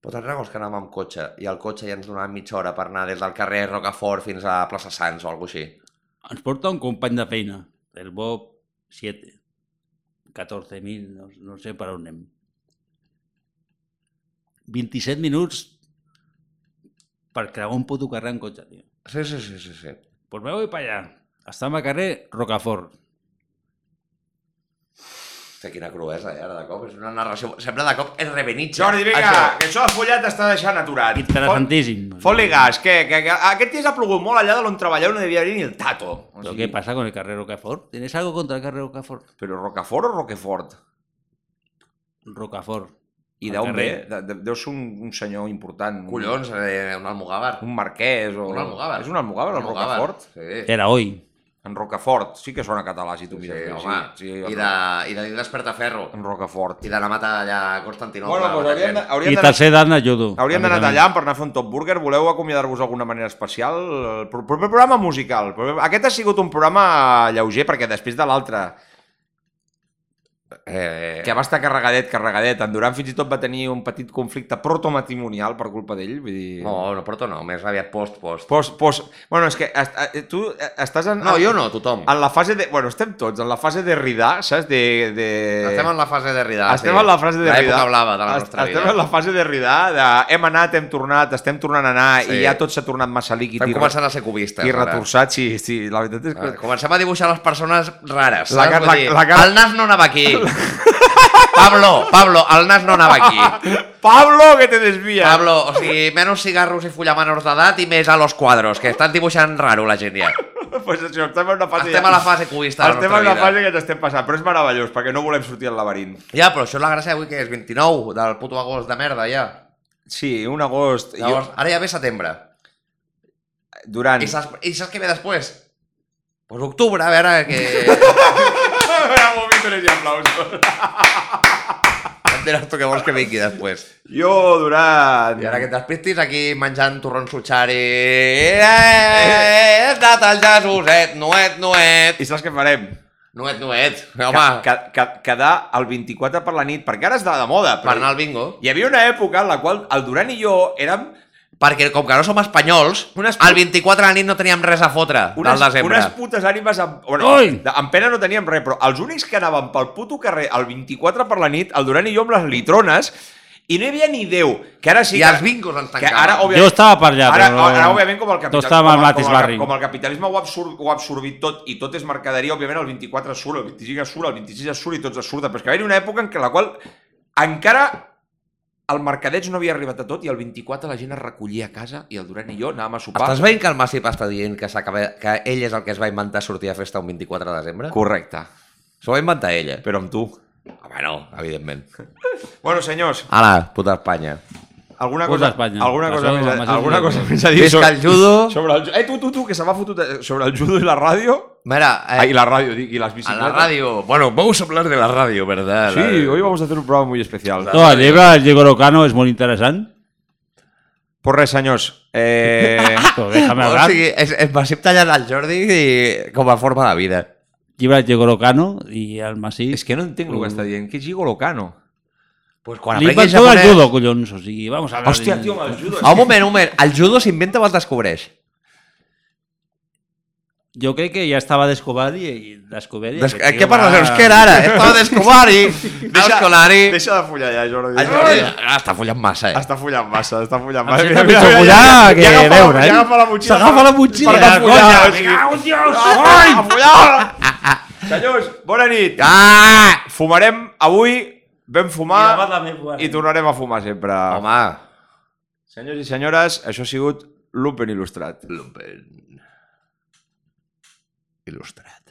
[SPEAKER 4] Però te'n recordes que anàvem amb cotxe i el cotxe ja ens donava mitja hora per anar des del carrer Rocafort fins a plaça Sants o alguna així.
[SPEAKER 5] Ens porta un company de feina, el Bob 7, 14.000, no, no sé per on anem. 27 minuts per creuar un puto carrer en cotxe, tio.
[SPEAKER 4] Sí, sí, sí, sí. sí.
[SPEAKER 5] Pues me voy para allá. Estem al carrer Rocafort.
[SPEAKER 4] Hòstia, quina cruesa, eh, ara de cop. És una narració... Sembla de cop és revenitxa.
[SPEAKER 6] Jordi, vinga,
[SPEAKER 4] Això.
[SPEAKER 6] que això de follat t'està deixant aturat.
[SPEAKER 5] Interessantíssim.
[SPEAKER 6] Fot- Fot-li gas, que, que, que aquest dia s'ha plogut molt allà d'on treballeu no devia venir ni el tato. O
[SPEAKER 5] Però què passa con el carrer Rocafort? ¿Tienes algo contra el carrer Rocafort?
[SPEAKER 6] Però Rocafort o Roquefort?
[SPEAKER 5] Rocafort.
[SPEAKER 6] I
[SPEAKER 5] El
[SPEAKER 6] d'on ve?
[SPEAKER 5] carrer.
[SPEAKER 6] De, de, deu ser un, un senyor important. un-
[SPEAKER 4] Collons, eh, un almogàvar.
[SPEAKER 6] Un marquès o...
[SPEAKER 4] Un almogàvar.
[SPEAKER 6] És un almogàvar, el Rocafort?
[SPEAKER 4] Sí.
[SPEAKER 5] Era hoy.
[SPEAKER 6] En Rocafort. Sí que sona català, si tu
[SPEAKER 4] Sí,
[SPEAKER 6] mires. bé,
[SPEAKER 4] home.
[SPEAKER 6] Sí,
[SPEAKER 4] I de, i de Despertaferro.
[SPEAKER 6] En Rocafort.
[SPEAKER 4] I d'anar a matar allà a Constantinople.
[SPEAKER 6] Bueno, doncs hauríem, de-
[SPEAKER 5] I
[SPEAKER 6] hauríem d'anar...
[SPEAKER 5] tercer d'an ajudo.
[SPEAKER 6] Hauríem d'anar
[SPEAKER 5] Precisament.
[SPEAKER 6] tallant per anar a fer un top burger. Voleu acomiadar-vos d'alguna manera especial? El pro- proper programa musical. Aquest ha sigut un programa lleuger, perquè després de l'altre
[SPEAKER 4] Eh,
[SPEAKER 6] que va estar carregadet, carregadet. En Durant fins i tot va tenir un petit conflicte protomatrimonial per culpa d'ell. Vull dir...
[SPEAKER 4] No, no porto no, més aviat post-post.
[SPEAKER 6] Pos, pos... Bueno, és que est- eh, tu estàs en...
[SPEAKER 4] No, jo no, tothom.
[SPEAKER 6] En la fase de... Bueno, estem tots en la fase de ridar, saps? De, de...
[SPEAKER 4] Estem en la fase de ridar.
[SPEAKER 6] Estem
[SPEAKER 4] Ah, sí.
[SPEAKER 6] en la fase de ridar.
[SPEAKER 4] L'època blava de la
[SPEAKER 6] Est-
[SPEAKER 4] nostra
[SPEAKER 6] estem
[SPEAKER 4] vida.
[SPEAKER 6] en la fase de ridar, de hem anat, hem tornat, estem tornant a anar
[SPEAKER 4] Sí.
[SPEAKER 6] i ja tot s'ha tornat massa líquid
[SPEAKER 4] Estem
[SPEAKER 6] i,
[SPEAKER 4] començant a ser cubistes.
[SPEAKER 6] i
[SPEAKER 4] ara.
[SPEAKER 6] retorçat. Sí, sí, la veritat és que...
[SPEAKER 4] Ah, Comencem a dibuixar les persones rares.
[SPEAKER 6] La
[SPEAKER 4] saps?
[SPEAKER 6] cara-
[SPEAKER 4] Vull
[SPEAKER 6] la-
[SPEAKER 4] dir,
[SPEAKER 6] la cara-
[SPEAKER 4] El nas no anava
[SPEAKER 6] [LAUGHS]
[SPEAKER 4] aquí. Pablo, Pablo, el nas no anava
[SPEAKER 6] [LAUGHS]
[SPEAKER 4] aquí.
[SPEAKER 6] Pablo, que te desvia!
[SPEAKER 4] Pablo, o sigui, menys cigarros i fullamenors d'edat i més a los quadros, que estan dibuixant raro la
[SPEAKER 6] [LAUGHS]
[SPEAKER 4] gent ja.
[SPEAKER 6] pues això, estem en una fase...
[SPEAKER 4] Estem a la fase cubista de la
[SPEAKER 6] Estem
[SPEAKER 4] nostra
[SPEAKER 6] en la
[SPEAKER 4] vida.
[SPEAKER 6] fase que ens estem passant, però és meravellós, perquè no volem sortir al laberint.
[SPEAKER 4] Ja, però això és la gràcia avui que és 29 del puto agost de merda, ja.
[SPEAKER 6] Sí, un agost.
[SPEAKER 4] Llavors,
[SPEAKER 6] Llavors,
[SPEAKER 4] ara ja ve setembre.
[SPEAKER 6] jo, durant... [LAUGHS]
[SPEAKER 4] I saps, i saps què ve després? Pues octubre, a veure
[SPEAKER 6] [LAUGHS]
[SPEAKER 4] que...
[SPEAKER 6] Bravo, vítores i aplausos.
[SPEAKER 4] Em diràs tu què vols que vingui després.
[SPEAKER 6] Jo, durant...
[SPEAKER 4] I ara que et despistis aquí menjant torrons sutxari... Eh, Has anat al jazz, uset, noet, noet...
[SPEAKER 6] I saps què farem?
[SPEAKER 4] Noet, noet, home,
[SPEAKER 6] Ca, ca, ca, quedar el 24 per la nit, perquè ara és de, de moda.
[SPEAKER 4] per anar al bingo.
[SPEAKER 6] Hi havia una època en la qual el Duran i jo érem
[SPEAKER 4] Perquè com que no som espanyols,
[SPEAKER 6] Unes pu-
[SPEAKER 4] al 24 de la nit no teníem res a fotre del
[SPEAKER 6] unes,
[SPEAKER 4] desembre.
[SPEAKER 6] unes putes ànimes amb... Bueno,
[SPEAKER 5] Ui!
[SPEAKER 6] de- amb pena no teníem res, però els únics que anàvem pel puto carrer el 24 per la nit, el Duran i jo amb les litrones, I no hi havia ni 10, que ara sí
[SPEAKER 4] I
[SPEAKER 6] que...
[SPEAKER 4] els bingos ens
[SPEAKER 6] que
[SPEAKER 4] tancaven.
[SPEAKER 6] ara, òbviament,
[SPEAKER 5] Jo estava per allà,
[SPEAKER 6] ara,
[SPEAKER 5] però no-
[SPEAKER 6] ara, òbviament, com el
[SPEAKER 5] no
[SPEAKER 6] capitalisme,
[SPEAKER 5] estava al
[SPEAKER 6] com, el-
[SPEAKER 5] mateix
[SPEAKER 6] com, el,
[SPEAKER 5] barri.
[SPEAKER 6] com el capitalisme ho ha, absor ho ha absorbit tot i tot és mercaderia, òbviament el 24 es surt, el 25 es surt, el 26 es surt i tots es surten. Però és que va haver una època en què la qual encara el mercadeig no havia arribat a tot i el 24 la gent es recollia a casa i el Duran i jo anàvem a sopar.
[SPEAKER 4] Estàs veient que el Massi està dient que, s'acaba- que ell és el que es va inventar sortir a festa un 24 de desembre?
[SPEAKER 6] Correcte,
[SPEAKER 4] S'ho va inventar ell, eh?
[SPEAKER 6] però amb tu.
[SPEAKER 4] Home, no, evidentment.
[SPEAKER 6] Bueno, senyors,
[SPEAKER 4] Ala, puta Espanya.
[SPEAKER 6] alguna
[SPEAKER 5] Puta
[SPEAKER 6] cosa,
[SPEAKER 5] Espanya.
[SPEAKER 6] alguna cosa,
[SPEAKER 5] Això,
[SPEAKER 6] més,
[SPEAKER 5] amb
[SPEAKER 6] a,
[SPEAKER 5] això
[SPEAKER 6] alguna
[SPEAKER 5] sí.
[SPEAKER 6] cosa més a dir
[SPEAKER 4] Visca el judo.
[SPEAKER 6] sobre el, ju- eh, tu, tu, tu, que se m'ha fotut eh, sobre el judo i la ràdio.
[SPEAKER 4] Mira,
[SPEAKER 6] Eh, ah, i
[SPEAKER 4] eh,
[SPEAKER 6] la ràdio, dic, i les
[SPEAKER 4] a
[SPEAKER 6] bicicletes.
[SPEAKER 4] la radio. Bueno, vamos a hablar de la radio, ¿verdad? La-
[SPEAKER 6] Sí, hoy vamos a hacer un programa muy especial.
[SPEAKER 5] No, el llibre del Diego Locano és molt interessant.
[SPEAKER 6] Pues res, senyors. Eh... [LAUGHS]
[SPEAKER 5] Però déjame
[SPEAKER 4] O
[SPEAKER 5] hablar.
[SPEAKER 4] sigui, es, es va ser tallant el Jordi i, com a forma de vida.
[SPEAKER 5] Llibre del Diego Locano i el Masí.
[SPEAKER 6] és que no entenc el que està dient. Que és Gigolo Cano?
[SPEAKER 4] Pues quan aprengui
[SPEAKER 5] L'inventor del
[SPEAKER 4] japonès-
[SPEAKER 5] judo, collons. O sigui, vamos a hablar
[SPEAKER 6] Hòstia,
[SPEAKER 5] de-
[SPEAKER 6] tio, amb el judo.
[SPEAKER 4] Ah, un moment, un moment. El judo s'inventa o el descobreix?
[SPEAKER 5] Jo crec que ja estava descobert i, i descobert. i
[SPEAKER 4] Des...
[SPEAKER 5] aquest
[SPEAKER 4] Eh,
[SPEAKER 5] tio
[SPEAKER 4] què parles
[SPEAKER 5] va-
[SPEAKER 4] euskera ara? Estava descobari.
[SPEAKER 6] [LAUGHS]
[SPEAKER 4] Escolari.
[SPEAKER 6] deixa de follar ja, Jordi.
[SPEAKER 4] El Jordi ah, està follant massa, eh?
[SPEAKER 6] Està follant massa, està follant
[SPEAKER 5] Em
[SPEAKER 6] massa.
[SPEAKER 5] sento pitjor follar que veure, eh?
[SPEAKER 6] Ja agafa la motxilla.
[SPEAKER 5] S'agafa la motxilla,
[SPEAKER 6] Per tant,
[SPEAKER 5] conya,
[SPEAKER 6] follar, o
[SPEAKER 5] me
[SPEAKER 6] sigui.
[SPEAKER 5] cago en Dios,
[SPEAKER 6] Ah,
[SPEAKER 5] ai!
[SPEAKER 6] A follar! Senyors, bona nit.
[SPEAKER 4] Ah!
[SPEAKER 6] Fumarem avui, vam fumar
[SPEAKER 5] I demà també fumarem.
[SPEAKER 6] i tornarem a fumar sempre.
[SPEAKER 4] Home,
[SPEAKER 6] Senyors i senyores, això ha sigut l'Open Il·lustrat. L'Open...
[SPEAKER 4] il·lustrat.